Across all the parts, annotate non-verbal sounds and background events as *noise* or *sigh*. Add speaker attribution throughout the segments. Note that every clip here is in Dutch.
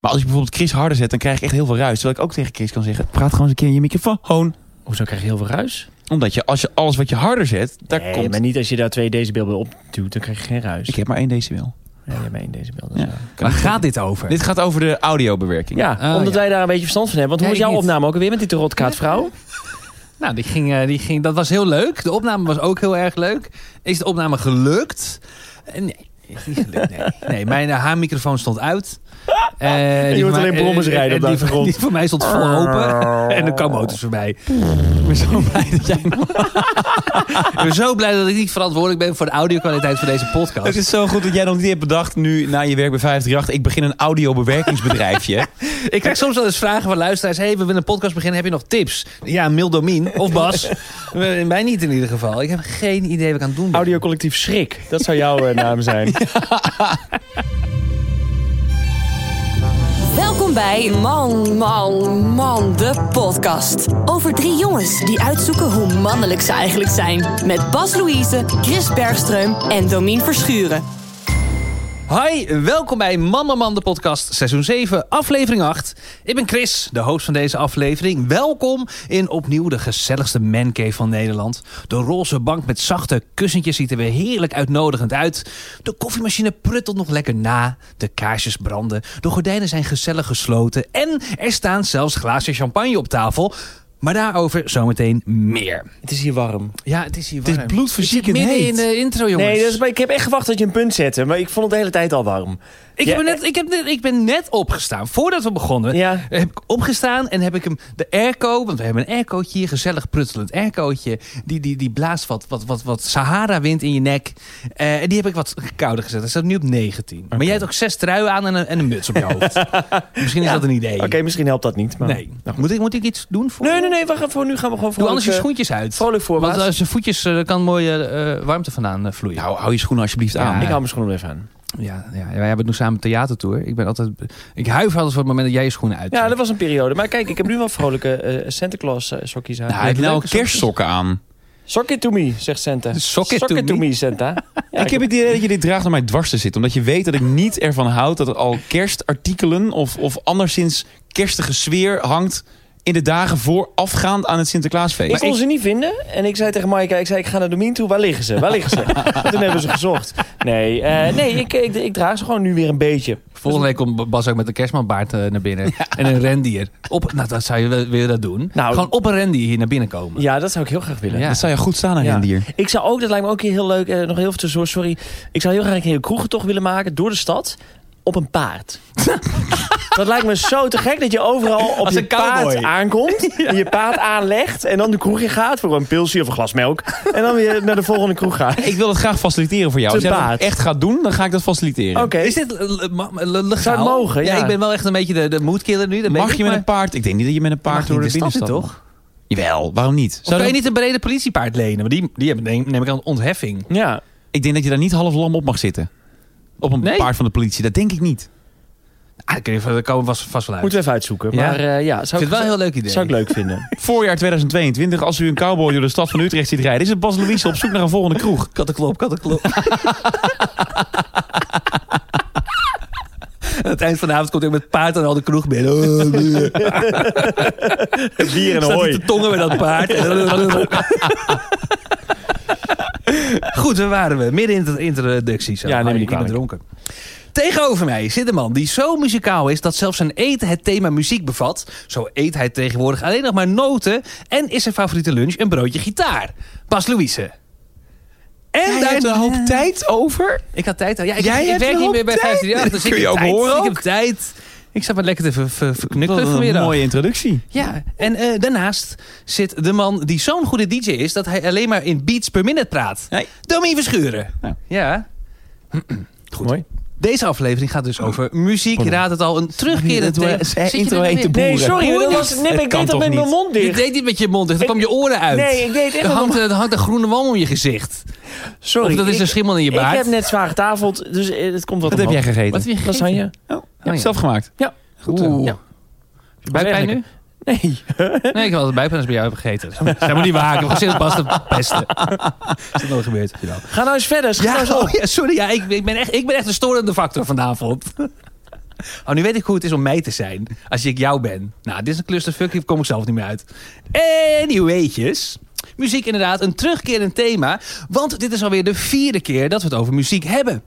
Speaker 1: Maar als ik bijvoorbeeld Chris harder zet, dan krijg ik echt heel veel ruis. Terwijl ik ook tegen Chris kan zeggen, praat gewoon eens een keer in je microfoon.
Speaker 2: Hoezo krijg je heel veel ruis?
Speaker 1: Omdat je, als je alles wat je harder zet, daar
Speaker 2: nee,
Speaker 1: komt...
Speaker 2: maar niet als je daar 2 decibel bij opduwt, dan krijg je geen ruis.
Speaker 1: Ik heb maar één decibel.
Speaker 2: Ja, je hebt maar één decibel.
Speaker 1: Ja.
Speaker 2: Dus ja,
Speaker 3: Waar gaat dit over?
Speaker 1: Dit gaat over de audiobewerking.
Speaker 2: ja
Speaker 3: Oh,
Speaker 2: omdat
Speaker 3: ja.
Speaker 2: wij daar een beetje verstand van hebben. Want hoe is
Speaker 3: Nee,
Speaker 2: jouw
Speaker 3: ik niet.
Speaker 2: opname ook alweer met die rotkaatvrouw?
Speaker 3: Nou, die ging, eh, die ging, dat was heel leuk. De opname was ook heel erg leuk. Is de opname gelukt? Eh, nee, is niet gelukt.
Speaker 2: *laughs*
Speaker 3: Nee, nee mijn eh, haarmicrofoon stond uit. Eh, die
Speaker 2: Je hoort
Speaker 3: voor mij-
Speaker 2: alleen brommers
Speaker 3: eh,
Speaker 2: rijden op de
Speaker 3: eh, die voor-
Speaker 2: achtergrond.
Speaker 3: Die voor mij stond vol
Speaker 2: *laughs*
Speaker 3: open. En er kwam auto's voorbij. Ik ben
Speaker 1: *laughs*
Speaker 3: zo blij dat jij... ik ben zo blij dat ik niet verantwoordelijk ben voor de audiokwaliteit van deze
Speaker 2: *laughs*
Speaker 1: Het
Speaker 3: podcast.
Speaker 1: is zo goed dat jij nog niet hebt bedacht nu na je werk bij 538. Ik begin een audiobewerkingsbedrijfje.
Speaker 3: Ik krijg soms wel eens vragen van luisteraars. hey, we willen een podcast beginnen. Heb je nog tips? Ja, Mildomien
Speaker 2: *laughs*
Speaker 3: of Bas. Eh, Mij niet in ieder geval. Ik heb geen idee wat ik aan het doen ben.
Speaker 2: Audiocollectief Schrik. Dat zou jouw eh, naam zijn.
Speaker 4: Welkom bij Man, Man, Man, de podcast. Over drie jongens die uitzoeken hoe mannelijk ze eigenlijk zijn. Met Bas Louise, Chris Bergström en Domien Verschuren.
Speaker 3: Hi, welkom bij Mama Man de podcast, seizoen 7, aflevering 8. Ik ben Chris, de host van deze aflevering. Welkom in opnieuw de gezelligste mancave van Nederland. De roze bank met zachte kussentjes ziet er weer heerlijk uitnodigend uit. De koffiemachine pruttelt nog lekker na. De kaarsjes branden. De gordijnen zijn gezellig gesloten. En er staan zelfs glazen champagne op tafel. Maar daarover zometeen meer.
Speaker 2: Het is hier warm.
Speaker 3: Ja, het is hier
Speaker 1: Het is
Speaker 3: warm.
Speaker 1: *laughs* bloedverziekend
Speaker 3: Ik zit midden
Speaker 1: heet.
Speaker 3: in de intro, jongens.
Speaker 2: Nee, dat is- maar ik heb echt gewacht dat je een punt zette. Maar ik vond het de hele tijd al warm.
Speaker 3: Ik,
Speaker 2: Ja,
Speaker 3: heb net, ik, heb net, ik ben net opgestaan. Voordat we begonnen,
Speaker 2: Ja.
Speaker 3: Eh, heb ik opgestaan en heb ik hem de airco, want we hebben een aircootje hier, gezellig pruttelend aircootje, die, die, die blaast wat, wat, wat, wat Sahara-wind in je nek. Eh, die heb ik wat kouder gezet. Dat staat nu op 19. Maar jij hebt ook zes truien aan en een, en een muts op je
Speaker 2: *laughs*
Speaker 3: hoofd. Misschien is dat een idee.
Speaker 2: Oké, misschien helpt dat niet. Maar...
Speaker 3: Nee. Moet, ik, moet ik iets doen voor?
Speaker 2: Nee, nee, nee, wacht even. voor Nu gaan we gewoon
Speaker 3: Doe
Speaker 2: vrolijk,
Speaker 3: anders je
Speaker 2: eh,
Speaker 3: schoentjes uit.
Speaker 2: Vrolijk voorwaarts.
Speaker 3: Want als je voetjes eh, kan mooie eh, warmte vandaan eh, vloeien.
Speaker 1: nou, hou je schoenen alsjeblieft aan.
Speaker 2: Ik hou mijn schoenen even aan.
Speaker 3: Ja, ja, wij hebben nu samen theatertour. Ik ben altijd. Ik huif altijd voor het moment dat jij je schoenen uit.
Speaker 2: Ja, dat was een periode. Maar kijk, ik heb nu wel vrolijke eh, Santa Claus eh, sokjes aan.
Speaker 1: Nou, hij heeft nou kerstsokken aan.
Speaker 2: Sock it to me, zegt Santa.
Speaker 3: Sock it to
Speaker 2: to
Speaker 3: me.
Speaker 2: me, *laughs* Santa. Ja,
Speaker 1: ik heb het idee dat je dit draagt om mij dwars te zitten. Omdat je weet dat ik niet ervan houd dat er al kerstartikelen of, of anderszins kerstige sfeer hangt in de dagen voorafgaand aan het Sinterklaasfeest.
Speaker 2: Ik kon ze niet vinden. En ik zei tegen Maaike, ik, zei, ik ga naar Domien toe. Waar liggen ze? Waar *laughs* liggen ze? En Toen hebben ze gezocht. Nee, eh, nee ik, ik, ik draag ze gewoon nu weer een beetje.
Speaker 3: Volgende week komt Bas ook met een kerstmanbaard eh, naar *laughs* binnen. En een rendier. Op, nou, dat zou je wel willen dat doen.
Speaker 2: Nou-
Speaker 3: Gewoon op een rendier hier naar binnen komen.
Speaker 2: Ja, dat zou ik heel graag willen.
Speaker 3: Ja.
Speaker 1: Dat zou je goed staan aan
Speaker 2: Ja.
Speaker 1: rendier.
Speaker 2: Ik zou ook, dat lijkt me ook heel leuk, eh, nog heel veel tussendoor, sorry. Ik zou heel graag een hele kroegentocht willen maken door de stad op een *laughs* paard. dat lijkt me zo te gek dat je overal op
Speaker 3: Als
Speaker 2: je
Speaker 3: een cowboy.
Speaker 2: paard *laughs* aankomt. En je paard aanlegt en dan de kroeg in gaat voor een pilsje of een glas melk. En dan weer naar de volgende kroeg gaat.
Speaker 1: Ik wil het graag faciliteren voor jou.
Speaker 2: Te
Speaker 1: Als jij dat
Speaker 2: baat.
Speaker 1: echt gaat doen, dan ga ik dat faciliteren.
Speaker 2: Oké.
Speaker 3: Is dit eh, le- ma- le- legaal?
Speaker 2: Zou het mogen, ja.
Speaker 3: ik ben wel echt een beetje de, de moodkiller nu. Dat weet
Speaker 1: Mag
Speaker 3: ik,
Speaker 1: je met een
Speaker 3: maar-
Speaker 1: paard? Ik denk niet dat je met een paard
Speaker 3: Mag
Speaker 1: door de
Speaker 3: niet de stad
Speaker 1: binnenstad
Speaker 3: in,
Speaker 1: mag.
Speaker 3: toch?
Speaker 1: Jawel, waarom niet? Zou
Speaker 3: Of kan je
Speaker 1: dat-
Speaker 3: niet een brede politiepaard lenen? Want die, die hebben, neem, neem ik aan, ontheffing.
Speaker 2: Ja,
Speaker 1: Ik denk dat je daar niet half lam op mag zitten. Op een
Speaker 3: Nee?
Speaker 1: paard van de politie, dat denk ik niet.
Speaker 3: Ah, dat kun je- daar komen we vast, vast wel uit.
Speaker 2: moeten we even uitzoeken.
Speaker 3: Ja.
Speaker 2: Maar eh, ja, zou
Speaker 3: ik vind het wel een heel leuk idee. *laughs*
Speaker 2: zou ik leuk vinden.
Speaker 1: Voorjaar 2022, als u een cowboy door de stad van Utrecht ziet rijden, is het Bas Louise op zoek naar een volgende kroeg.
Speaker 3: Kattenklop, *laughs* kattenklop. Aan het eind van de avond komt hij ook met paard en al de kroeg binnen. Oh, *laughs* bleh.
Speaker 2: Bier en
Speaker 3: Staat hij
Speaker 2: hooi.
Speaker 3: te tongen met dat paard. *laughs* Goed, daar waren we. Midden in de introductie. Zo. Ah,
Speaker 2: Ja, neem me niet
Speaker 3: ik ben
Speaker 2: kwalijk.
Speaker 3: dronken. Tegenover mij zit een man die zo muzikaal is dat zelfs zijn eten het thema muziek bevat. Zo eet hij tegenwoordig alleen nog maar noten en is zijn favoriete lunch een broodje gitaar. Bas Louise. En
Speaker 1: Hij
Speaker 3: daar-
Speaker 1: heeft eh, een hoop tijd over.
Speaker 3: Ik had tijd. al. Ja, ik,
Speaker 1: Jij
Speaker 3: ik
Speaker 1: hebt
Speaker 3: werk
Speaker 1: een
Speaker 3: niet
Speaker 1: hoop
Speaker 3: meer bij
Speaker 1: tijd.
Speaker 3: 538. Dus
Speaker 1: Kun
Speaker 3: ik
Speaker 1: je
Speaker 3: heb
Speaker 1: ook
Speaker 3: tijd.
Speaker 1: horen
Speaker 3: Ik
Speaker 1: ook?
Speaker 3: heb tijd. Ik zat maar lekker te ver, ver, verknukkelen
Speaker 1: Wat een
Speaker 3: vanmiddag.
Speaker 1: mooie introductie.
Speaker 3: Ja, en eh, daarnaast zit de man die zo'n goede DJ is... dat hij alleen maar in beats per minute praat.
Speaker 1: Nee.
Speaker 3: Domien Verschuren.
Speaker 1: Nou.
Speaker 3: *clears throat* Ja.
Speaker 2: Goed. Mooi.
Speaker 3: Deze aflevering gaat dus over muziek. Je raadt het al, een terugkerend
Speaker 1: Dat we-
Speaker 3: thema.
Speaker 1: eh,
Speaker 3: Zit je
Speaker 1: intro
Speaker 3: er nou
Speaker 1: heet de
Speaker 3: weer?
Speaker 1: boer.
Speaker 2: Nee, sorry, hoor, dat
Speaker 1: Boeren.
Speaker 2: was, nee,
Speaker 1: Het kan
Speaker 2: ik deed dat
Speaker 1: toch
Speaker 2: met mijn
Speaker 1: niet?
Speaker 2: mond
Speaker 3: Je
Speaker 2: dicht.
Speaker 3: deed niet met je mond dicht, dan
Speaker 2: Ik-
Speaker 3: kwam je oren uit.
Speaker 2: Nee, ik deed echt
Speaker 3: Er
Speaker 2: met
Speaker 3: hangt, eh, er hangt een groene walm om je gezicht.
Speaker 2: Sorry.
Speaker 3: of dat is
Speaker 2: ik-
Speaker 3: een schimmel in je
Speaker 2: Ik
Speaker 3: baard.
Speaker 2: heb net zwaar getafeld, dus eh, het komt wat
Speaker 1: Wat oh heb jij
Speaker 2: omhoog.
Speaker 1: gegeten?
Speaker 3: Wat heb je gegeten?
Speaker 2: Lasagne.
Speaker 1: Je hebt het zelf gemaakt.
Speaker 2: Ja.
Speaker 1: Goed. eh,
Speaker 3: Oeh.
Speaker 2: Ja.
Speaker 3: Buikpijn nu?
Speaker 2: Nee.
Speaker 3: Nee, ik had het bijpijn als ik bij jou heb gegeten. Zij moet niet waken. We gaan zitten pas de pesten. *laughs* Is dat nooit gebeurd?
Speaker 2: Ga nou eens verder. Schrijf *laughs*
Speaker 3: Ja,
Speaker 2: nou eens op.
Speaker 3: oh, ja, sorry. Ja, ik, ik, ben echt, ik ben echt een storende factor vanavond. *laughs* Oh, nu weet ik hoe het is om mij te zijn. Als ik jou ben. Nou, dit is een clusterfuck. Hier kom ik zelf niet meer uit. Anyway'tjes. Muziek inderdaad, een terugkerend thema. Want dit is alweer de vierde keer dat we het over muziek hebben.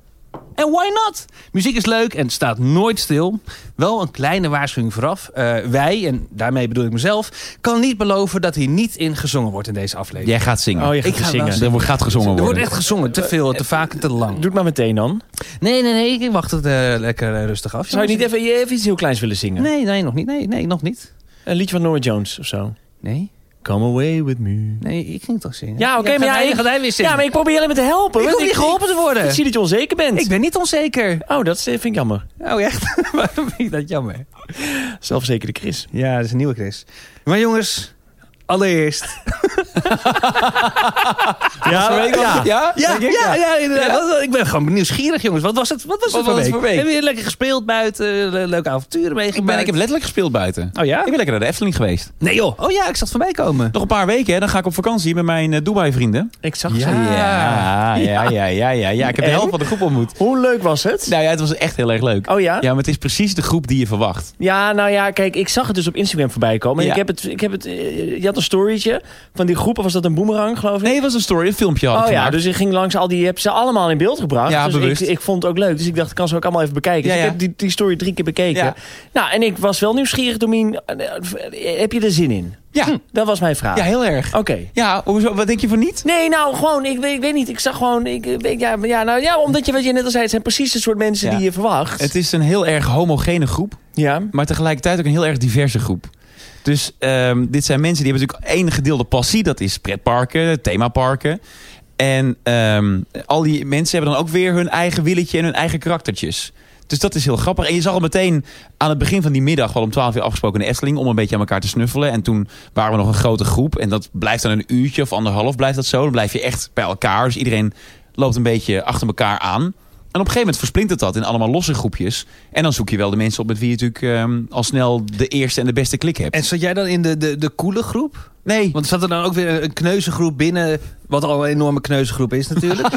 Speaker 3: En why not? Muziek is leuk en staat nooit stil. Wel een kleine waarschuwing vooraf. Eh, wij, en daarmee bedoel ik mezelf, kan niet beloven dat hier niet in gezongen wordt in deze aflevering.
Speaker 1: Jij gaat zingen.
Speaker 2: Oh, je gaat
Speaker 3: Ik ga
Speaker 2: zingen.
Speaker 3: wel
Speaker 1: Er wordt- gaat gezongen
Speaker 3: Er wordt
Speaker 1: worden.
Speaker 3: echt gezongen. Te veel, te vaak en te
Speaker 2: Doe
Speaker 3: lang.
Speaker 2: het maar meteen dan.
Speaker 3: Nee, nee, nee. Ik wacht het eh, lekker eh, rustig af.
Speaker 2: Zou je niet even, even iets heel kleins willen zingen?
Speaker 3: Nee, nee, nog niet. Nee, nee, nog niet.
Speaker 2: Een liedje van Norah Jones of zo.
Speaker 3: Nee,
Speaker 2: Come away with me.
Speaker 3: nee, ik ging toch zingen.
Speaker 2: Ja, oké, maar ja, ik-
Speaker 3: gaat hij weer zingen.
Speaker 2: Ja, maar ik probeer alleen maar te helpen.
Speaker 3: Ik
Speaker 2: want
Speaker 3: hoef niet geholpen te worden.
Speaker 2: Ik, zie dat je onzeker bent.
Speaker 3: ik ben niet onzeker.
Speaker 2: Oh, dat eh, vind ik jammer.
Speaker 3: Oh, echt? *laughs* Waarom vind je dat jammer?
Speaker 2: Zelfzekere Chris.
Speaker 3: Ja, dat is een nieuwe Chris. Maar jongens, allereerst. *laughs*
Speaker 2: Ja, ja.
Speaker 1: Ja?
Speaker 3: Ja, ja, ja,
Speaker 1: Ja.
Speaker 3: inderdaad. Ik ben gewoon nieuwsgierig, jongens. Wat was het, wat was
Speaker 1: Wat
Speaker 3: het voor,
Speaker 1: was
Speaker 3: week?
Speaker 1: het voor week?
Speaker 3: Hebben jullie lekker gespeeld buiten? Le- Leuke avonturen meegemaakt?
Speaker 1: Ik, ben, ik heb letterlijk gespeeld buiten.
Speaker 2: Ah.
Speaker 3: Oh ja?
Speaker 1: Ik ben lekker naar de Efteling geweest.
Speaker 3: Nee joh. Oh ja, ik zat voorbij komen.
Speaker 1: Nog een paar weken, hè, dan ga ik op vakantie met mijn eh, Dubai-vrienden.
Speaker 2: Ik zag
Speaker 3: Ja.
Speaker 2: ze.
Speaker 1: ja, ja, ja, ja, ja, ja. Ik heb de
Speaker 2: En?
Speaker 1: helft van de groep ontmoet.
Speaker 2: Hoe leuk was het?
Speaker 1: Nou ja, het was echt heel erg leuk.
Speaker 2: Oh ja?
Speaker 1: Ja, maar het is precies de groep die je verwacht.
Speaker 2: Ja, nou ja, kijk, ik zag het dus op Instagram voorbij komen. En
Speaker 1: Ja.
Speaker 2: Ik heb het, ik heb het, eh, je had een storytje van die groep, of was dat een boemerang, geloof ik?
Speaker 1: Nee, het was een story, een filmpje had ik
Speaker 2: Oh ja,
Speaker 1: gemaakt.
Speaker 2: dus ik ging langs al die, je hebt ze allemaal in beeld gebracht.
Speaker 1: Ja,
Speaker 2: dus
Speaker 1: bewust.
Speaker 2: Ik, ik vond het ook leuk, dus ik dacht, ik kan ze ook allemaal even bekijken. Dus
Speaker 1: Ja,
Speaker 2: ik
Speaker 1: ja.
Speaker 2: heb die, die story drie keer bekeken.
Speaker 1: Ja.
Speaker 2: Nou, en ik was wel nieuwsgierig, Domien, eh, heb je er zin in?
Speaker 1: ja.
Speaker 2: Dat was mijn vraag.
Speaker 1: ja, heel erg.
Speaker 2: Oké.
Speaker 1: Ja, hoezo, wat denk je van niet?
Speaker 2: Nee, nou, gewoon, ik, weet- ik weet niet, ik zag gewoon, ik, eh, weet- ja, ja, nou, ja, omdat je, wat je net al zei, het zijn precies het soort mensen
Speaker 1: Ja.
Speaker 2: die je verwacht.
Speaker 1: Het is een heel erg homogene groep,
Speaker 2: ja.
Speaker 1: maar tegelijkertijd ook een heel erg diverse groep. Dus ehm, dit zijn mensen die hebben natuurlijk één gedeelde passie. Dat is pretparken, themaparken. En ehm, al die mensen hebben dan ook weer hun eigen willetje en hun eigen karaktertjes. Dus dat is heel grappig. En je zag al meteen aan het begin van die middag, wel om 12 uur afgesproken in de Efteling, om een beetje aan elkaar te snuffelen. En toen waren we nog een grote groep. En dat blijft dan een uurtje of anderhalf blijft dat zo. Dan blijf je echt bij elkaar. Dus iedereen loopt een beetje achter elkaar aan. En op een gegeven moment versplintert dat in allemaal losse groepjes. En dan zoek je wel de mensen op met wie je natuurlijk ehm, al snel de eerste en de beste klik hebt.
Speaker 3: En zat jij dan in de, de, de coole groep?
Speaker 1: Nee,
Speaker 3: Want zat er dan ook weer een kneuzengroep binnen, wat al een enorme kneuzengroep is natuurlijk.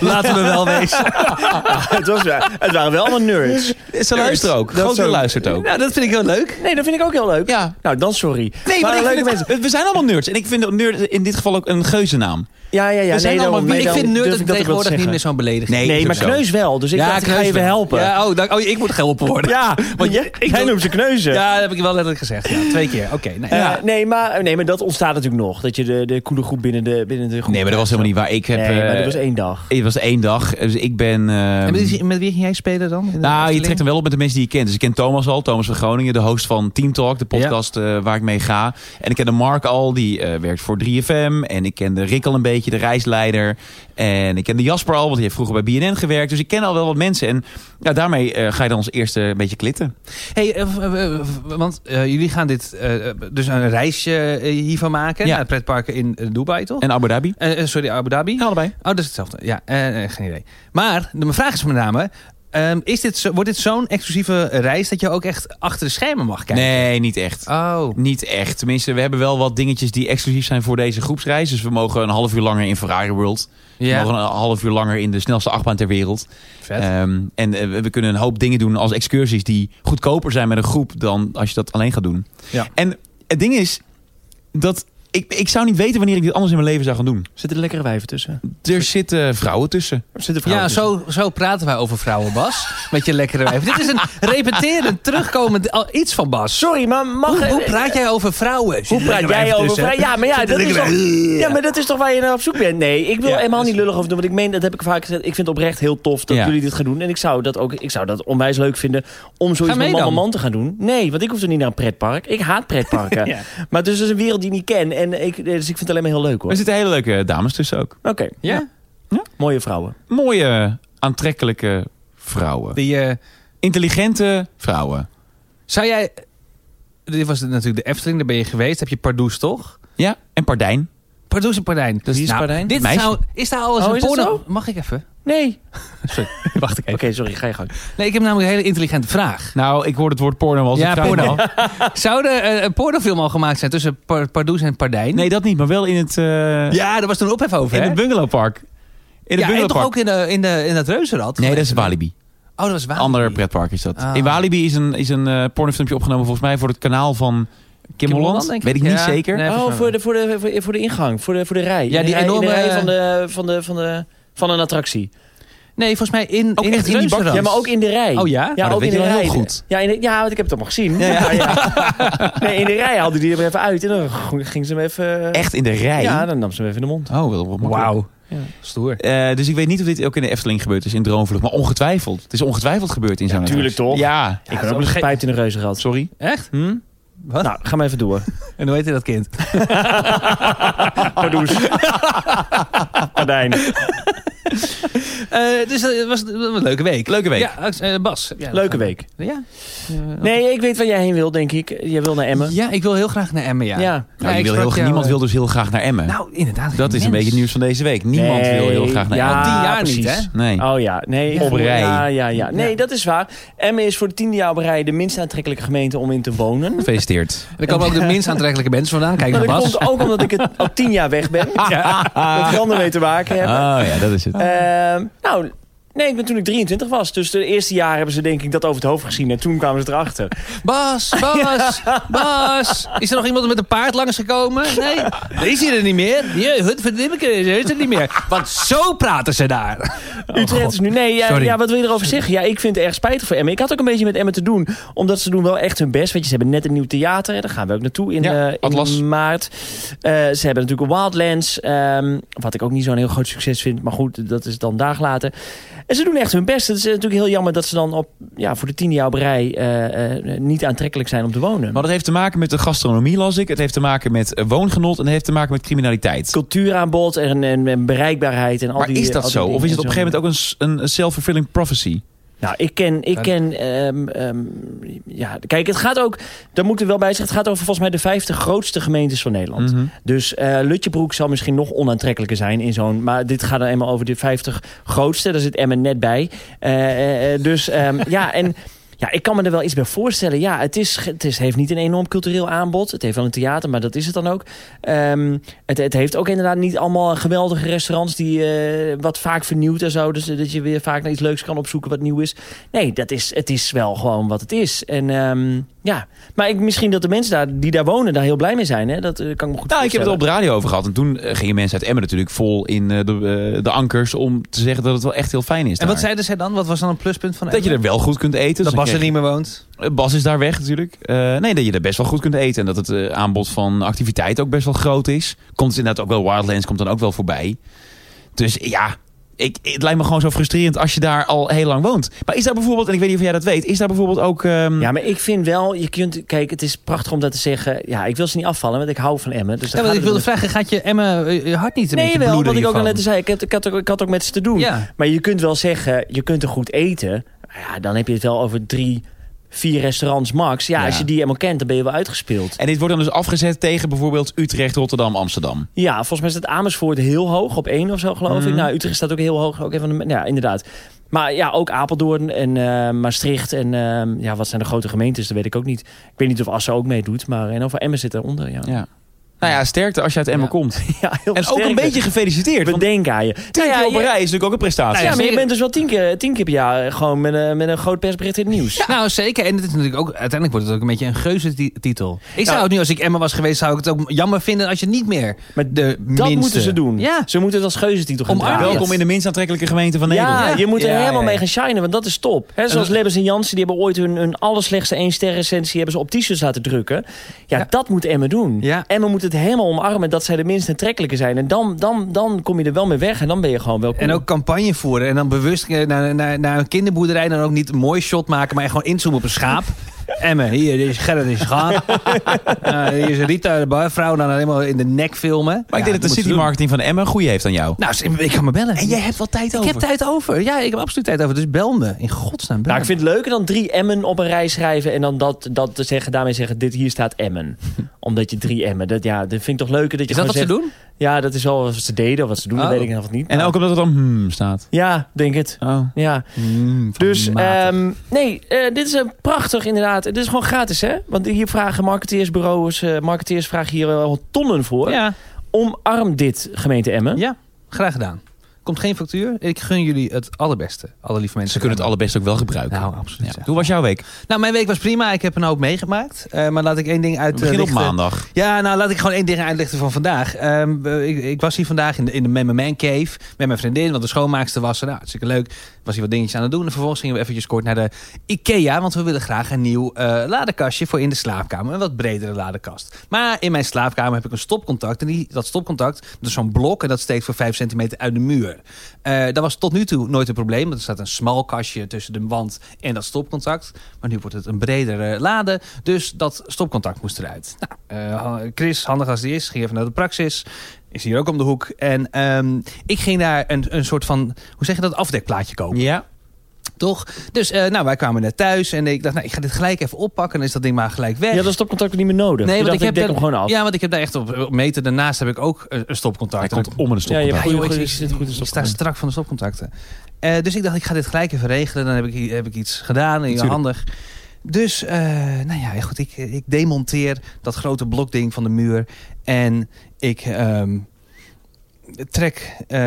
Speaker 2: *laughs*
Speaker 3: Laten we wel wezen.
Speaker 2: nou, het, was, het waren wel allemaal nerds.
Speaker 1: ze luisteren ook.
Speaker 2: Dat
Speaker 1: Groot
Speaker 2: zo-
Speaker 1: luistert ook.
Speaker 3: Nou, dat vind ik heel leuk.
Speaker 2: Nee, dat vind ik ook heel leuk.
Speaker 1: Ja.
Speaker 2: Nou, dan sorry.
Speaker 1: Nee, maar,
Speaker 2: Waren
Speaker 1: ik
Speaker 2: leuke
Speaker 1: vind het-
Speaker 2: mensen.
Speaker 1: we zijn allemaal nerds. En ik vind nerd in dit geval ook een geuzennaam.
Speaker 2: Ja, ja, ja.
Speaker 1: zijn
Speaker 2: nee,
Speaker 1: allemaal-
Speaker 2: daarom-
Speaker 1: maar
Speaker 2: nee,
Speaker 3: ik
Speaker 2: daarom
Speaker 3: vind
Speaker 2: durf
Speaker 3: nerd
Speaker 2: ik dat ook wel te
Speaker 3: tegenwoordig niet
Speaker 2: zeggen.
Speaker 3: meer zo'n belediging.
Speaker 1: Nee,
Speaker 2: Nee,
Speaker 1: is
Speaker 2: maar
Speaker 1: ook zo.
Speaker 2: kneus wel. Dus ik dacht, ik ga even helpen. Ja,
Speaker 3: Ja, oh, dank- oh, ik moet geholpen worden.
Speaker 2: want je,
Speaker 3: ik
Speaker 2: jij
Speaker 3: wil-
Speaker 2: noemt ze kneuzen.
Speaker 3: Ja, dat heb ik wel letterlijk gezegd. Ja, twee keer. Oké, nee.
Speaker 2: Eh,
Speaker 3: Ja.
Speaker 2: nee, maar, nee, maar dat ontstaat natuurlijk nog. Dat je de, de coole groep binnen de, binnen de groep...
Speaker 1: Nee, maar dat was helemaal niet waar. Ik heb,
Speaker 2: Nee, maar dat
Speaker 1: eh,
Speaker 2: was één dag.
Speaker 1: Het was één dag. Dus ik ben... ehm,
Speaker 3: En met, met wie ging jij spelen dan? In de
Speaker 1: nou, je
Speaker 3: Efteling?
Speaker 1: trekt hem wel op met de mensen die je kent. Dus ik ken Thomas al, Thomas van Groningen, de host van Team Talk, de podcast eh, waar ik mee ga. En ik ken de Mark al, die eh, werkt voor 3FM. En ik ken de Rick al een beetje, de reisleider. En ik ken de Jasper al, want die heeft vroeger bij BNN gewerkt. Dus ik ken al wel wat mensen. En ja, daarmee eh, ga je dan als eerste een beetje klitten.
Speaker 3: Hey, eh, v- eh, v- want eh, jullie gaan dit, eh, dus een reisje eh, hiervan maken.
Speaker 1: Ja.
Speaker 3: Naar het pretparken in eh, Dubai, toch?
Speaker 1: En Abu Dhabi.
Speaker 3: Eh, eh, sorry, Abu Dhabi.
Speaker 1: Ja, allebei.
Speaker 3: Oh, dat is hetzelfde. Ja, eh, eh, geen idee. Maar de, mijn vraag is met name... ehm, is dit zo, wordt dit zo'n exclusieve reis dat je ook echt achter de schermen mag kijken?
Speaker 1: Nee, niet echt.
Speaker 3: Oh.
Speaker 1: Niet echt. Tenminste, we hebben wel wat dingetjes die exclusief zijn voor deze groepsreis. Dus we mogen een half uur langer in Ferrari World.
Speaker 3: Ja.
Speaker 1: We mogen een half uur langer in de snelste achtbaan ter wereld.
Speaker 3: Vet.
Speaker 1: Ehm, en eh, we- we kunnen een hoop dingen doen als excursies die goedkoper zijn met een groep dan als je dat alleen gaat doen.
Speaker 3: Ja.
Speaker 1: En het ding is dat ik, ik zou niet weten wanneer ik dit anders in mijn leven zou gaan doen.
Speaker 2: Zitten lekkere wijven tussen.
Speaker 1: Er zitten vrouwen tussen.
Speaker 2: Er zitten
Speaker 3: Ja,
Speaker 2: vrouwen tussen.
Speaker 3: zo, zo praten wij over vrouwen, Bas. Met je lekkere wijf. Dit is een repeterend, terugkomend al- iets van Bas.
Speaker 2: Sorry, maar mag...
Speaker 3: Hoe, hoe
Speaker 2: eh,
Speaker 3: praat jij over vrouwen?
Speaker 2: Hoe praat jij over vrij? Ja, maar ja, dat is toch, ja, maar dat is toch waar je naar op zoek bent? Nee, ik wil
Speaker 3: Ja,
Speaker 2: helemaal
Speaker 3: dat is
Speaker 2: niet lullig over doen. Want ik meen, dat heb ik vaak gezegd. Ik vind het oprecht heel tof dat
Speaker 1: Ja.
Speaker 2: jullie dit gaan doen. En ik zou dat ook ik zou dat onwijs leuk vinden om zoiets
Speaker 3: Ga mee
Speaker 2: met mama
Speaker 3: dan.
Speaker 2: man te gaan doen. Nee, want ik hoef er niet naar een pretpark. Ik haat pretparken.
Speaker 3: *laughs* Ja.
Speaker 2: Maar het is dus een wereld die ik niet ken. En ik, dus ik vind het alleen maar heel leuk hoor.
Speaker 1: Er zitten hele leuke dames tussen ook.
Speaker 2: Oké,
Speaker 3: Ja,
Speaker 2: mooie vrouwen.
Speaker 1: Mooie, aantrekkelijke vrouwen.
Speaker 3: die, eh,
Speaker 1: Intelligente vrouwen.
Speaker 3: zou jij... Dit was natuurlijk de Efteling, daar ben je geweest. Heb je Pardoes, toch?
Speaker 1: Ja, en Pardijn.
Speaker 3: Pardoes en Pardijn.
Speaker 1: Dat is
Speaker 3: Nou,
Speaker 1: Pardijn?
Speaker 3: Dit
Speaker 1: Meisje.
Speaker 3: zou, is daar al eens
Speaker 2: Oh,
Speaker 3: een
Speaker 2: is dat
Speaker 3: porno...
Speaker 2: zo?
Speaker 3: Mag ik even?
Speaker 2: Nee.
Speaker 3: *laughs* Sorry, wacht ik
Speaker 2: Oké,
Speaker 3: even.
Speaker 2: sorry, ga je gang.
Speaker 3: Nee, ik heb namelijk een hele intelligente vraag.
Speaker 1: Nou, ik hoor het woord porno als
Speaker 3: ja,
Speaker 1: ik
Speaker 3: porno.
Speaker 1: *laughs*
Speaker 3: Zou er eh, een pornofilm al gemaakt zijn tussen Par- Pardoes en Pardijn?
Speaker 1: Nee, dat niet, maar wel in het, eh,
Speaker 3: Ja, daar was toen ophef over,
Speaker 1: in
Speaker 3: hè?
Speaker 1: het bungalowpark. In het
Speaker 3: ja, en toch
Speaker 1: bungalowpark.
Speaker 3: ook in, de, in, de, in dat reuzenrad?
Speaker 1: Nee, dat is Walibi.
Speaker 3: Oh, dat was waar.
Speaker 1: Ander pretpark is dat.
Speaker 3: Ah.
Speaker 1: In Walibi is een, is een eh, pornofilmpje opgenomen volgens mij voor het kanaal van Kim Holland.
Speaker 3: denk ik.
Speaker 1: Weet ik niet
Speaker 3: Ja.
Speaker 1: zeker.
Speaker 3: Nee,
Speaker 2: Oh,
Speaker 3: volgens mij
Speaker 2: voor de, voor, de, voor, de, voor de ingang, voor de, voor de rij.
Speaker 3: Ja,
Speaker 2: In de
Speaker 3: die
Speaker 2: rij- in de
Speaker 3: enorme-
Speaker 2: rij van, de, van, de, van, de, van een attractie.
Speaker 3: wel. Nee, volgens mij in,
Speaker 1: Ook
Speaker 3: in
Speaker 1: echt
Speaker 3: het
Speaker 1: in die
Speaker 3: reuzenrad.
Speaker 1: bakjes.
Speaker 2: Ja, maar ook in de rij.
Speaker 3: Oh ja?
Speaker 1: dat
Speaker 2: ook
Speaker 1: weet
Speaker 2: in
Speaker 1: je
Speaker 2: de
Speaker 1: wel
Speaker 2: rij.
Speaker 1: heel goed.
Speaker 2: Ja, in de- ja, want ik heb het allemaal gezien. Ja, *laughs* ja. Nee, in de rij haalde die er even uit en dan ging ze hem even...
Speaker 1: Echt in de rij.
Speaker 2: Ja, dan nam ze hem even in de mond.
Speaker 1: Oh, wel wat makkelijk.
Speaker 3: Wauw.
Speaker 2: Ja.
Speaker 3: Stoer.
Speaker 1: Eh, dus ik weet niet of dit ook in de Efteling gebeurd is in Droomvlucht. Maar ongetwijfeld. Het is ongetwijfeld gebeurd in zo'n
Speaker 2: tuurlijk
Speaker 1: huis.
Speaker 2: toch?
Speaker 1: Ja.
Speaker 2: ik ben ook nog gepijpt in de reuzenrad.
Speaker 1: Sorry.
Speaker 3: Echt?
Speaker 1: Hm?
Speaker 3: Wat?
Speaker 2: Nou, ga maar even
Speaker 1: *laughs*
Speaker 2: door.
Speaker 3: En hoe heette dat kind?
Speaker 1: *laughs*
Speaker 2: Pardoes. Pardijn.
Speaker 3: Eh, dus dat was, dat was een leuke week.
Speaker 1: Leuke week. Nou,
Speaker 3: Ja, eh, Bas. heb jij nog
Speaker 2: Leuke
Speaker 3: een-
Speaker 2: week.
Speaker 3: Ja.
Speaker 2: Nee, ik weet waar jij heen wil, denk ik. Jij wil naar Emmen.
Speaker 3: ja, ik wil heel graag naar Emmen, ja.
Speaker 2: Ja. Nou,
Speaker 1: Nou,
Speaker 3: ik
Speaker 1: je wil
Speaker 3: sprak
Speaker 1: heel,
Speaker 3: jou,
Speaker 1: niemand
Speaker 3: eh,
Speaker 1: wil dus heel graag naar Emmen.
Speaker 3: Nou, inderdaad.
Speaker 1: dat is een beetje het nieuws van deze week. Niemand
Speaker 2: Nee,
Speaker 1: wil heel graag naar
Speaker 2: ja,
Speaker 1: Emmen.
Speaker 3: Al tien jaar
Speaker 2: precies.
Speaker 3: niet, hè?
Speaker 1: Nee.
Speaker 2: Oh ja, nee. ik
Speaker 1: Op
Speaker 2: voel-
Speaker 1: rij.
Speaker 2: Ja, ja, ja. Nee,
Speaker 3: Ja.
Speaker 2: dat is waar. Emmen is voor het tiende jaar op rij de minst aantrekkelijke gemeente om in te wonen.
Speaker 1: Gefeliciteerd.
Speaker 3: Er komen ook de minst aantrekkelijke mensen vandaan. Kijk naar
Speaker 2: Maar Nou, dat
Speaker 3: Bas.
Speaker 2: komt ook omdat ik het al tien jaar weg ben.
Speaker 1: *laughs*
Speaker 2: Met randen mee te maken hebben.
Speaker 1: Oh Ah. ja, dat is het.
Speaker 2: Ehm, nou, nee, ik ben toen ik 23 was. Dus de eerste jaar hebben ze denk ik dat over het hoofd gezien. En toen kwamen ze erachter.
Speaker 3: *laughs* Bas, Bas, Bas. Is er nog iemand met een paard langsgekomen? Nee, die eh, is hier er niet meer. Je, hutverdimmeke, is er niet meer. Want zo praten ze daar.
Speaker 1: Oh,
Speaker 2: Utrecht is nu... Nee, ja,
Speaker 3: Sorry.
Speaker 2: ja, wat wil je erover zeggen? Ja, ik vind het erg spijtig voor Emmen. Ik had ook een beetje met Emmen te doen. Omdat ze doen wel echt hun best. Weet je, ze hebben net een nieuw theater. hè, Daar gaan we ook naartoe in,
Speaker 1: Ja,
Speaker 2: eh,
Speaker 1: Atlas.
Speaker 2: in maart. Eh, ze hebben natuurlijk een Wildlands. ehm, wat ik ook niet zo'n heel groot succes vind. Maar goed, dat is dan daag later. En ze doen echt hun best. Het is eh, natuurlijk heel jammer dat ze dan op, ja, voor de tiende jaar op rij... eh, eh, niet aantrekkelijk zijn om te wonen.
Speaker 1: Maar dat heeft te maken met de gastronomie, las ik. Het heeft te maken met eh, woongenot en het heeft te maken met criminaliteit.
Speaker 2: cultuur aan bod en, en, en bereikbaarheid en al
Speaker 1: Maar
Speaker 2: die eh,
Speaker 1: is
Speaker 2: al
Speaker 1: dat
Speaker 2: die
Speaker 1: zo?
Speaker 2: dingen
Speaker 1: Of is het op
Speaker 2: en
Speaker 1: een
Speaker 2: zo.
Speaker 1: gegeven moment ook een, s- een een self-fulfilling prophecy?
Speaker 2: Nou, ik ken... Ik ken ehm, ehm, ja, kijk, het gaat ook... Daar moet ik wel bij zeggen. Het gaat over volgens mij de 50 grootste gemeentes van Nederland.
Speaker 1: Mhm.
Speaker 2: Dus eh, Lutjebroek zal misschien nog onaantrekkelijker zijn in zo'n... Maar dit gaat dan eenmaal over de 50 grootste. Daar zit Emmen net bij. Eh, eh, eh, dus ehm, ja, en... Ja, ik kan me er wel iets bij voorstellen. Ja, het, is, ge- het is, heeft niet een enorm cultureel aanbod. Het heeft wel een theater, maar dat is het dan ook. Ehm, het, het heeft ook inderdaad niet allemaal geweldige restaurants... die eh, wat vaak vernieuwd en zo. Dus eh, dat je weer vaak naar iets leuks kan opzoeken wat nieuw is. Nee, dat is, het is wel gewoon wat het is. En ehm, ja, maar ik, misschien dat de mensen daar, die daar wonen... daar heel blij mee zijn. Hè? Dat eh, kan ik me goed
Speaker 1: Nou, ik heb het
Speaker 2: voorstellen.
Speaker 1: op de radio over gehad. En toen eh, gingen mensen uit Emmen natuurlijk vol in eh, de, eh, de ankers... om te zeggen dat het wel echt heel fijn is
Speaker 3: En wat
Speaker 1: daar.
Speaker 3: zeiden zij dan? Wat was dan een pluspunt van
Speaker 1: Dat je er wel goed kunt eten. Dus
Speaker 3: Dat
Speaker 1: dan
Speaker 3: Bas er niet meer woont.
Speaker 1: Eh, Bas is daar weg natuurlijk. Eh, nee, dat je er best wel goed kunt eten. En dat het eh, aanbod van activiteit ook best wel groot is. Komt dus inderdaad ook wel Wildlands, komt dan ook wel voorbij. Dus ja, ik, het lijkt me gewoon zo frustrerend als je daar al heel lang woont. Maar is daar bijvoorbeeld, en ik weet niet of jij dat weet, is daar bijvoorbeeld ook... ehm,
Speaker 2: Ja, maar ik vind wel, je kunt, kijk, het is prachtig om dat te zeggen. Ja, ik wil ze niet afvallen, want ik hou van Emmen. Dus daar
Speaker 3: Ja, want
Speaker 2: gaat
Speaker 3: ik
Speaker 2: het
Speaker 3: wilde vragen, gaat je Emmen eh, je hart niet een
Speaker 2: niet.
Speaker 3: beetje
Speaker 2: Nee, wel,
Speaker 3: bloeden
Speaker 2: wat ik ook al
Speaker 3: hiervan?
Speaker 2: net zei, ik had, ik, had ook, ik had ook met ze te doen.
Speaker 3: Ja.
Speaker 2: Maar je kunt wel zeggen, je kunt er goed eten. Maar Ja, dan heb je het wel over drie, vier restaurants max. Ja,
Speaker 1: Ja.
Speaker 2: als je die helemaal kent, dan ben je wel uitgespeeld.
Speaker 1: En dit wordt dan dus afgezet tegen bijvoorbeeld Utrecht, Rotterdam, Amsterdam.
Speaker 2: Ja, volgens mij staat Amersfoort heel hoog, op één of zo geloof
Speaker 1: Mhm.
Speaker 2: ik. Nou, Utrecht staat ook heel hoog, ook een van de, ja, inderdaad. Maar ja, ook Apeldoorn en eh, Maastricht en eh, ja, wat zijn de grote gemeentes, dat weet ik ook niet. Ik weet niet of Assen ook meedoet, maar en over Emmen zit eronder, ja.
Speaker 1: Ja. Nou ja, sterkte als je uit Emmen
Speaker 3: Ja.
Speaker 1: komt.
Speaker 2: *laughs* Ja, heel
Speaker 1: *laughs* En ook
Speaker 2: sterk.
Speaker 1: een beetje gefeliciteerd. Want
Speaker 2: bedenk aan je.
Speaker 1: tien
Speaker 2: Nou ja,
Speaker 1: keer op een
Speaker 2: je-
Speaker 1: rij is natuurlijk ook een prestatie.
Speaker 2: ja, maar je
Speaker 3: zeker.
Speaker 2: bent dus wel tien keer, tien keer per jaar eh, gewoon met een, met een groot persbericht in het nieuws.
Speaker 3: Nou, zeker. En het is natuurlijk ook, uiteindelijk wordt het ook een beetje een geuze ti- titel. Ik zou het nu, als ik Emma was geweest, zou ik het ook jammer vinden als je niet meer
Speaker 2: Maar
Speaker 3: de
Speaker 2: Dat
Speaker 3: minste-
Speaker 2: moeten ze doen.
Speaker 3: Ja.
Speaker 2: Ze moeten het als geuzetitel gaan
Speaker 3: Omarm
Speaker 2: draaien.
Speaker 3: je.
Speaker 1: Welkom in de minst aantrekkelijke gemeente van Nederland.
Speaker 2: Ja,
Speaker 3: Ja.
Speaker 2: je moet er
Speaker 3: Ja,
Speaker 2: helemaal
Speaker 3: ja,
Speaker 2: mee
Speaker 3: ja.
Speaker 2: gaan shinen, want dat is top. Hè, zoals
Speaker 3: dat-
Speaker 2: Lebbers en Jansen, die hebben ooit hun, hun allerslechtste 1 ster recensie hebben ze op t-shirts laten drukken. Ja,
Speaker 3: Ja.
Speaker 2: dat moet Emmen doen.
Speaker 3: Ja.
Speaker 2: Emmen moet het helemaal omarmen dat zij de minst aantrekkelijke zijn. En dan, dan, dan kom je er wel mee weg en dan ben je gewoon wel cool.
Speaker 3: En ook campagne voeren. En dan bewust eh, naar, naar, naar een kinderboerderij. Dan ook niet een mooi shot maken, maar echt gewoon inzoomen op een
Speaker 1: *laughs*
Speaker 3: schaap. Emme, hier dit is Gerrit is gaan. Eh, hier is Rita, de barvrouw. Dan helemaal in de nek filmen.
Speaker 1: Maar ik
Speaker 3: Ja,
Speaker 1: denk dat de
Speaker 3: moeten ze
Speaker 1: city
Speaker 3: doen.
Speaker 1: marketing van Emmen een goede heeft aan jou.
Speaker 3: Nou, ik kan me bellen.
Speaker 1: en jij hebt wel tijd
Speaker 3: ik
Speaker 1: over.
Speaker 3: heb tijd over. Ja, ik heb absoluut tijd over. Dus bel me. In godsnaam, bel
Speaker 2: Nou,
Speaker 3: me.
Speaker 2: ik vind het leuker dan drie Emmen op een rij schrijven en dan dat, dat te zeggen, daarmee zeggen, dit hier staat
Speaker 3: *laughs*
Speaker 2: Emmen. Omdat je drie Emmen, dat, ja, dat vind ik toch leuker dat je
Speaker 3: Is dat wat
Speaker 2: gewoon
Speaker 3: ze doen?
Speaker 2: zegt, Ja, dat is wel wat ze deden, of wat ze doen, dat
Speaker 3: Oh.
Speaker 2: weet ik nog wat niet.
Speaker 1: En
Speaker 2: maar-
Speaker 1: ook omdat het dan hmm staat.
Speaker 2: Ja, denk het.
Speaker 1: Oh.
Speaker 2: Ja.
Speaker 1: Mm,
Speaker 2: Dus ehm, nee, eh, dit is een prachtig inderdaad. Dit is gewoon gratis, hè? Want hier vragen marketeersbureaus, eh, marketeers vragen hier wel tonnen voor.
Speaker 3: ja.
Speaker 2: Omarm dit, gemeente Emmen.
Speaker 3: ja, graag gedaan. Komt geen factuur. Ik gun jullie het allerbeste. Alle lieve mensen.
Speaker 1: Ze kunnen het allerbest ook wel gebruiken.
Speaker 3: Nou, absoluut.
Speaker 1: Ja.
Speaker 3: ja.
Speaker 1: Hoe was jouw week?
Speaker 3: Nou, mijn week was prima. Ik heb een hoop meegemaakt. Eh, maar laat ik één ding uit.
Speaker 1: We beginnen op
Speaker 3: lichten.
Speaker 1: maandag.
Speaker 3: Ja, nou laat ik gewoon één ding uitlichten van vandaag. Ehm, eh, ik, ik was hier vandaag in de, in de Man Man Cave met mijn vriendin, want de schoonmaakster was er. Nou, hartstikke leuk. Was hier wat dingetjes aan het doen. En vervolgens gingen we eventjes kort naar de IKEA, want we willen graag een nieuw eh ladekastje voor in de slaapkamer. Een wat bredere ladekast. Maar in mijn slaapkamer heb ik een stopcontact. En die, dat stopcontact, dat is zo'n blok en dat steekt voor 5 centimeter uit de muur. Eh, dat was tot nu toe nooit een probleem, want er staat een smal kastje tussen de wand en dat stopcontact. Maar nu wordt het een bredere lade, dus dat stopcontact moest eruit. Nou, eh, Chris, handig als die is, ging even naar de praxis. Is hier ook om de hoek. En ehm, ik ging daar een, een soort van, hoe zeg je dat, afdekplaatje kopen.
Speaker 1: Ja.
Speaker 3: Toch? Dus eh, nou, wij kwamen net thuis en ik dacht, nou, ik ga dit gelijk even oppakken. Dan is dat ding maar gelijk weg.
Speaker 2: Ja, dat stopcontact niet meer nodig.
Speaker 3: Nee,
Speaker 2: Je
Speaker 3: want
Speaker 2: dacht,
Speaker 3: ik heb
Speaker 2: dek
Speaker 3: daar-
Speaker 2: hem gewoon af.
Speaker 3: Ja, want ik heb daar echt op, op meter. Daarnaast heb ik ook een, een stopcontact.
Speaker 1: Hij
Speaker 3: En
Speaker 1: komt om in de
Speaker 2: Ja, je hebt
Speaker 1: stopcontact.
Speaker 2: goede,
Speaker 3: Ja, joh,
Speaker 2: goede,
Speaker 3: ik-
Speaker 2: zit goed in
Speaker 3: Ik sta
Speaker 2: stopcontact.
Speaker 3: strak van de stopcontacten. Eh, dus ik dacht, ik ga dit gelijk even regelen. Dan heb ik, i- heb ik iets gedaan. En
Speaker 1: Natuurlijk.
Speaker 3: handig. Dus, eh, nou ja, goed. Ik, ik demonteer dat grote blokding van de muur. En ik ehm, trek eh,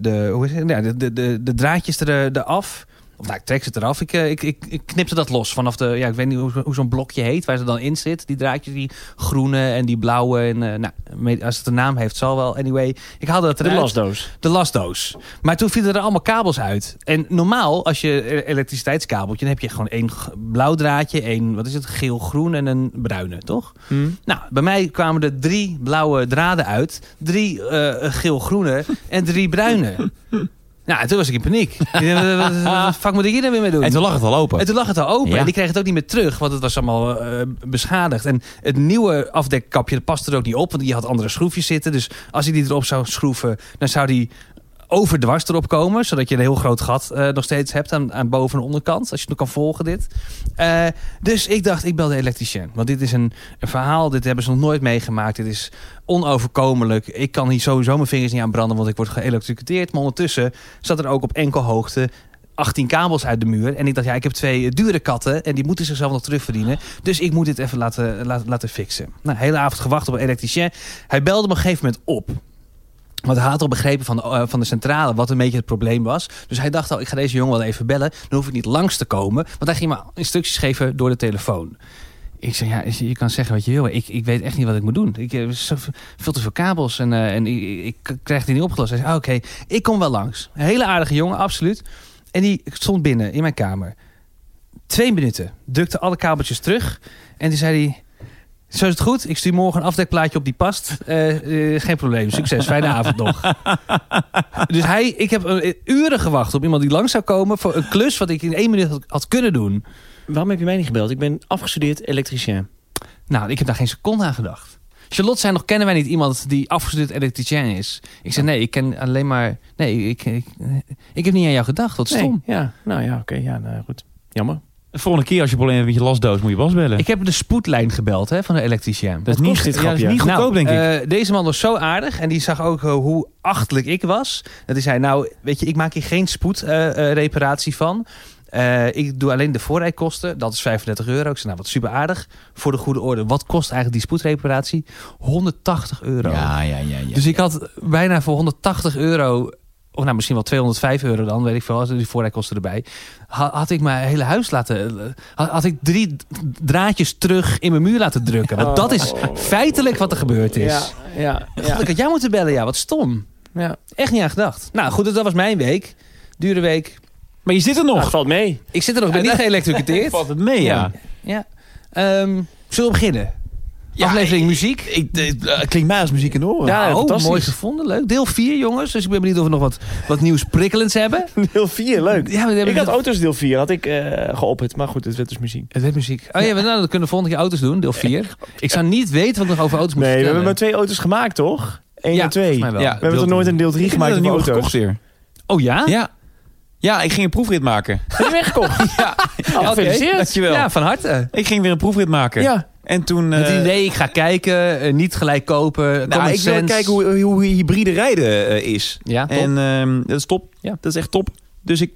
Speaker 3: de, hoe is het? Ja, de, de, de, de draadjes er, eh, eraf. Of nou, ik trek ze eraf. Ik, eh, ik, ik, ik knipte dat los vanaf de... Ja, ik weet niet hoe, zo- hoe zo'n blokje heet, waar ze dan in zit. Die draadjes, die groene en die blauwe. En, eh, nou, me- als het een naam heeft, zal wel. Anyway, ik haalde dat
Speaker 2: De
Speaker 3: eruit
Speaker 2: lasdoos.
Speaker 3: de lastdoos. Maar toen vielen er allemaal kabels uit. En normaal, als je e- elektriciteitskabeltje, dan heb je gewoon één g- blauw draadje, één, wat is het, geel-groen en een bruine, toch?
Speaker 1: Hm?
Speaker 3: Nou, bij mij kwamen er drie blauwe draden uit, drie eh, geel-groene en drie
Speaker 1: *laughs*
Speaker 3: bruine. Nou, en toen was ik in paniek. Ik dacht, Wat wat- wat de fuck moet ik hier dan weer mee doen?
Speaker 1: En toen lag het al open.
Speaker 3: En toen lag het al open.
Speaker 1: Ja.
Speaker 3: En die kreeg het ook niet meer terug, want het was allemaal eh, beschadigd. En het nieuwe afdekkapje dat past er ook niet op, want die had andere schroefjes zitten. Dus als hij die erop zou schroeven, dan zou die overdwars erop komen. Zodat je een heel groot gat eh, nog steeds hebt aan, aan boven- en onderkant. Als je het nog kan volgen, dit. Eh, dus ik dacht, ik bel de elektricien. Want dit is een, een verhaal, dit hebben ze nog nooit meegemaakt. Dit is onoverkomelijk. Ik kan hier sowieso mijn vingers niet aan branden, want ik word geëlektrocuteerd. Maar ondertussen zat er ook op enkel hoogte 18 kabels uit de muur. En ik dacht, ja, ik heb twee eh, dure katten en die moeten zichzelf nog terugverdienen. Dus ik moet dit even laten, laten, laten fixen. Nou, hele avond gewacht op een elektricien. Hij belde me op een gegeven moment op. Want hij had al begrepen van de, eh, van de centrale wat een beetje het probleem was. Dus hij dacht al, ik ga deze jongen wel even bellen. Dan hoef ik niet langs te komen. Want hij ging me instructies geven door de telefoon. Ik zei, ja, je je kan zeggen wat je wil. maar Ik, ik weet echt niet wat ik moet doen. Ik heb zo v- veel te veel kabels en, eh, en ik, ik- ik krijg die niet opgelost. Hij zei, ah, oké, ik kom wel langs. Een hele aardige jongen, absoluut. En die stond binnen in mijn kamer. Twee minuten. Drukte alle kabeltjes terug. En toen zei hij... Zo is het goed. Ik stuur morgen een afdekplaatje op die past. Eh, eh, geen probleem. Succes. Fijne avond nog. Dus hij, ik heb eh, uren gewacht op iemand die langs zou komen... voor een klus wat ik in één minuut had, had kunnen doen.
Speaker 2: Waarom heb je mij niet gebeld? Ik ben afgestudeerd elektricien.
Speaker 3: Nou, ik heb daar geen seconde aan gedacht. Charlotte zei nog, kennen wij niet iemand die afgestudeerd elektricien is? Ik zei, nee, ik ken alleen maar... Nee, ik, ik, ik heb niet aan jou gedacht. Wat stom.
Speaker 2: Nee, Ja, nou ja, oké. ja, nou, goed. Jammer.
Speaker 1: De volgende keer als je problemen hebt met je lastdoos, moet je Bas bellen.
Speaker 3: Ik heb de spoedlijn gebeld hè, van de elektricien.
Speaker 1: dat is niet, Nou,
Speaker 2: Wat kost dit
Speaker 1: ja, dat is
Speaker 2: grapje?
Speaker 1: niet goedkoop, denk ik.
Speaker 3: eh, deze man was zo aardig en die zag ook eh, hoe achtelijk ik was. Dat hij zei, nou, weet je, ik maak hier geen spoedreparatie van. Eh, ik doe alleen de voorrijkosten. Dat is 35 euro. Ik zei, nou, wat super aardig. Voor de goede orde, wat kost eigenlijk die spoedreparatie? 180 euro.
Speaker 1: ja, ja, ja. ja.
Speaker 3: dus ik had bijna voor 180 euro... Of nou, misschien wel 205 euro dan, weet ik veel. Als er die voorrijkosten erbij. ha- Had ik mijn hele huis laten... Had, had ik drie draadjes terug in mijn muur laten drukken. Want dat is feitelijk wat er gebeurd is. Oh.
Speaker 2: ja,
Speaker 3: God, ik had jou moeten bellen, ja. Wat stom.
Speaker 2: ja.
Speaker 3: Echt niet aan gedacht. Nou goed, dus dat was mijn week. Dure week.
Speaker 1: Maar je zit er
Speaker 2: Nou, het
Speaker 1: nog.
Speaker 2: valt mee.
Speaker 3: Ik zit er nog, ik ben niet
Speaker 1: *laughs*
Speaker 3: geëlektrocuteerd.
Speaker 1: Valt het mee, ja.
Speaker 3: Ja. Ehm, zullen we beginnen? Aflevering muziek.
Speaker 1: Ik, dit, eh, klinkt mij als muziek in de oren.
Speaker 3: Ja, oh,
Speaker 2: fantastisch.
Speaker 3: mooi gevonden. Leuk. Deel 4, jongens. Dus ik ben benieuwd of we nog wat, wat nieuws prikkelends hebben.
Speaker 2: Deel 4, leuk.
Speaker 3: Ja, we hebben
Speaker 2: Ik had
Speaker 3: nog-
Speaker 2: auto's deel 4, had ik eh geopperd. Maar goed, het werd dus muziek.
Speaker 3: Het werd muziek. Oh ja, maar nou, dat kunnen we volgende keer auto's doen, deel 4. Ik zou niet weten wat ik nog over auto's moet
Speaker 2: Nee, we
Speaker 3: vertellen.
Speaker 2: hebben maar twee auto's gemaakt, toch? Eén
Speaker 3: ja,
Speaker 2: en twee.
Speaker 3: volgens mij
Speaker 2: We
Speaker 3: wel.
Speaker 1: Ja.
Speaker 2: hebben toch nooit een deel 3
Speaker 1: Ik heb net
Speaker 2: gemaakt
Speaker 1: een
Speaker 2: van
Speaker 1: nieuwe
Speaker 2: auto's?
Speaker 1: gekocht weer.
Speaker 3: Oh ja?
Speaker 1: Ja. Ja, ik ging een proefrit maken.
Speaker 2: Heb je weggekocht?
Speaker 1: Ja,
Speaker 2: Oh, gefeliciteerd.
Speaker 1: dankjewel.
Speaker 3: Ja, van harte.
Speaker 1: ik ging weer een proefrit maken.
Speaker 2: Ja.
Speaker 1: En toen... eh,
Speaker 3: Het idee, ik ga kijken, eh, niet gelijk kopen,
Speaker 1: nou,
Speaker 3: common
Speaker 1: ik wil
Speaker 3: sense.
Speaker 1: kijken hoe, hoe hybride rijden eh, is.
Speaker 3: Ja, Ah, top.
Speaker 1: En ehm, dat is top.
Speaker 3: Ja.
Speaker 1: Dat is echt top. Dus ik...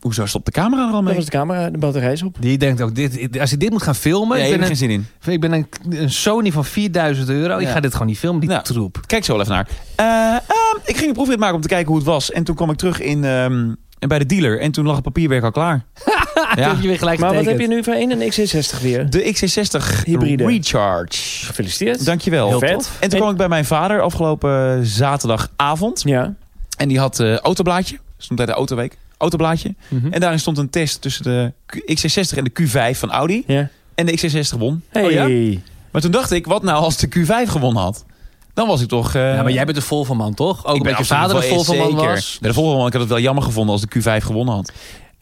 Speaker 1: Hoezo stopt de camera er al
Speaker 2: Dan
Speaker 1: mee?
Speaker 2: was de camera, de batterij is op.
Speaker 3: Die denkt ook, dit, als ik dit moet gaan filmen...
Speaker 1: Nee,
Speaker 3: ik,
Speaker 1: ik heb
Speaker 3: ben
Speaker 1: geen
Speaker 3: een,
Speaker 1: zin in.
Speaker 3: ik ben een, een Sony van 4000 euro. Ik
Speaker 1: Ja.
Speaker 3: ga dit gewoon niet filmen, die
Speaker 1: Nou.
Speaker 3: troep.
Speaker 1: Kijk zo wel even naar. Eh, ehm, Ik ging een proefrit maken om te kijken hoe het was. En toen kwam ik terug in, ehm, bij de dealer. En toen lag het papierwerk al
Speaker 3: *laughs*
Speaker 1: klaar. ja.
Speaker 3: Heb je weer gelijk
Speaker 2: Maar wat heb je
Speaker 3: getekend.
Speaker 2: nu voor een en XC60 weer?
Speaker 1: De XC60
Speaker 2: Hybride.
Speaker 1: Recharge.
Speaker 2: Gefeliciteerd.
Speaker 1: Dankjewel.
Speaker 2: Heel
Speaker 1: En
Speaker 2: vet.
Speaker 1: toen kwam ik bij mijn vader afgelopen eh, zaterdagavond.
Speaker 2: Ja.
Speaker 1: En die had eh autoblaadje. Stond bij de autoweek. Autoblaadje.
Speaker 2: Mhm.
Speaker 3: Hm.
Speaker 1: En daarin stond een test tussen de Q- XC60 en de Q5 van Audi.
Speaker 2: ja.
Speaker 1: En de XC60 won.
Speaker 2: Hey.
Speaker 3: Oh ja?
Speaker 1: Maar toen dacht ik, wat nou als de Q5 gewonnen had? Dan was ik toch... eh,
Speaker 3: Ja, maar jij bent dus de Volverman, toch? Ook
Speaker 1: ik ben
Speaker 3: omdat je
Speaker 1: absoluut
Speaker 3: vader de
Speaker 1: wel-
Speaker 3: Volverman
Speaker 1: zeker.
Speaker 3: was.
Speaker 1: Bij de Volverman, ik had het wel jammer gevonden als de Q5 gewonnen had.
Speaker 2: En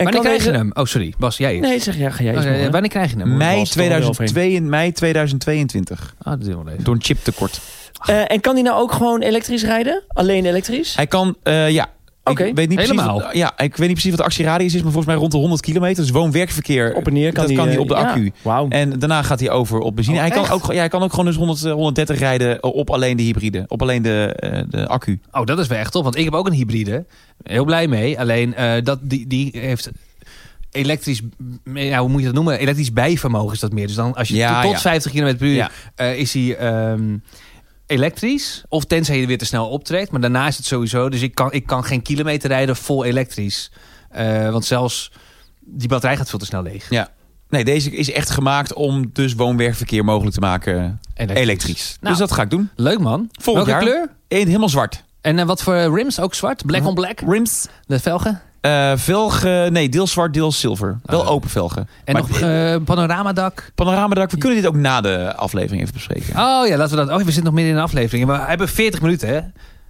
Speaker 3: wanneer
Speaker 2: kan
Speaker 3: krijg je
Speaker 2: deze-
Speaker 3: hem? Oh, sorry. Bas, jij eerst.
Speaker 2: Nee, zeg ja, ga jij
Speaker 3: Oh,
Speaker 2: eens
Speaker 3: ja,
Speaker 2: maar,
Speaker 3: ja,
Speaker 2: hoor.
Speaker 3: wanneer krijg je hem?
Speaker 1: Mei,
Speaker 2: was toch wel
Speaker 1: 2002, in mei 2022.
Speaker 3: Ah, dat doen we wel even.
Speaker 1: Door een chiptekort.
Speaker 2: Eh, en kan die nou ook gewoon elektrisch rijden? Alleen elektrisch?
Speaker 1: Hij kan, eh, ja.
Speaker 2: Oké,
Speaker 1: ik weet niet
Speaker 3: helemaal.
Speaker 1: Precies, wat- ja, ik weet niet precies wat de actieradius is, maar volgens mij rond de 100 kilometer. Dus woon-werkverkeer.
Speaker 2: Op en neer kan
Speaker 1: dat
Speaker 2: die,
Speaker 1: kan hij
Speaker 2: eh,
Speaker 1: op de
Speaker 2: ja.
Speaker 1: accu.
Speaker 2: Wauw.
Speaker 1: En daarna gaat hij over op benzine.
Speaker 3: Oh,
Speaker 1: hij, kan
Speaker 3: echt?
Speaker 1: ook, ja, hij kan ook gewoon dus 100, eh, 130 rijden op alleen de hybride. Op alleen de, eh, de accu.
Speaker 3: Oh, dat is wel echt top. Want ik heb ook een hybride. Heel blij mee. Alleen, eh, dat, die, die heeft elektrisch... Ja, hoe moet je dat noemen? Elektrisch bijvermogen is dat meer. Dus dan als je
Speaker 1: Ja,
Speaker 3: tot
Speaker 1: ja.
Speaker 3: 50 km per uur...
Speaker 1: Ja.
Speaker 3: eh, is hij ehm, elektrisch. Of tenzij je er weer te snel optrekt. Maar daarna is het sowieso... Dus ik kan, ik kan geen kilometer rijden vol elektrisch. Eh, want zelfs die batterij gaat veel te snel leeg.
Speaker 1: Ja. Nee, deze is echt gemaakt om dus woon-werkverkeer mogelijk te maken elektrisch.
Speaker 3: Nou.
Speaker 1: Dus dat ga ik doen.
Speaker 3: Leuk man.
Speaker 1: Volgend
Speaker 3: Welke
Speaker 1: jaar. Mhm.
Speaker 3: kleur?
Speaker 1: Eén helemaal zwart.
Speaker 3: En eh, wat voor rims? Ook zwart? Black on black?
Speaker 1: Rims.
Speaker 3: De velgen?
Speaker 1: eh velgen, nee, deels zwart, deels zilver. Wel
Speaker 3: Ah.
Speaker 1: open velgen.
Speaker 3: En
Speaker 1: Maar
Speaker 3: nog
Speaker 1: het-
Speaker 3: eh panoramadak?
Speaker 1: Panoramadak, we kunnen dit ook na de aflevering even bespreken.
Speaker 3: Oh ja, laten we dat. Oh, we zitten nog midden in de aflevering. Maar we hebben 40 minuten, hè?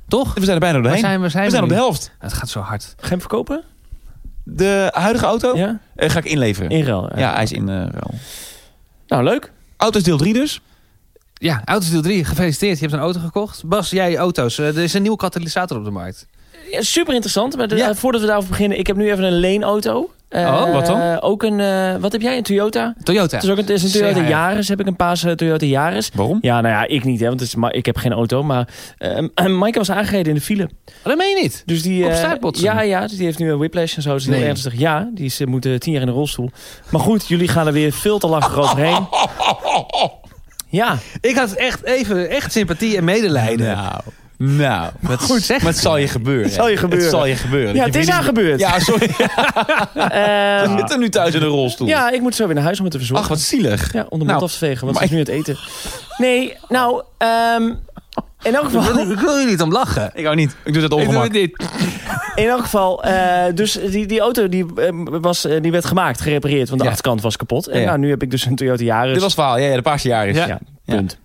Speaker 3: Toch?
Speaker 1: We zijn er bijna
Speaker 3: Waar
Speaker 1: doorheen.
Speaker 3: zijn we? Zijn
Speaker 1: we
Speaker 3: we
Speaker 1: zijn op
Speaker 3: nu?
Speaker 1: de helft.
Speaker 3: Het gaat zo hard.
Speaker 2: Ga je hem verkopen?
Speaker 1: De huidige auto
Speaker 2: Ja?
Speaker 1: eh, ga ik inleveren.
Speaker 2: Inruil.
Speaker 1: ja, hij is in eh, ruil.
Speaker 2: Nou, leuk.
Speaker 1: Auto's deel 3 dus.
Speaker 3: Ja, auto's deel 3. Gefeliciteerd. Je hebt een auto gekocht. Bas, jij auto's. Eh, er is een nieuwe katalysator op de markt.
Speaker 2: Ja, super interessant. Maar de-
Speaker 3: Ja.
Speaker 2: eh, voordat we daarover beginnen, ik heb nu even een leenauto. Eh,
Speaker 3: Oh, wat dan?
Speaker 2: Ook een, eh, wat heb jij? Een Toyota?
Speaker 3: Toyota.
Speaker 2: Het is ook een, het is een Toyota
Speaker 3: CHR.
Speaker 2: Yaris. Heb ik een paas eh, Toyota Yaris.
Speaker 1: Waarom?
Speaker 2: Ja, nou ja, ik niet, hè, want het is, ma- ik heb geen auto. Maar eh *clears throat* Maaike was aangereden in de file.
Speaker 3: Oh, dat meen je niet.
Speaker 2: Dus die,
Speaker 3: Op
Speaker 2: eh,
Speaker 3: stuitbotsing?
Speaker 2: ja, ja, dus die heeft nu een whiplash en zo. Dat is heel
Speaker 3: Nee.
Speaker 2: ernstig. Ja, die is, eh, moet eh, tien jaar in de rolstoel. Maar goed, jullie gaan er weer veel te lastig overheen.
Speaker 3: *laughs*
Speaker 2: Ja,
Speaker 3: Ik had echt even echt sympathie en medelijden.
Speaker 1: Nou, nou. Wat,
Speaker 3: goed, zeg.
Speaker 1: Wat zal je gebeuren? Het
Speaker 2: zal je gebeuren.
Speaker 1: Het zal je gebeuren.
Speaker 2: ja
Speaker 1: Dat
Speaker 2: het
Speaker 1: je
Speaker 2: is
Speaker 1: vrienden-
Speaker 2: aan gebeurd.
Speaker 1: Ja, sorry. *laughs*
Speaker 2: Ehm,
Speaker 1: We zitten nu thuis in een rolstoel.
Speaker 2: ja, ik moet zo weer naar huis om het te verzorgen.
Speaker 1: Ach, wat zielig.
Speaker 2: Ja, om de mond
Speaker 1: Nou,
Speaker 2: af te vegen, want
Speaker 1: maar-
Speaker 2: ze is nu aan het eten. Nee, nou, ehm, in elk
Speaker 1: *laughs*
Speaker 3: Ik
Speaker 2: geval...
Speaker 3: wil- Ik wil hier niet om lachen.
Speaker 1: Ik hou niet. Ik doe dat
Speaker 3: Ik doe het
Speaker 1: ongemak.
Speaker 3: niet.
Speaker 2: In elk geval, eh, dus die, die auto die, eh, was, eh, die werd gemaakt, gerepareerd, want de
Speaker 1: Ja.
Speaker 2: achterkant was kapot. En
Speaker 1: Ja.
Speaker 2: nou, nu heb ik dus een Toyota Yaris.
Speaker 1: Dit was het verhaal. Ja, ja de paarse jaar is.
Speaker 2: ja,
Speaker 1: Ja.
Speaker 2: punt.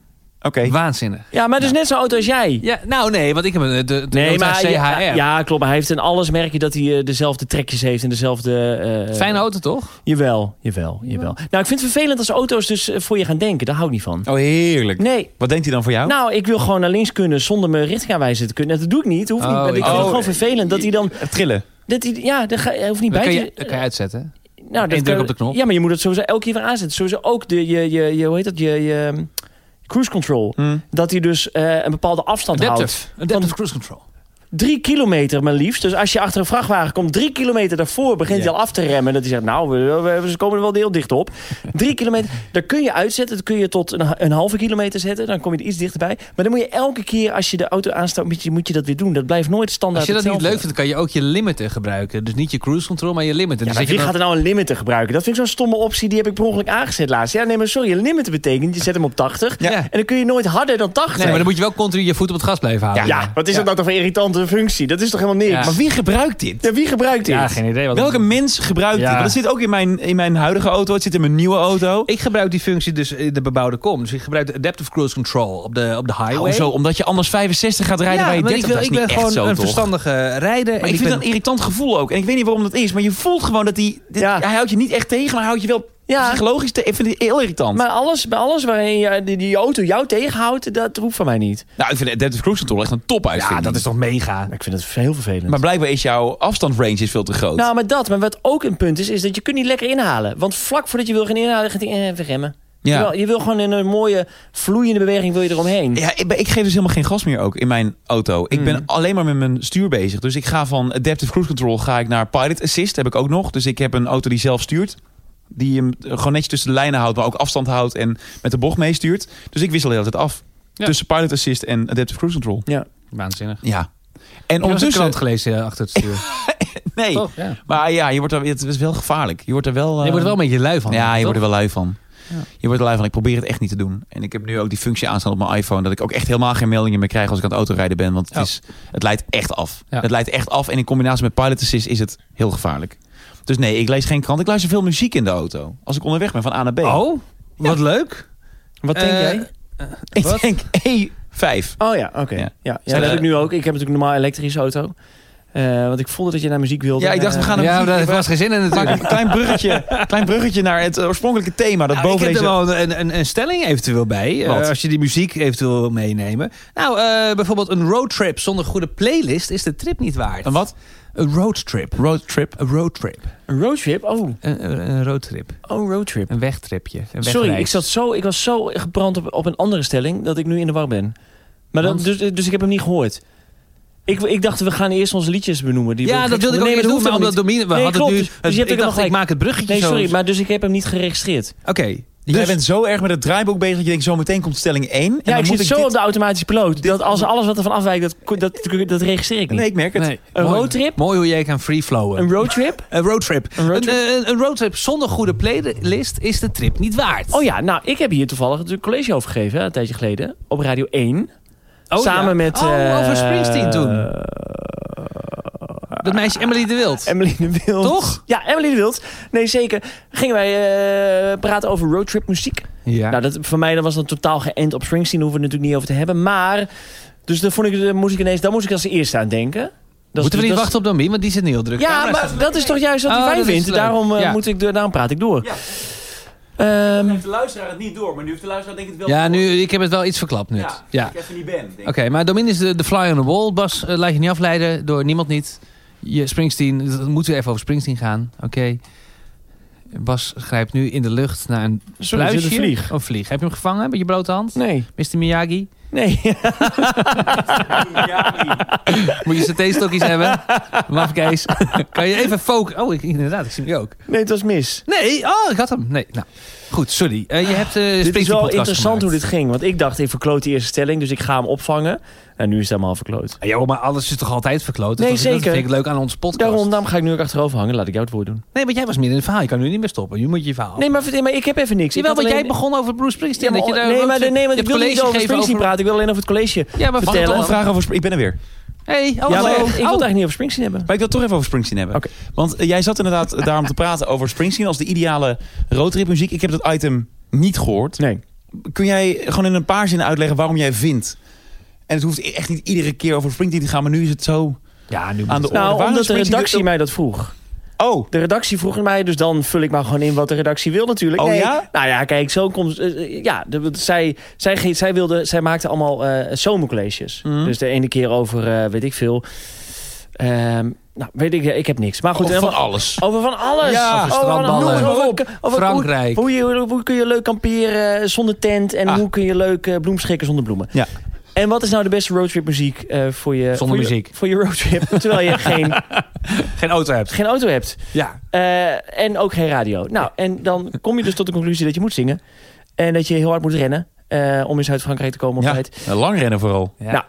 Speaker 1: Oké.
Speaker 3: Waanzinnig.
Speaker 2: Ja, maar dus net zo'n auto als jij.
Speaker 3: Ja, nou nee, want ik heb een eh, de, de
Speaker 2: Nee,
Speaker 3: Toyota
Speaker 2: maar
Speaker 3: CHR.
Speaker 2: ja, ja, klopt. Maar hij heeft in alles merk je dat hij eh, dezelfde trekjes heeft en dezelfde... eh,
Speaker 3: Fijne auto toch?
Speaker 2: Jawel, jawel, jawel. Nou, ik vind het vervelend als auto's dus eh, voor je gaan denken. Daar hou ik niet van.
Speaker 1: Oh, heerlijk.
Speaker 2: Nee,
Speaker 1: Wat denkt hij dan voor
Speaker 3: Oh.
Speaker 1: jou?
Speaker 2: nou, ik wil gewoon naar links kunnen zonder me richtingaanwijzer te kunnen. Dat doe ik niet, hoeft niet.
Speaker 3: Oh,
Speaker 2: Maar ik
Speaker 3: ik-
Speaker 2: vind het
Speaker 1: oh,
Speaker 2: gewoon vervelend dat hij dan...
Speaker 1: Het Trillen.
Speaker 2: Dat hij, ja, dat ga, hij hoeft niet
Speaker 3: Dat
Speaker 2: bij
Speaker 3: kan
Speaker 2: te...
Speaker 3: je, dat kan je uitzetten.
Speaker 2: nou,
Speaker 3: één druk
Speaker 2: kan-
Speaker 3: op de knop.
Speaker 2: Ja, maar je moet het sowieso elke keer weer aanzetten. Sowieso ook de, je, je, je hoe heet dat, je, je ehm, cruise control.
Speaker 1: Hm.
Speaker 2: Dat hij dus eh, een bepaalde afstand houdt.
Speaker 3: Adaptive. Adaptive
Speaker 2: Want-
Speaker 3: cruise control.
Speaker 2: Drie kilometer, maar liefst. Dus als je achter een vrachtwagen komt, drie kilometer daarvoor begint
Speaker 3: Ja.
Speaker 2: hij al af te remmen. Dat hij zegt, nou, we, we- ze komen er wel heel dicht op. Drie kilometer, daar kun je uitzetten. Dat kun je tot een, een halve kilometer zetten. Dan kom je er iets dichterbij. Maar dan moet je elke keer als je de auto aanstaat, moet je, moet je dat weer doen. Dat blijft nooit standaard
Speaker 3: Als je dat niet leuk
Speaker 2: hetzelfde.
Speaker 3: vindt, kan je ook je limiter gebruiken. Dus niet je cruise control, maar je limiter.
Speaker 2: Ja,
Speaker 3: dus
Speaker 2: maar
Speaker 3: dat je
Speaker 2: wie
Speaker 3: dan-
Speaker 2: gaat er nou een limiter gebruiken? Dat vind ik zo'n stomme optie. Die heb ik per ongeluk aangezet laatst. Ja, nee, maar sorry. Een limiter betekent, je zet hem op 80.
Speaker 3: Ja.
Speaker 2: En dan kun je nooit harder dan 80.
Speaker 3: Nee, maar dan moet je wel continu je voet op het gas blijven houden.
Speaker 2: ja, wat is dat nou toch voor irritante functie? Dat is toch helemaal niks?
Speaker 3: Ja.
Speaker 1: Maar wie gebruikt dit?
Speaker 2: Ja, wie gebruikt dit?
Speaker 3: Ja, geen idee. Wat
Speaker 1: Welke mens gebruikt
Speaker 3: Ja.
Speaker 1: dit? Want het zit ook in mijn, in mijn huidige auto. Het zit in mijn nieuwe auto.
Speaker 3: Ik gebruik die functie dus in de bebouwde kom. Dus ik gebruik de adaptive cruise control op de, op de highway.
Speaker 1: Oh, zo, omdat je anders 65 gaat rijden
Speaker 3: ja,
Speaker 1: waar je
Speaker 3: maar
Speaker 1: 30
Speaker 3: ik, wil,
Speaker 1: dat is
Speaker 3: ik ben
Speaker 1: niet echt
Speaker 3: gewoon
Speaker 1: zo,
Speaker 3: een
Speaker 1: toch?
Speaker 3: verstandige rijder.
Speaker 1: Maar ik, vind
Speaker 3: ben-
Speaker 1: dat een irritant gevoel ook. En ik weet niet waarom dat is. Maar je voelt gewoon dat die, dit-
Speaker 2: Ja.
Speaker 1: hij houdt je niet echt tegen. Maar hij houdt je wel
Speaker 2: Ja.
Speaker 1: psychologisch tegen. Ik vind het heel irritant.
Speaker 2: Maar alles, bij alles waarin je, die, die auto jou tegenhoudt, dat hoeft van mij niet.
Speaker 1: nou, ik vind Adaptive Cruise Control echt een top
Speaker 3: ja,
Speaker 1: uitvinding.
Speaker 3: dat is toch mega.
Speaker 2: Maar Nou, ik vind het heel vervelend.
Speaker 1: Maar blijkbaar is jouw afstandrange is veel te groot.
Speaker 2: nou, maar dat. Maar wat ook een punt is, is dat je kunt niet lekker inhalen. Want vlak voordat je wil gaan inhalen, gaat hij eh, even remmen.
Speaker 1: ja.
Speaker 2: Terwijl Je wil gewoon in een mooie, vloeiende beweging wil je eromheen.
Speaker 1: Ja, ik, ben- ik geef dus helemaal geen gas meer ook in mijn auto. Ik
Speaker 3: Mm.
Speaker 1: ben alleen maar met mijn stuur bezig. Dus ik ga van Adaptive Cruise Control ga ik naar Pilot Assist. Heb ik ook nog. Dus ik heb een auto die zelf stuurt. Die hem eh, gewoon netjes tussen de lijnen houdt. Maar ook afstand houdt en met de bocht meestuurt. Dus ik wissel de hele tijd af.
Speaker 3: Ja.
Speaker 1: Tussen Pilot Assist en Adaptive Cruise Control.
Speaker 2: Ja.
Speaker 3: Waanzinnig.
Speaker 1: Ja. En
Speaker 3: Heb je een
Speaker 1: ondertussen...
Speaker 3: krant gelezen eh, achter het *laughs* stuur?
Speaker 1: Nee,
Speaker 3: Toch? Ja.
Speaker 1: maar ja, je wordt er, het is wel gevaarlijk. Je wordt er wel... eh,
Speaker 3: Je wordt er wel een beetje lui van.
Speaker 1: Ja, je
Speaker 3: Oh, toch?
Speaker 1: wordt er wel lui van.
Speaker 3: Ja.
Speaker 1: Je wordt er lui van. Ik probeer het echt niet te doen. En ik heb nu ook die functie aanstaan op mijn iPhone. Dat ik ook echt helemaal geen meldingen meer krijg als ik aan het autorijden ben. Want het,
Speaker 3: Ja.
Speaker 1: is, het leidt echt af.
Speaker 3: Ja.
Speaker 1: Het leidt echt af. En in combinatie met Pilot Assist is het heel gevaarlijk. Dus nee, ik lees geen krant. Ik luister veel muziek in de auto. Als ik onderweg ben van A naar B.
Speaker 3: Oh, wat leuk.
Speaker 2: Wat denk
Speaker 3: Eh,
Speaker 2: jij?
Speaker 1: ik
Speaker 3: wat?
Speaker 1: denk E5.
Speaker 2: Oh ja, oké.
Speaker 1: Ja.
Speaker 2: Ja. Ja,
Speaker 1: Zijn
Speaker 2: dat
Speaker 1: er-
Speaker 2: heb ik nu ook. Ik heb natuurlijk een normaal elektrische auto. Eh, want ik voelde dat je naar muziek wilde.
Speaker 1: Ja, ik dacht, we
Speaker 2: Eh,
Speaker 1: gaan
Speaker 3: Ja,
Speaker 1: een
Speaker 3: maar dat was geen zin in
Speaker 1: Maak
Speaker 3: natuurlijk.
Speaker 1: een klein bruggetje, klein bruggetje naar het oorspronkelijke thema. Dat
Speaker 3: Nou, ik
Speaker 1: boven
Speaker 3: heb
Speaker 1: deze...
Speaker 3: er wel een, een- een, een stelling eventueel bij. eh,
Speaker 1: Wat?
Speaker 3: als je die muziek eventueel wil meenemen. Nou, eh, bijvoorbeeld een roadtrip zonder goede playlist is de trip niet waard.
Speaker 1: Een wat?
Speaker 3: Een roadtrip.
Speaker 1: Roadtrip.
Speaker 3: Een roadtrip.
Speaker 2: Een roadtrip? Oh,
Speaker 3: Een, een- een roadtrip.
Speaker 2: oh roadtrip.
Speaker 3: Een wegtripje. Een
Speaker 2: Sorry,
Speaker 3: wegreis.
Speaker 2: ik, zat zo, ik was zo gebrand op, op een andere stelling dat ik nu in de war ben. Maar dat,
Speaker 3: Want?
Speaker 2: dus, dus ik heb hem niet gehoord. Ik, ik dacht, we gaan eerst onze liedjes benoemen. Die
Speaker 3: Ja,
Speaker 2: we-
Speaker 3: dat wilde ik
Speaker 2: Nee,
Speaker 3: ook
Speaker 2: maar
Speaker 3: even
Speaker 2: dat
Speaker 3: doen,
Speaker 2: hoeft
Speaker 3: maar
Speaker 2: helemaal
Speaker 3: omdat Domine... We
Speaker 2: Nee,
Speaker 3: hadden
Speaker 2: klopt,
Speaker 3: nu,
Speaker 2: dus- dus je hebt
Speaker 3: ik
Speaker 2: ook wel
Speaker 3: dacht, ik
Speaker 2: gelijk.
Speaker 3: maak het bruggetje
Speaker 2: niet. Nee,
Speaker 3: zo.
Speaker 2: sorry, maar dus ik heb hem niet geregistreerd.
Speaker 3: Oké. dus-
Speaker 1: Jij bent zo erg met het draaiboek bezig dat je denkt, zo meteen komt stelling 1. En
Speaker 2: Ja,
Speaker 1: dan
Speaker 2: ik
Speaker 1: moet
Speaker 2: zit zo
Speaker 1: dit-
Speaker 2: op de automatische piloot. Dat als alles wat ervan afwijkt, dat, dat, dat, dat registreer ik niet.
Speaker 1: Nee, ik merk het.
Speaker 2: Een
Speaker 3: Mooi-
Speaker 2: roadtrip?
Speaker 3: Mooi hoe jij kan freeflowen.
Speaker 2: Een roadtrip?
Speaker 3: Een roadtrip.
Speaker 2: Een roadtrip?
Speaker 3: Een, een- een roadtrip zonder goede playlist is de trip niet waard.
Speaker 2: Oh ja, nou, ik heb hier toevallig natuurlijk een college over gegeven, hè, een tijdje geleden, op Radio 1.
Speaker 3: Oh,
Speaker 2: samen
Speaker 3: ja.
Speaker 2: met...
Speaker 3: Oh,
Speaker 2: eh,
Speaker 3: over Springsteen toen.
Speaker 2: eh,
Speaker 3: Dat meisje Emily de Wild.
Speaker 2: Emily de Wild.
Speaker 3: Toch?
Speaker 2: Ja, Emily de Wild. Nee, zeker. Gingen wij eh, praten over roadtrip muziek.
Speaker 3: Ja.
Speaker 2: Nou, dat, voor mij dat was dan totaal geënt op Springsteen. Daar hoeven we het natuurlijk niet over te hebben. Maar, dus daar, vond ik, daar moest ik ineens, daar moest ik als eerste aan denken. Dat is-
Speaker 3: Moeten we
Speaker 2: dat
Speaker 3: niet
Speaker 2: is-
Speaker 3: wachten op Domin, want die zit nu heel druk.
Speaker 2: Ja, maar dat is toch juist wat hij
Speaker 3: Oh,
Speaker 2: fijn
Speaker 3: dat is
Speaker 2: vindt.
Speaker 3: leuk.
Speaker 2: Daarom, eh,
Speaker 3: Ja.
Speaker 2: moet ik, door- daarom praat ik door.
Speaker 1: Ja.
Speaker 2: Ehm,
Speaker 1: de luisteraar het niet door, maar nu heeft de luisteraar denk ik het
Speaker 3: Ja, nu, ik heb het wel iets verklapt nu. Ja.
Speaker 1: even niet ben.
Speaker 3: Oké, maar Domin is de, de fly on the wall. Bas, eh, laat je niet afleiden door niemand niet. Je, Springsteen, dat moeten we even over Springsteen gaan. Oké. Bas grijpt nu in de lucht naar een
Speaker 2: Sorry, er zit
Speaker 3: pluisje.
Speaker 2: een vlieg.
Speaker 3: Een vlieg. Heb je hem gevangen met je blote hand?
Speaker 2: nee,
Speaker 3: Mr. Miyagi?
Speaker 2: nee. *laughs*
Speaker 3: Moet je saté-stokjes
Speaker 2: *laughs*
Speaker 3: hebben? Maf Kees. kan je even focussen? Oh, ik, inderdaad, ik zie hem nu ook.
Speaker 2: Nee, het was mis.
Speaker 3: Nee, oh, ik had hem. Nee, nou. Goed, sorry. Eh, je
Speaker 2: Dit is
Speaker 3: hebt eh
Speaker 2: wel
Speaker 3: Springsteen-podcast
Speaker 2: interessant
Speaker 3: gemaakt.
Speaker 2: hoe dit ging. Want ik dacht, ik verkloot die eerste stelling, dus ik ga hem opvangen. En nu is het helemaal verkloot.
Speaker 3: Ja, joh, maar alles is toch altijd verkloot?
Speaker 2: Nee,
Speaker 3: dat vind ik-
Speaker 2: zeker.
Speaker 3: Dat vind ik leuk aan onze podcast.
Speaker 2: Daarom, daarom ga ik nu ook achterover hangen. Laat ik jou het woord doen.
Speaker 3: Nee, want jij was midden in het verhaal. Je kan nu niet meer stoppen. Nu moet je je verhaal.
Speaker 2: Oh. Nee, maar, vertel- maar ik heb even niks. Ik
Speaker 3: Jawel,
Speaker 2: had
Speaker 3: want jij
Speaker 2: alleen-
Speaker 3: begon over Bruce Springsteen.
Speaker 2: Ja, maar, oh,
Speaker 3: dat je daar
Speaker 2: nee,
Speaker 3: rood-
Speaker 2: maar, nee, want
Speaker 3: je
Speaker 2: ik wil
Speaker 3: hebt
Speaker 2: niet over
Speaker 3: college gegeven
Speaker 2: Springsteen praten. Ik wil alleen over het college.
Speaker 3: Ja, maar
Speaker 1: Mag ik
Speaker 2: vertellen.
Speaker 1: toch een *laughs*
Speaker 3: vertel
Speaker 1: vraag over Spring- Ik ben er weer.
Speaker 3: Hey,
Speaker 2: Ja,
Speaker 3: hallo.
Speaker 2: maar ik, ik wil het
Speaker 3: Oh,
Speaker 2: eigenlijk niet over Springsteen hebben.
Speaker 1: Maar ik wil het toch even over Springsteen hebben.
Speaker 2: Oké.
Speaker 1: Want eh, jij zat inderdaad eh, daarom te praten over Springsteen als de ideale roadtripmuziek. Ik heb dat item niet gehoord.
Speaker 2: Nee.
Speaker 1: Kun jij gewoon in een paar zinnen uitleggen waarom jij vindt... En het hoeft echt niet iedere keer over Springsteen te gaan, maar nu is het zo
Speaker 3: Ja, nu
Speaker 1: aan de orde.
Speaker 2: Nou,
Speaker 1: Waarom
Speaker 2: omdat de
Speaker 1: Springsteen
Speaker 2: redactie
Speaker 1: dit-
Speaker 2: mij dat vroeg.
Speaker 1: Oh,
Speaker 2: De redactie vroeg het mij, dus dan vul ik maar gewoon in wat de redactie wil natuurlijk.
Speaker 1: Oh
Speaker 2: Nee,
Speaker 1: ja?
Speaker 2: Nou ja, kijk, zo komt... eh, eh, ja, de, want zij, zij, ge- zij, wilde, zij maakte allemaal eh zomercolleges.
Speaker 1: Mhm.
Speaker 2: Dus de ene keer over, eh, weet ik veel... ehm, nou, weet ik, ik heb niks. Maar goed,
Speaker 1: oh, van
Speaker 2: helemaal-
Speaker 1: alles.
Speaker 2: over van alles.
Speaker 1: Ja,
Speaker 2: over
Speaker 1: over
Speaker 2: van
Speaker 3: strandballen.
Speaker 2: alles. Over-
Speaker 1: Noem maar
Speaker 2: over- over hoe-
Speaker 3: Frankrijk.
Speaker 2: Hoe, je, hoe kun je leuk kamperen eh, zonder tent? En
Speaker 1: Ah.
Speaker 2: hoe kun je leuk eh, bloem schikken zonder bloemen?
Speaker 1: Ja.
Speaker 2: En wat is nou de beste roadtrip muziek eh, voor je...
Speaker 3: Zonder
Speaker 2: voor je-
Speaker 3: muziek.
Speaker 2: voor je
Speaker 1: *laughs*
Speaker 2: roadtrip, terwijl je geen,
Speaker 3: geen auto hebt.
Speaker 2: geen auto hebt.
Speaker 3: Ja.
Speaker 2: Eh, en ook geen radio. Nou, en dan kom je dus tot de conclusie dat je moet zingen. En dat je heel hard moet rennen eh, om in Zuid-Frankrijk te komen op
Speaker 1: Ja,
Speaker 2: tijd.
Speaker 1: eh, lang rennen vooral.
Speaker 3: Ja.
Speaker 2: Nou,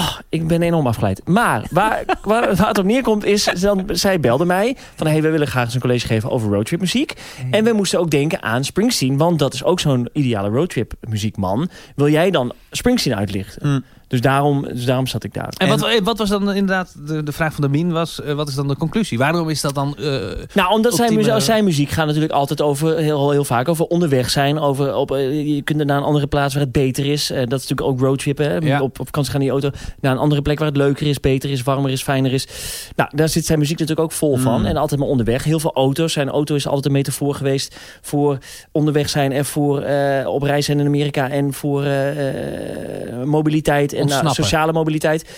Speaker 2: oh, ik ben enorm afgeleid. Maar waar, *laughs* waar, waar het op neerkomt is, dan, zij belde mij van... hey, wij willen graag eens een college geven over roadtrip muziek. En we moesten ook denken aan Springsteen, want dat is ook zo'n ideale roadtrip muziekman. Wil jij dan Springsteen uitlichten?
Speaker 1: Hmm.
Speaker 2: Dus, daarom, dus daarom zat ik daar.
Speaker 3: Mm. En, wat, eh, wat was dan inderdaad de, de vraag van Damien was, eh, wat is dan de conclusie? Waarom is dat dan... eh,
Speaker 2: Nou, omdat zijn,
Speaker 3: Ultieme-
Speaker 2: muziek, als zijn muziek gaat natuurlijk altijd over, heel, heel vaak over onderweg zijn. Over, op, eh, je kunt naar een andere plaats waar het beter is. Eh, dat is natuurlijk ook roadtrippen. hè.
Speaker 3: Ja.
Speaker 2: Op, op vakantie gaan in die auto naar een andere plek waar het leuker is, beter is, warmer is, fijner is. Nou, daar zit zijn muziek natuurlijk ook vol van.
Speaker 1: Mm.
Speaker 2: En altijd maar onderweg. Heel veel auto's. Zijn auto is altijd een metafoor geweest voor onderweg zijn en voor eh, op reis zijn in Amerika. En voor eh, eh, mobiliteit en nou,
Speaker 3: Ontsnappen.
Speaker 2: sociale mobiliteit.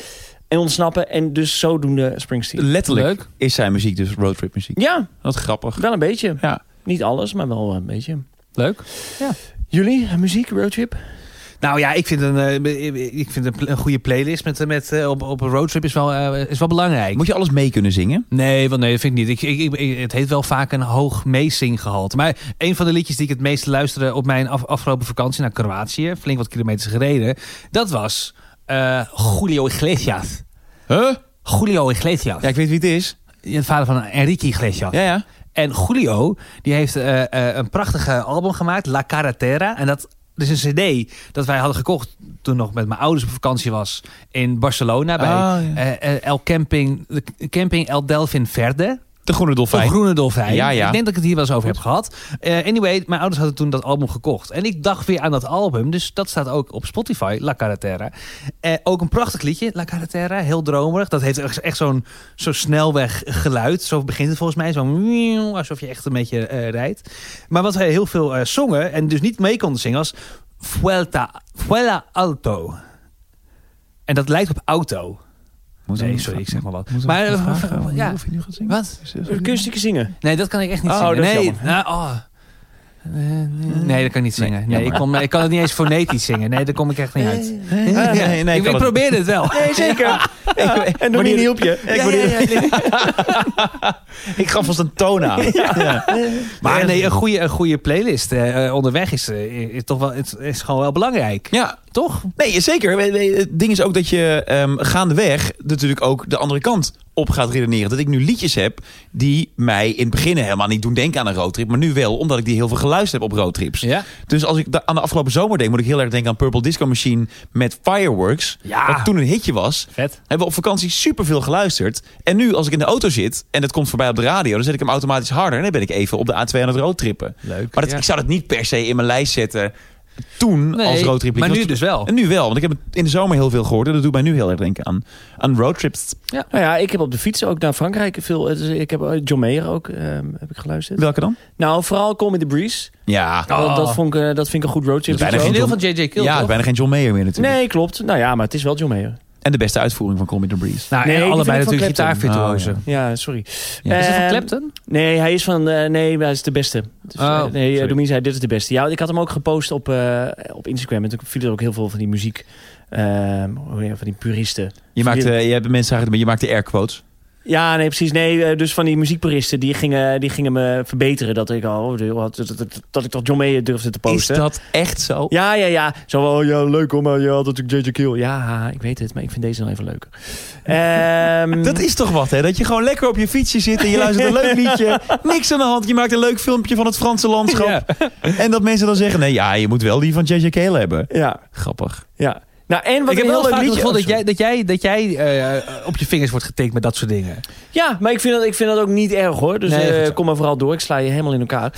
Speaker 2: En ontsnappen. En dus zodoende Springsteen.
Speaker 1: Letterlijk
Speaker 3: Leuk.
Speaker 1: is zijn muziek dus roadtrip muziek.
Speaker 2: Ja,
Speaker 1: Wat grappig.
Speaker 2: wel een beetje.
Speaker 1: Ja.
Speaker 2: Niet alles, maar wel een beetje.
Speaker 3: Leuk.
Speaker 2: Jullie, muziek, roadtrip?
Speaker 3: Nou ja, ik vind een, eh, ik vind een, pl- een goede playlist met, met, eh, op, op een roadtrip is wel, eh, is wel belangrijk.
Speaker 1: Moet je alles mee kunnen zingen?
Speaker 3: Nee, want nee, dat vind ik niet. Ik, ik, ik- ik- het heeft wel vaak een hoog meezinggehalte. Maar een van de liedjes die ik het meest luisterde op mijn af- afgelopen vakantie naar Kroatië, flink wat kilometers gereden, dat was eh Julio Iglesias.
Speaker 1: Huh?
Speaker 3: Julio Iglesias.
Speaker 1: Ja, ik weet wie het is.
Speaker 3: De vader van Enrique Iglesias.
Speaker 1: Ja, ja.
Speaker 3: En Julio, die heeft eh, eh, een prachtige album gemaakt, La Carretera. En dat dat is een cd dat wij hadden gekocht toen nog met mijn ouders op vakantie was in Barcelona. Bij
Speaker 1: Ah, ja.
Speaker 3: eh, eh, El Camping, de Camping El Delfin Verde.
Speaker 1: De groene
Speaker 3: Of
Speaker 1: dolfijn.
Speaker 3: Groene Dolfijn.
Speaker 1: Ja, ja.
Speaker 3: Ik denk dat ik het hier wel eens over heb gehad. Eh, anyway, mijn ouders hadden toen dat album gekocht. En ik dacht weer aan dat album. Dus dat staat ook op Spotify, La Carretera. Eh, ook een prachtig liedje, La Carretera. Heel dromerig. Dat heeft echt- echt zo'n zo snelweg geluid. Zo begint het volgens mij. Zo'n miauw, alsof je echt een beetje eh, rijdt. Maar wat wij heel veel eh, zongen en dus niet mee konden zingen was... Vuelta, Vuela Alto. En dat lijkt op auto.
Speaker 1: Moet
Speaker 3: Nee,
Speaker 1: hem-
Speaker 3: sorry, ik zeg maar wat.
Speaker 1: moet hem
Speaker 3: Maar,
Speaker 1: gaan
Speaker 3: eh,
Speaker 1: vragen
Speaker 3: *laughs* ja.
Speaker 1: of je nu gaat zingen?
Speaker 3: Wat?
Speaker 1: Is dat-
Speaker 2: Kun je een stukje zingen?
Speaker 3: Nee, dat kan ik echt niet
Speaker 2: Oh,
Speaker 3: zingen.
Speaker 2: dat is
Speaker 3: nee.
Speaker 2: jammer.
Speaker 3: Nou, oh. Eh, Nee, dat kan ik niet zingen. Nee,
Speaker 1: jammer.
Speaker 3: ik, kon, ik kan het niet eens fonetisch zingen. Nee, daar kom ik echt niet uit.
Speaker 1: Nee, nee, nee, ik
Speaker 3: ik
Speaker 1: kan
Speaker 3: ik
Speaker 1: het-
Speaker 3: probeer het wel.
Speaker 2: Nee, zeker.
Speaker 1: *laughs*
Speaker 2: En
Speaker 1: Wanneer-
Speaker 2: Domien hielp je.
Speaker 1: Ja, ja, ja, nee. ik gaf vast een toon aan. Ja.
Speaker 3: Maar nee, een goede, een goede playlist eh, eh, onderweg is, eh, is, toch wel, is, is gewoon wel belangrijk.
Speaker 1: Ja,
Speaker 3: Toch?
Speaker 1: nee, zeker. Nee, nee, Het ding is ook dat je ehm, gaandeweg natuurlijk ook de andere kant op gaat redeneren. Dat ik nu liedjes heb die mij in het begin helemaal niet doen denken aan een roadtrip. Maar nu wel, omdat ik die heel veel geluisterd heb op roadtrips.
Speaker 3: Ja.
Speaker 1: Dus als ik da- aan de afgelopen zomer denk, moet ik heel erg denken aan Purple Disco Machine met Fireworks.
Speaker 3: Ja.
Speaker 1: Wat toen een hitje was.
Speaker 3: Vet.
Speaker 1: Hebben we op vakantie superveel geluisterd. En nu, als ik in de auto zit en dat komt voorbij op de radio, dan zet ik hem automatisch harder. En dan ben ik even op de A2 aan het roadtrippen.
Speaker 3: Leuk.
Speaker 1: Maar dat,
Speaker 3: Ja.
Speaker 1: ik zou dat niet per se in mijn lijst zetten toen
Speaker 3: Nee,
Speaker 1: als roadtrip.
Speaker 3: maar nu dus wel.
Speaker 1: En nu wel, want ik heb het in de zomer heel veel gehoord. En dat doet mij nu heel erg denken aan, aan roadtrips.
Speaker 2: Nou ja, ik heb op de fiets ook naar Frankrijk veel... dus ik heb eh, John Mayer ook ehm, heb ik geluisterd.
Speaker 1: Welke dan?
Speaker 2: Nou, vooral Comedy the Breeze.
Speaker 1: Ja,
Speaker 3: Oh.
Speaker 2: Dat, dat, vond ik, eh, dat vind ik een goed roadtrip.
Speaker 1: Dat is
Speaker 3: Dat is een
Speaker 1: bijna
Speaker 2: liedje
Speaker 3: deel
Speaker 1: geen
Speaker 3: van J.J. Kill,
Speaker 1: ja,
Speaker 3: toch?
Speaker 1: bijna geen John Mayer meer
Speaker 2: ook.
Speaker 1: natuurlijk.
Speaker 2: Nee, klopt. Nou ja, maar het is wel John Mayer.
Speaker 1: En de beste uitvoering van Comedy the Breeze.
Speaker 3: Nou,
Speaker 2: Nee,
Speaker 3: en
Speaker 2: die vind
Speaker 3: allebei
Speaker 2: ik van
Speaker 3: natuurlijk
Speaker 2: Clapton.
Speaker 3: gitaarvirtuozen.
Speaker 1: Oh,
Speaker 2: Ja, sorry.
Speaker 1: Ja.
Speaker 3: Is het van
Speaker 2: Ehm,
Speaker 3: Clapton?
Speaker 2: Nee, hij is van... eh, nee, hij is de beste. Dus,
Speaker 3: Oh,
Speaker 2: eh, nee,
Speaker 3: sorry.
Speaker 2: eh, Domien zei, dit is de beste. Ja, ik had hem ook gepost op, eh, op Instagram. En toen vielen er ook heel veel van die muziek... ehm, hoe heet- van die puristen.
Speaker 1: Je, maakt, eh, je hebt mensen eigenlijk, je maakt de air quotes.
Speaker 2: Ja, nee, precies. Nee, eh, dus van die muziekpuristen, die gingen, die gingen me verbeteren. Dat ik, al dat, dat, dat, dat ik toch John Mayer durfde te posten.
Speaker 1: Is dat echt zo?
Speaker 2: Ja, ja, ja. Zo wel, ja, leuk hoor, maar je had natuurlijk J.J. Kill. Ja, ik weet het, maar ik vind deze nog even
Speaker 3: *laughs*
Speaker 2: leuker. Ehm,
Speaker 1: Dat is toch wat, hè? Dat je gewoon lekker op je fietsje zit en je luistert een leuk
Speaker 3: *laughs*
Speaker 1: liedje. Niks aan de hand. Je maakt een leuk filmpje van het Franse landschap. En dat mensen dan zeggen, nee, ja, je moet wel die van J.J. Cale hebben.
Speaker 2: Ja,
Speaker 1: Grappig.
Speaker 2: ja. Nou, en wat
Speaker 3: Ik heb
Speaker 2: een
Speaker 3: wel
Speaker 2: heel
Speaker 3: vaak
Speaker 2: leuk
Speaker 3: het
Speaker 2: liedje...
Speaker 3: gevoel
Speaker 2: oh,
Speaker 3: dat
Speaker 2: sorry.
Speaker 3: jij, dat jij, dat jij eh, op je vingers wordt getikt met dat soort dingen.
Speaker 2: Ja, maar ik vind, dat, ik vind dat ook niet erg hoor. Dus
Speaker 3: Nee,
Speaker 2: eh,
Speaker 3: goed zo.
Speaker 2: kom maar vooral door. Ik sla je helemaal in
Speaker 3: *laughs*
Speaker 2: elkaar.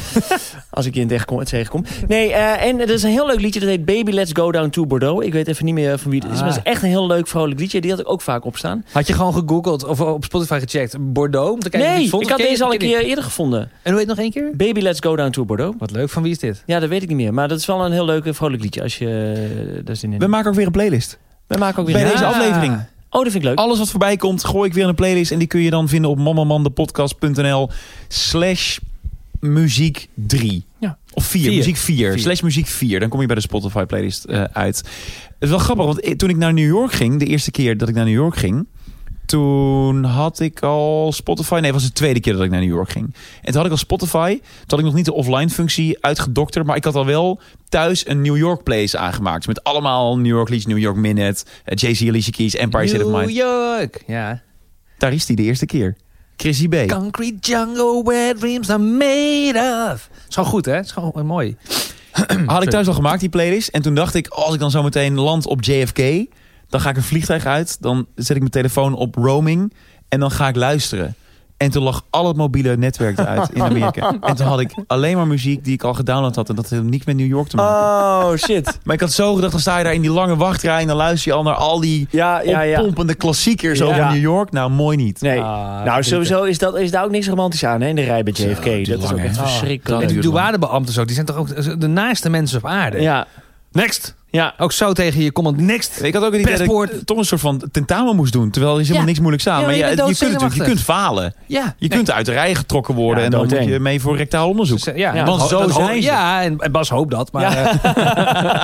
Speaker 2: Als ik je in het echt kom, tegenkom. Nee, eh, en er is een heel leuk liedje. Dat heet Baby Let's Go Down to Bordeaux. Ik weet even niet meer van wie
Speaker 3: Ah.
Speaker 2: het is. Maar het is echt een heel leuk vrolijk liedje. Die had ik ook vaak opstaan.
Speaker 3: Had je gewoon gegoogeld of op Spotify gecheckt Bordeaux? Om te kijken of je
Speaker 2: nee,
Speaker 3: het vond?
Speaker 2: ik had
Speaker 3: Ken je-
Speaker 2: deze al een
Speaker 3: ken je-
Speaker 2: keer eerder gevonden.
Speaker 3: En hoe heet het nog één keer?
Speaker 2: Baby Let's Go Down to Bordeaux.
Speaker 3: Wat leuk, van wie is dit?
Speaker 2: Ja, dat weet ik niet meer. Maar dat is wel een heel leuk en vrolijk liedje als je eh, daar zin in
Speaker 1: We
Speaker 2: hebt.
Speaker 1: maken ook weer een playlist.
Speaker 2: We maken ook weer
Speaker 1: Bij
Speaker 2: een...
Speaker 1: deze aflevering.
Speaker 2: Oh, dat vind ik leuk.
Speaker 1: Alles wat voorbij komt, gooi ik weer in een playlist. En die kun je dan vinden op mammamandepodcast.nl slash muziek 3.
Speaker 2: Ja.
Speaker 1: Of 4,
Speaker 3: Vier.
Speaker 1: muziek 4.
Speaker 3: Vier.
Speaker 1: Slash muziek 4. Dan kom je bij de Spotify playlist eh, uit. Het is wel grappig, want eh, toen ik naar New York ging, de eerste keer dat ik naar New York ging... Toen had ik al Spotify. Nee, het was de tweede keer dat ik naar New York ging. En toen had ik al Spotify. Toen had ik nog niet de offline functie uitgedokterd. Maar ik had al wel thuis een New York place aangemaakt. Met allemaal New York liedjes, New York Minute, eh, Jay-Z Alicia Keys, Empire State of
Speaker 3: New
Speaker 1: Mind.
Speaker 3: York. Ja.
Speaker 1: Daar is hij de eerste keer. Chrissy B.
Speaker 3: Concrete jungle where dreams are made of. Is gewoon goed, hè? Is gewoon eh, mooi.
Speaker 1: *clears throat* Had ik thuis al gemaakt, die playlist. En toen dacht ik, oh, als ik dan zo meteen land op JFK... dan ga ik een vliegtuig uit. Dan zet ik mijn telefoon op roaming. En dan ga ik luisteren. En toen lag al het mobiele netwerk eruit in Amerika. En toen had ik alleen maar muziek die ik al gedownload had. En dat had niks met New York te maken.
Speaker 2: Oh, shit.
Speaker 1: Maar ik had zo gedacht, dan sta je daar in die lange wachtrij... en dan luister je al naar al die
Speaker 2: *laughs* Ja, ja, ja.
Speaker 1: oppompende klassiekers
Speaker 2: Ja.
Speaker 1: over New York. Nou, mooi niet.
Speaker 2: Nee.
Speaker 3: Ah,
Speaker 2: nou,
Speaker 3: zeker.
Speaker 2: sowieso is, dat, is daar ook niks romantisch aan, hè, in de rij bij JFK.
Speaker 1: die
Speaker 2: dat is ook
Speaker 1: lange,
Speaker 2: echt
Speaker 1: hè?
Speaker 2: verschrikkelijk.
Speaker 1: Oh,
Speaker 3: En die
Speaker 1: duurt lang.
Speaker 3: douanebeambten zo, die zijn toch ook de naaste mensen op aarde?
Speaker 2: ja,
Speaker 3: Next.
Speaker 2: ja.
Speaker 3: Ook zo tegen je command. Next.
Speaker 1: Ik had ook het idee dat
Speaker 3: Paspoort.
Speaker 1: ik toch een soort van tentamen moest doen. Terwijl er is helemaal
Speaker 3: Ja.
Speaker 1: niks moeilijks aan.
Speaker 3: Ja,
Speaker 1: maar
Speaker 3: maar je
Speaker 1: ja, je,
Speaker 3: bent
Speaker 1: kunt natuurlijk, je
Speaker 3: doodzenuwachtig.
Speaker 1: kunt falen.
Speaker 3: Ja.
Speaker 1: Je kunt uit de rij getrokken worden
Speaker 2: Ja,
Speaker 1: en dan
Speaker 2: doodeng.
Speaker 1: moet je mee voor rectaal onderzoek.
Speaker 3: Dus, eh, Ja,
Speaker 2: Ja,
Speaker 3: dat
Speaker 1: want
Speaker 3: ho-
Speaker 1: zo
Speaker 3: dat ho-
Speaker 1: zijn ze.
Speaker 3: Ja, en en Bas hoopt dat. Maar eh,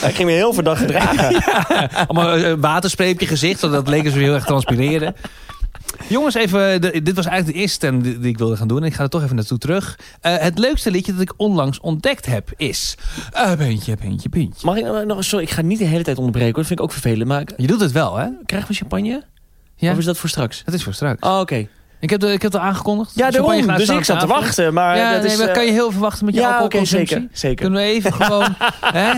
Speaker 2: Hij ging me heel verdacht *laughs* gedragen.
Speaker 3: allemaal eh, waterspree op je gezicht. want Dat leek ze heel erg transpireren. Jongens, even, de- dit was eigenlijk de eerste stem die, die ik wilde gaan doen. En ik ga er toch even naartoe terug. Eh, het leukste liedje dat ik onlangs ontdekt heb is... eh puntje, puntje, puntje.
Speaker 2: Mag ik nog- nog... Sorry, ik ga niet de hele tijd onderbreken. hoor. Dat vind ik ook vervelend. Maar
Speaker 3: Je doet het wel, hè?
Speaker 2: krijgen we champagne?
Speaker 3: Ja.
Speaker 2: Of is dat voor straks?
Speaker 3: Dat is voor straks.
Speaker 2: Oh, oké.
Speaker 3: Ik heb het ik heb het aangekondigd.
Speaker 2: Ja,
Speaker 3: Champagne
Speaker 2: daarom.
Speaker 3: gaat
Speaker 2: Dus ik
Speaker 3: straks
Speaker 2: zat te
Speaker 3: vanavond.
Speaker 2: wachten. Maar
Speaker 3: Ja,
Speaker 2: dat
Speaker 3: nee,
Speaker 2: is,
Speaker 3: maar
Speaker 2: eh,
Speaker 3: kan je heel veel wachten met je
Speaker 2: ja, oké,
Speaker 3: alcoholconsumptie?
Speaker 2: zeker. zeker.
Speaker 3: Kunnen we
Speaker 2: *laughs*
Speaker 3: even gewoon... hè?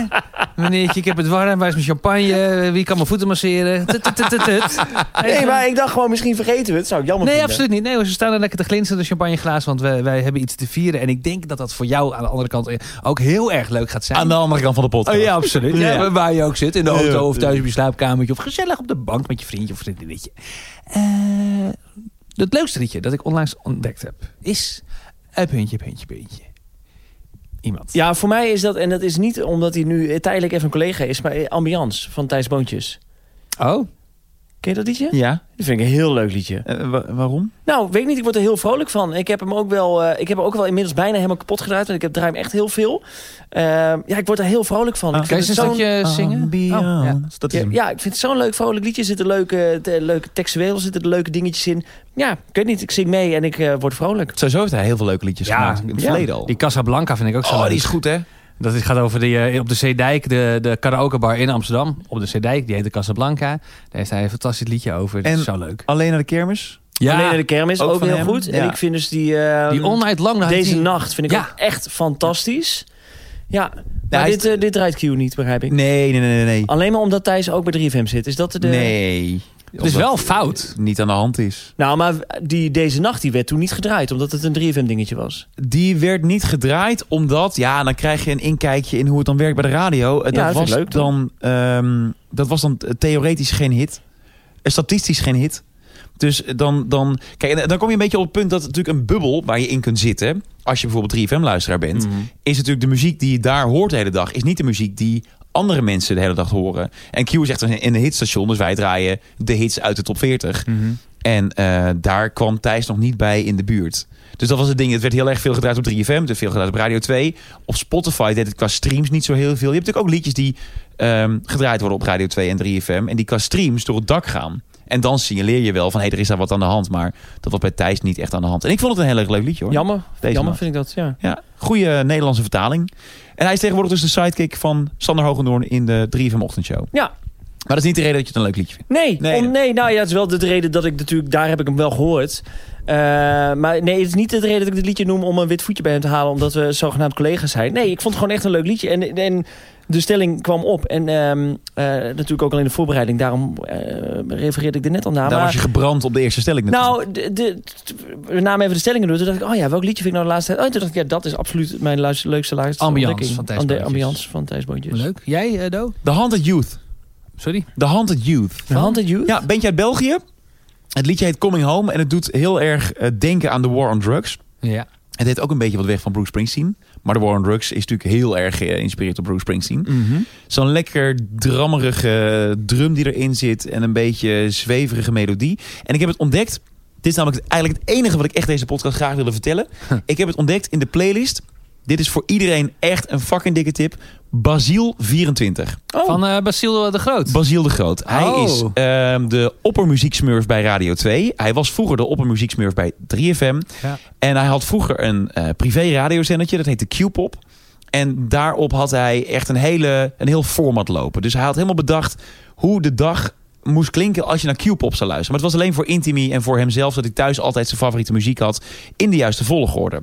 Speaker 3: Meneertje, ik heb het warm. Waar is mijn champagne? Wie kan mijn voeten masseren? Tut, tut, tut, tut, tut.
Speaker 2: Nee, maar ik dacht gewoon, misschien vergeten we het. Zou ik jammer
Speaker 3: Nee,
Speaker 2: vinden.
Speaker 3: absoluut niet. Nee, hoor, ze staan er lekker te glinsteren, de champagneglazen. Want wij, wij hebben iets te vieren. En ik denk dat dat voor jou aan de andere kant ook heel erg leuk gaat zijn.
Speaker 1: Aan de andere kant van de
Speaker 3: Oh,
Speaker 1: podcast.
Speaker 3: ja, absoluut. Ja.
Speaker 1: Ja.
Speaker 3: waar- Waar je ook zit. In de
Speaker 1: Ja, ja.
Speaker 3: auto of thuis op je slaapkamertje. Of gezellig op de bank met je vriendje of vriendinnetje. Eh, het leukste liedje dat ik onlangs ontdekt heb is... Een puntje, puntje, puntje. Iemand.
Speaker 2: Ja, voor mij is dat, en dat is niet omdat hij nu eh, tijdelijk even een collega is, maar eh, Ambiance van Thijs Boontjes.
Speaker 3: Oh.
Speaker 2: Ken je dat liedje?
Speaker 1: Ja?
Speaker 2: Dat vind ik een heel leuk liedje.
Speaker 1: Eh, wa- waarom?
Speaker 2: Nou, weet ik niet, ik word er heel vrolijk van. Ik heb hem ook wel, eh, ik heb hem ook wel inmiddels bijna helemaal kapot gedraaid, want ik heb, draai hem echt heel veel. Eh, ja, ik word er heel vrolijk van.
Speaker 1: Ah.
Speaker 2: Ik
Speaker 3: Kan
Speaker 2: vind
Speaker 3: je eens een
Speaker 2: het zo'n-
Speaker 3: stukje zingen? Oh, ja.
Speaker 1: Ambiance. Dat is
Speaker 2: ja,
Speaker 1: hem.
Speaker 2: ja, ik vind het zo'n leuk vrolijk liedje. Er zitten leuke, te- leuke textueel zitten er leuke dingetjes in. Ja, ik weet niet, ik zing mee en ik eh, word vrolijk.
Speaker 1: Sowieso heeft hij heel veel leuke liedjes
Speaker 3: Ja,
Speaker 1: gemaakt. In het
Speaker 2: ja.
Speaker 1: verleden al.
Speaker 3: Die Casablanca vind ik ook zo
Speaker 1: oh,
Speaker 3: leuk.
Speaker 1: die is goed, hè?
Speaker 3: Dat is- gaat over die, eh, op de Zeedijk, de, de karaokebar in Amsterdam. Op de Zeedijk, die heet de Casablanca. Daar heeft hij een fantastisch liedje over. Dat
Speaker 1: En-
Speaker 3: is zo leuk.
Speaker 1: Alleen naar de kermis?
Speaker 3: Ja,
Speaker 2: Alleen naar de kermis,
Speaker 1: ook
Speaker 2: ook,
Speaker 1: van
Speaker 2: heel
Speaker 1: hem.
Speaker 2: goed. En
Speaker 1: Ja.
Speaker 2: ik vind dus die... eh,
Speaker 3: die All Night
Speaker 1: Nou,
Speaker 3: Long. daar heeft
Speaker 2: Deze
Speaker 3: hij-
Speaker 2: nacht vind ik
Speaker 3: Ja.
Speaker 2: ook echt fantastisch. Ja, maar
Speaker 1: hij is-
Speaker 2: dit, eh, dit draait Q niet, begrijp ik.
Speaker 1: Nee, nee, nee, nee.
Speaker 2: Alleen maar omdat Thijs ook bij 3FM zit. Is dat de...
Speaker 1: Nee.
Speaker 3: Het is wel fout.
Speaker 1: Niet aan de hand is.
Speaker 2: Nou, maar die, deze nacht die werd toen niet gedraaid, omdat het een 3FM dingetje was.
Speaker 1: Die werd niet gedraaid omdat... Ja, dan krijg je een inkijkje in hoe het dan werkt bij de radio. Eh, Dat,
Speaker 2: Ja, dat vind
Speaker 1: was
Speaker 2: ik leuk,
Speaker 1: dan, ehm, dat was dan eh, theoretisch geen hit. Eh, Statistisch geen hit. Dus dan, dan... Kijk, en eh, dan kom je een beetje op het punt dat het natuurlijk een bubbel waar je in kunt zitten... als je bijvoorbeeld 3FM-luisteraar bent...
Speaker 2: Mm.
Speaker 3: Mhm.
Speaker 1: is natuurlijk de muziek die je daar hoort de hele dag... is niet de muziek die andere mensen de hele dag horen. En Q is echt een, een hitstation, dus wij draaien de hits uit de top 40. En eh, daar kwam Thijs nog niet bij in de buurt. Dus dat was het ding. Het werd heel erg veel gedraaid op 3FM. Het werd veel gedraaid op Radio 2. Op Spotify deed het qua streams niet zo heel veel. Je hebt natuurlijk ook liedjes die ehm, gedraaid worden op Radio 2 en 3FM. En die qua streams door het dak gaan. En dan signaleer je wel van, hé, hey, er is daar wat aan de hand. Maar dat was bij Thijs niet echt aan de hand. En ik vond het een heel erg leuk liedje, hoor.
Speaker 2: Jammer,
Speaker 1: Deze
Speaker 2: jammer
Speaker 1: nacht.
Speaker 2: vind ik dat, ja.
Speaker 1: Ja, goede Nederlandse vertaling. En hij is tegenwoordig dus de sidekick van Sander Hogendoorn in de 3FM Ochtendshow.
Speaker 2: Ja.
Speaker 1: Maar dat is niet de reden dat je het een leuk liedje vindt.
Speaker 2: Nee,
Speaker 1: Nee,
Speaker 2: nee,
Speaker 1: nee.
Speaker 2: nee nou ja, het is wel de reden dat ik natuurlijk, daar heb ik hem wel gehoord. Eh, maar nee, het is niet de reden dat ik dit liedje noem om een wit voetje bij hem te halen, omdat we zogenaamd collega's zijn. Nee, ik vond het gewoon echt een leuk liedje. En, en de stelling kwam op. En ehm, eh, natuurlijk ook al in de voorbereiding, daarom eh, refereerde ik er net al naar.
Speaker 1: Daar
Speaker 2: maar-
Speaker 1: was je gebrand op de eerste stelling.
Speaker 2: Nou, de, de, we namen even de stellingen door. Toen dacht ik, oh ja, welk liedje vind ik nou de laatste tijd? Oh, toen dacht ik, ja, dat is absoluut mijn luister, leukste laatste
Speaker 3: Ambiance
Speaker 2: ontdekking.
Speaker 3: van Thijs
Speaker 2: Ande-
Speaker 3: Boontjes.
Speaker 2: Ambiance van Thijs Boontjes.
Speaker 3: Leuk. Jij, eh, Do?
Speaker 1: The Haunted Youth.
Speaker 3: Sorry.
Speaker 1: The Haunted Youth.
Speaker 2: De hand at you?
Speaker 1: Ja, bent je uit België? Het liedje heet Coming Home en het doet heel erg eh, denken aan de War on Drugs.
Speaker 3: Ja.
Speaker 1: Het deed ook een beetje wat weg van Bruce Springsteen. Maar de War on Drugs is natuurlijk heel erg eh, geïnspireerd op Bruce Springsteen. Zo'n lekker drammerige drum die erin zit en een beetje zweverige melodie. En ik heb het ontdekt. Dit is namelijk eigenlijk het enige wat ik echt deze podcast graag wilde vertellen. Ik heb het ontdekt in de playlist. Dit is voor iedereen echt een fucking dikke tip. Basiel 24.
Speaker 2: Oh,
Speaker 3: Van eh Basiel de Groot.
Speaker 1: Basiel de Groot. Hij
Speaker 3: Oh.
Speaker 1: is ehm, de oppermuzieksmurf bij Radio 2. Hij was vroeger de oppermuzieksmurf bij 3FM.
Speaker 3: Ja.
Speaker 1: En hij had vroeger een eh privé radiozendertje. Dat heette Q-pop. En daarop had hij echt een, hele, een heel format lopen. Dus hij had helemaal bedacht hoe de dag moest klinken als je naar Q-pop zou luisteren. Maar het was alleen voor Intimi en voor hemzelf... dat hij thuis altijd zijn favoriete muziek had in de juiste volgorde.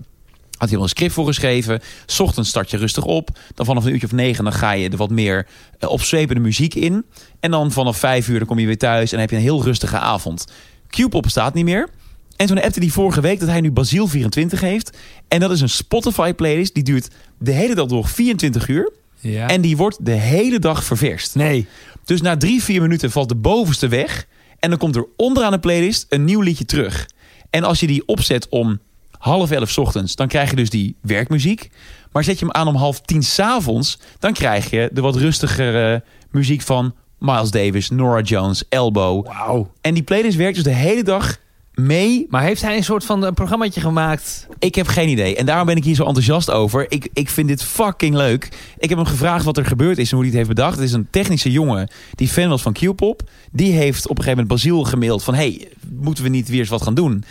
Speaker 1: Had hij wel een script voor geschreven. 's Ochtends start je rustig op. Dan vanaf een uurtje of negen dan ga je er wat meer eh, opzwepende muziek in. En dan vanaf vijf uur dan kom je weer thuis en dan heb je een heel rustige avond. Q-pop staat niet meer. En toen appte hij vorige week dat hij nu Basiel 24 heeft. En dat is een Spotify playlist die duurt de hele dag door 24 uur.
Speaker 3: Ja.
Speaker 1: En die wordt de hele dag ververst.
Speaker 3: nee.
Speaker 1: Dus na drie, vier minuten valt de bovenste weg. En dan komt er onderaan de playlist een nieuw liedje terug. En als je die opzet om half elf 's ochtends, dan krijg je dus die werkmuziek. Maar zet je hem aan om half tien 's avonds, dan krijg je de wat rustigere muziek van Miles Davis, Nora Jones, Elbow.
Speaker 3: Wauw.
Speaker 1: En die playlist werkt dus de hele dag mee.
Speaker 3: Maar heeft hij een soort van een programmaatje gemaakt?
Speaker 1: Ik heb geen idee. En daarom ben ik hier zo enthousiast over. Ik, ik vind dit fucking leuk. Ik heb hem gevraagd wat er gebeurd is en hoe hij het heeft bedacht. Het is een technische jongen die fan was van Q-pop. Die heeft op een gegeven moment Basiel gemaild van... hey, moeten we niet weer eens wat gaan doen?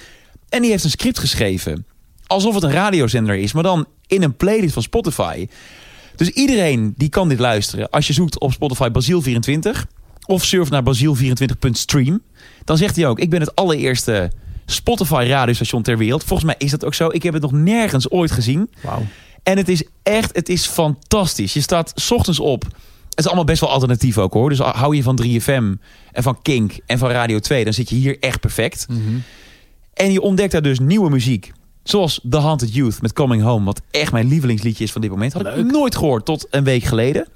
Speaker 1: En die heeft een script geschreven. Alsof het een radiozender is, maar dan in een playlist van Spotify. Dus iedereen die kan dit luisteren. Als je zoekt op Spotify Basiel24... of surf naar baziel24.stream. Dan zegt hij ook, ik ben het allereerste Spotify radiostation ter wereld. Volgens mij is dat ook zo. Ik heb het nog nergens ooit gezien.
Speaker 2: Wauw.
Speaker 1: En het is echt, het is fantastisch. Je staat 's ochtends op. Het is allemaal best wel alternatief ook hoor. Dus hou je van 3FM en van Kink en van Radio 2, dan zit je hier echt perfect.
Speaker 3: Mm. Mhm.
Speaker 1: En je ontdekt daar dus nieuwe muziek. Zoals The Haunted Youth met Coming Home. Wat echt mijn lievelingsliedje is van dit moment. Had ik nooit gehoord tot een week geleden.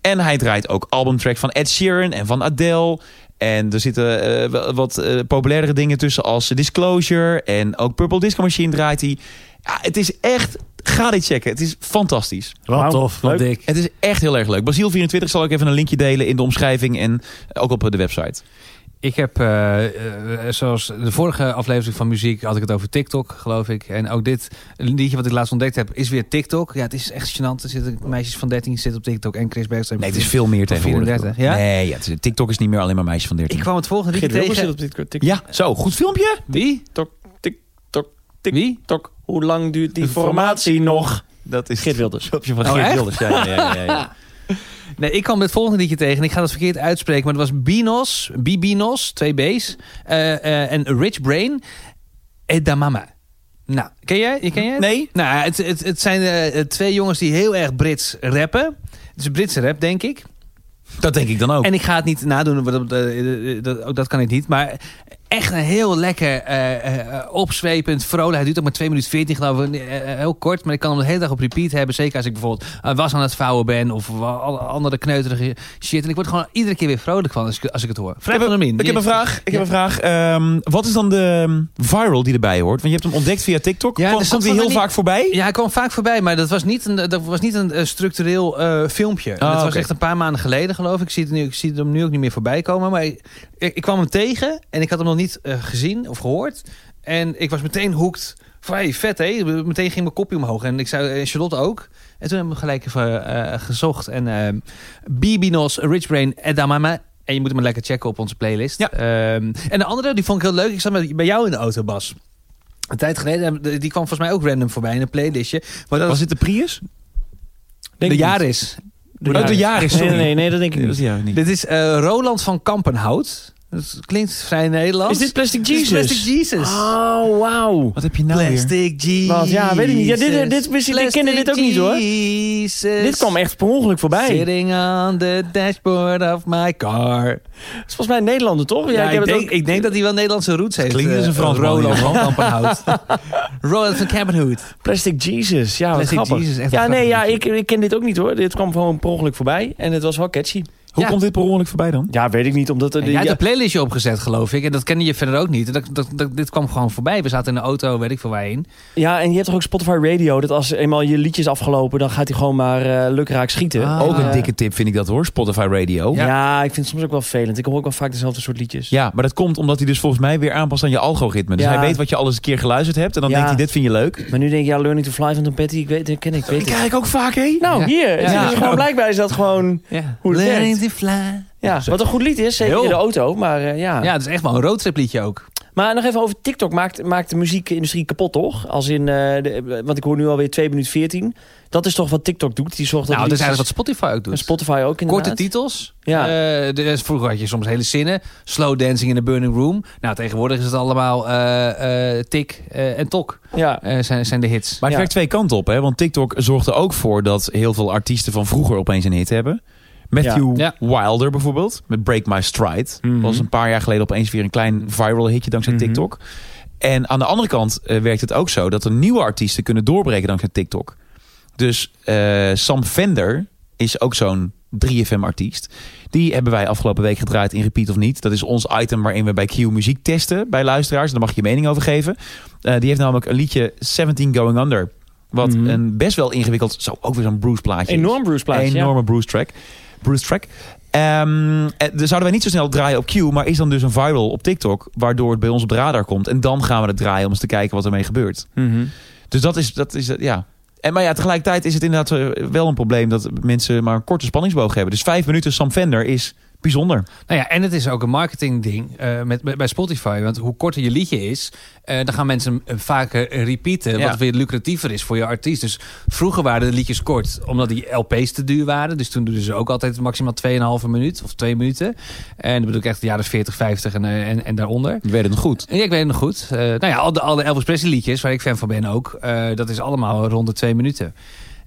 Speaker 1: En hij draait ook albumtracks van Ed Sheeran en van Adele. En er zitten eh, wel- wat eh, populairdere dingen tussen als Disclosure. En ook Purple Disco Machine draait hij. Ja, het is echt... Ga dit checken. Het is fantastisch.
Speaker 5: Wat
Speaker 2: Wauw,
Speaker 5: tof, wat
Speaker 2: leuk.
Speaker 5: dik.
Speaker 1: Het is echt heel erg leuk. Basiel24 zal ik even een linkje delen in de omschrijving. En ook op de website.
Speaker 3: Ik heb, eh, eh, zoals de vorige aflevering van muziek, had ik het over TikTok, geloof ik. En ook dit liedje wat ik laatst ontdekt heb, is weer TikTok. Ja, het is echt gênant. Er zitten meisjes van 13 zitten op TikTok en Chris Bergström.
Speaker 1: Nee, het is veel meer tegenwoordig.
Speaker 3: 34, ja?
Speaker 1: Nee, ja, het is- TikTok is niet meer alleen maar meisjes van 13.
Speaker 3: Ik kwam het volgende liedje tegen.
Speaker 1: Ja, zo. Goed filmpje.
Speaker 3: Wie? Wie?
Speaker 2: TikTok. Hoe lang duurt die
Speaker 1: De
Speaker 2: formatie nog?
Speaker 1: Dat is
Speaker 2: Geert Wilders.
Speaker 1: filmpje van
Speaker 3: Oh,
Speaker 1: Geert
Speaker 3: echt?
Speaker 1: Wilders. Ja, ja, ja, ja, ja.
Speaker 3: Nee, ik kwam dit volgende liedje tegen en ik ga dat verkeerd uitspreken. Maar het was Binos, Bibinos, twee B's. eh, eh, En Rich Brain, Edamama. Nou, ken jij? Je- Ken jij het?
Speaker 1: Nee?
Speaker 3: Nou, het, het, het zijn eh, twee jongens die heel erg Brits rappen. Het is een Britse rap, denk ik.
Speaker 1: *laughs* Dat denk ik dan ook.
Speaker 3: En ik ga het niet nadoen, want dat, eh, eh, dat, ook dat kan ik niet. Maar echt een heel lekker eh, eh, opzwepend, vrolijk. Hij duurt ook maar 2 minuten 14, geloof ik. Eh, eh, heel kort, maar ik kan hem de hele dag op repeat hebben. Zeker als ik bijvoorbeeld een was aan het vouwen ben of wa- alle andere kneuterige shit. En ik word gewoon iedere keer weer vrolijk van als ik, als ik het hoor. Vraag
Speaker 1: ik, heb,
Speaker 3: van hem in.
Speaker 1: ik heb een vraag. Ik heb een vraag. Ehm, wat is dan de ehm, viral die erbij hoort? Want je hebt hem ontdekt via TikTok.
Speaker 3: Ja,
Speaker 1: Ja,
Speaker 3: er
Speaker 1: Komt
Speaker 3: stond
Speaker 1: die
Speaker 3: van
Speaker 1: heel
Speaker 3: die-
Speaker 1: vaak voorbij?
Speaker 3: Ja, hij kwam vaak voorbij, maar dat was niet een, dat was niet een eh, structureel eh, filmpje. Het
Speaker 1: Ah,
Speaker 3: dat was
Speaker 1: oké.
Speaker 3: echt een paar maanden geleden, geloof ik. Ik zie, het nu, ik zie hem nu ook niet meer voorbij komen. Maar ik, ik, ik kwam hem tegen en ik had hem nog niet eh, gezien of gehoord. En ik was meteen hoekt. Van, hey, vet hé. Meteen ging mijn kopje omhoog. En ik zei, eh, Charlotte ook. En toen hebben we hem gelijk even eh, gezocht. En ehm, Bibinos, Rich Brain, Edamame. En je moet hem lekker checken op onze playlist.
Speaker 1: Ja.
Speaker 3: Ehm, en de andere, die vond ik heel leuk. Ik zat met- bij jou in de auto, Bas. Een tijd geleden, eh, die kwam volgens mij ook random voorbij in een playlistje. Maar
Speaker 1: Was
Speaker 3: dat was
Speaker 1: dit de Prius?
Speaker 3: de jaar is.
Speaker 1: Oh, de Yaris,
Speaker 2: Nee,
Speaker 1: sorry.
Speaker 2: nee, nee, nee, dat denk ik
Speaker 1: Nee, dat
Speaker 2: niet.
Speaker 1: is ja, niet.
Speaker 3: Dit is eh, Roland van Kampenhout. Dat klinkt vrij Nederlands.
Speaker 2: Is dit Plastic
Speaker 3: Dit is
Speaker 2: Jesus?
Speaker 3: Plastic Jesus. Nou
Speaker 2: Oh, wauw.
Speaker 1: Wat heb je nou weer?
Speaker 3: Plastic Jesus.
Speaker 2: Wat? Ja, weet ik niet. Ja, dit- dit- dit wist ik- ik kende dit ook niet, hoor.
Speaker 3: Jesus.
Speaker 2: Dit kwam echt per ongeluk voorbij. Het
Speaker 3: Sitting on the dashboard of my car.
Speaker 2: is volgens mij een Nederlander, toch? Ja, ik heb
Speaker 3: denk,
Speaker 2: het ook...
Speaker 3: ik denk dat hij wel Nederlandse roots heeft.
Speaker 1: Klinkt als een
Speaker 3: eh,
Speaker 1: Fransman,
Speaker 3: Roland
Speaker 1: ja.
Speaker 3: van
Speaker 1: *laughs*
Speaker 3: Kampenhout. Roland van Kampenhout.
Speaker 2: Plastic Jesus. Ja, wat
Speaker 3: Plastic
Speaker 2: grappig.
Speaker 3: Jesus, echt een
Speaker 2: ja, nee,
Speaker 3: grappig
Speaker 2: ja, ik,
Speaker 3: liedje.
Speaker 2: ik ken dit ook niet, hoor. Dit kwam gewoon per ongeluk voorbij. En het was wel catchy.
Speaker 1: Hoe
Speaker 3: Ja.
Speaker 1: komt dit per ongeluk voorbij dan?
Speaker 2: Ja, weet ik niet, omdat... er-
Speaker 3: En jij had
Speaker 2: ja,
Speaker 3: een playlistje opgezet, geloof ik. En dat kende je verder ook niet. En Dat, dat, dat- dit kwam gewoon voorbij. We zaten in de auto, weet ik veel waarheen.
Speaker 2: ja, en je hebt toch ook Spotify Radio... dat als eenmaal je liedjes afgelopen... dan gaat hij gewoon maar eh, lukraak schieten.
Speaker 3: Ah.
Speaker 1: Ook een
Speaker 2: Eh,
Speaker 1: dikke tip vind ik dat hoor. Spotify Radio.
Speaker 2: Ja.
Speaker 3: Ja.
Speaker 2: ik vind het soms ook wel vervelend. Ik hoor ook wel vaak dezelfde soort liedjes.
Speaker 1: Ja, maar dat komt omdat hij dus volgens mij weer aanpast aan je algoritme. Dus
Speaker 2: Ja.
Speaker 1: hij weet wat je alles een keer geluisterd hebt. En dan
Speaker 2: Ja.
Speaker 1: denkt hij, dit vind je leuk.
Speaker 2: Maar nu denk ik, ja, Learning to Fly van Tom Petty, ik weet, dat ken ik, weet ik.
Speaker 1: krijg ik ook vaak, hé.
Speaker 2: *laughs* Nou,
Speaker 3: Ja.
Speaker 2: hier.
Speaker 3: Ja.
Speaker 2: Het is gewoon, blijkbaar is dat gewoon...
Speaker 3: Ja.
Speaker 2: Hoe het
Speaker 3: Learning to fly.
Speaker 2: Ja, wat een goed lied is, zeker
Speaker 3: Heel.
Speaker 2: in de auto. Maar, eh, ja.
Speaker 3: Ja, het is echt wel een roadtrip liedje ook.
Speaker 2: maar nog even over TikTok. Maakt, maakt de muziekindustrie kapot, toch? Als in, eh, de- want ik hoor nu alweer 2 minuten 14. Dat is toch wat TikTok doet? Die zorgt dat
Speaker 3: nou, dat is
Speaker 2: liedjes-
Speaker 3: eigenlijk wat Spotify ook doet.
Speaker 2: en Spotify ook inderdaad.
Speaker 3: Korte titels.
Speaker 2: Ja.
Speaker 3: Eh, de- vroeger had je soms hele zinnen. Slow dancing in a burning room. Nou, tegenwoordig is het allemaal eh, eh, tik eh, en tok
Speaker 2: Ja.
Speaker 3: eh, zijn, zijn de hits.
Speaker 1: Maar het
Speaker 2: Ja.
Speaker 1: werkt twee kanten op, hè? Want TikTok zorgt er ook voor dat heel veel artiesten van vroeger opeens een hit hebben. Matthew
Speaker 3: Ja.
Speaker 1: Wilder bijvoorbeeld, met Break My Stride.
Speaker 2: Mhm.
Speaker 1: Was een paar jaar geleden opeens weer een klein viral hitje dankzij
Speaker 2: Mhm.
Speaker 1: TikTok. En aan de andere kant eh, werkt het ook zo dat er nieuwe artiesten kunnen doorbreken dankzij TikTok. Dus eh, Sam Fender is ook zo'n 3FM-artiest. Die hebben wij afgelopen week gedraaid in Repeat of Niet. Dat is ons item waarin we bij Q muziek testen bij luisteraars. Daar mag je je mening over geven. Eh, die heeft namelijk een liedje 17 Going Under. Wat
Speaker 2: Mhm.
Speaker 1: een best wel ingewikkeld, zo ook weer zo'n Bruce plaatje is.
Speaker 2: Enorm Bruce plaatje, ja.
Speaker 1: Enorme Bruce track. Bruce track. Ehm, eh, dus zouden wij niet zo snel draaien op Q, maar is dan dus een viral op TikTok, waardoor het bij ons op de radar komt. En dan gaan we het draaien om eens te kijken wat ermee gebeurt.
Speaker 2: Mhm.
Speaker 1: Dus dat is, dat is ja. En, maar ja, eh, tegelijkertijd is het inderdaad eh, wel een probleem dat mensen maar een korte spanningsboog hebben. Dus vijf minuten Sam Fender is bijzonder.
Speaker 3: Nou ja, en het is ook een marketingding eh, met, met- bij Spotify. Want hoe korter je liedje is, eh, dan gaan mensen hem vaker repeaten.
Speaker 1: Ja.
Speaker 3: Wat weer lucratiever is voor je artiest. Dus vroeger waren de liedjes kort, omdat die LP's te duur waren. Dus toen deden ze ook altijd maximaal 2,5 minuut of 2 minuten. En dan bedoel ik echt de jaren 40, 50 en, eh, en, en daaronder.
Speaker 1: We weten het goed.
Speaker 3: Ja, ik weet het nog goed. Eh, nou ja, al de, al de Elvis Presley liedjes, waar ik fan van ben ook, eh, dat is allemaal rond de twee minuten.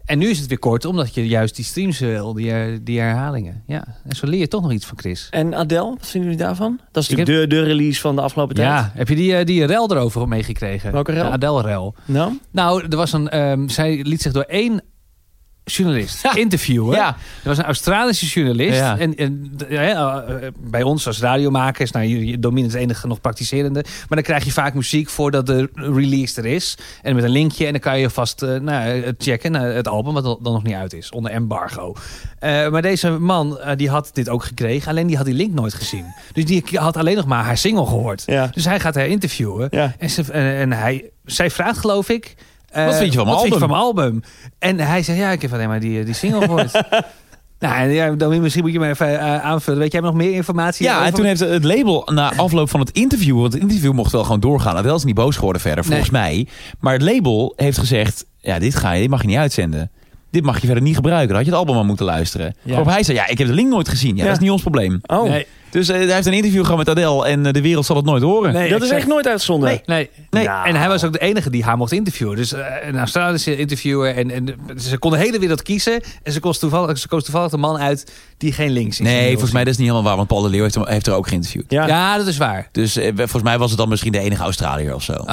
Speaker 3: En nu is het weer kort, omdat je juist die streams wil, die, her- die herhalingen. Ja, en zo leer je toch nog iets van Chris.
Speaker 2: En Adele, wat vinden jullie daarvan? Dat is
Speaker 3: Ik
Speaker 2: natuurlijk de, de release van de afgelopen tijd.
Speaker 3: Ja, heb je die, eh, die rel erover meegekregen?
Speaker 2: Welke rel?
Speaker 3: De Adele-rel.
Speaker 2: Nou?
Speaker 3: Nou, er was een, ehm, zij liet zich door één journalist interviewen.
Speaker 1: Ja.
Speaker 3: Er was een Australische journalist.
Speaker 1: Ja.
Speaker 3: En, en d- hè, eh, eh, bij ons als radiomakers, nou, jullie- Domine is de enige nog praktiserende. Maar dan krijg je vaak muziek voordat de release er is. En met een linkje. En dan kan je vast eh, nou, eh, checken naar het album, wat al- dan nog niet uit is. Onder embargo. Eh, maar deze man, eh, die had dit ook gekregen. Alleen die had die link nooit gezien. Dus die had alleen nog maar haar single gehoord.
Speaker 2: Ja.
Speaker 3: Dus hij gaat haar interviewen.
Speaker 2: Ja.
Speaker 3: En, ze, en, en hij, zij vraagt geloof ik... eh,
Speaker 1: Wat vind je van mijn
Speaker 3: Wat
Speaker 1: album?
Speaker 3: vind je van mijn album? En hij zegt, ja, ik heb alleen maar die, die
Speaker 1: *laughs*
Speaker 3: single gehoord. nou, en ja, dan misschien moet je me even eh, aanvullen. Weet jij nog meer informatie?
Speaker 1: Ja, en
Speaker 3: over-
Speaker 1: toen heeft het label na afloop van het interview... want het interview mocht wel gewoon doorgaan. Adele is niet boos geworden verder, volgens mij. Maar het label heeft gezegd... ja, dit, ga je, dit mag je niet uitzenden. Dit mag je verder niet gebruiken. Dan had je het album aan moeten luisteren. Waarop hij zei, ja, ik heb de link nooit gezien. Ja,
Speaker 2: Ja.
Speaker 1: dat is niet ons probleem.
Speaker 2: Oh,
Speaker 3: Nee,
Speaker 1: Dus eh, hij heeft een interview gehad met Adele... en eh, de wereld zal het nooit horen.
Speaker 3: nee,
Speaker 2: dat is
Speaker 3: exact.
Speaker 2: echt nooit uitgezonden.
Speaker 3: Nee, nee, nee.
Speaker 2: Nou.
Speaker 3: en hij was ook de enige die haar mocht interviewen. Dus eh, een Australische interviewer. En, en ze kon de hele wereld kiezen. En ze koos toevallig, ze koos toevallig de man uit die geen links is.
Speaker 1: Nee, volgens mij dat is niet helemaal waar. Want Paul de Leeuw heeft, hem, heeft er ook geïnterviewd.
Speaker 2: Ja.
Speaker 3: Ja, dat is waar.
Speaker 1: Dus eh, volgens mij was het dan misschien de enige Australiër of zo.
Speaker 3: Oh.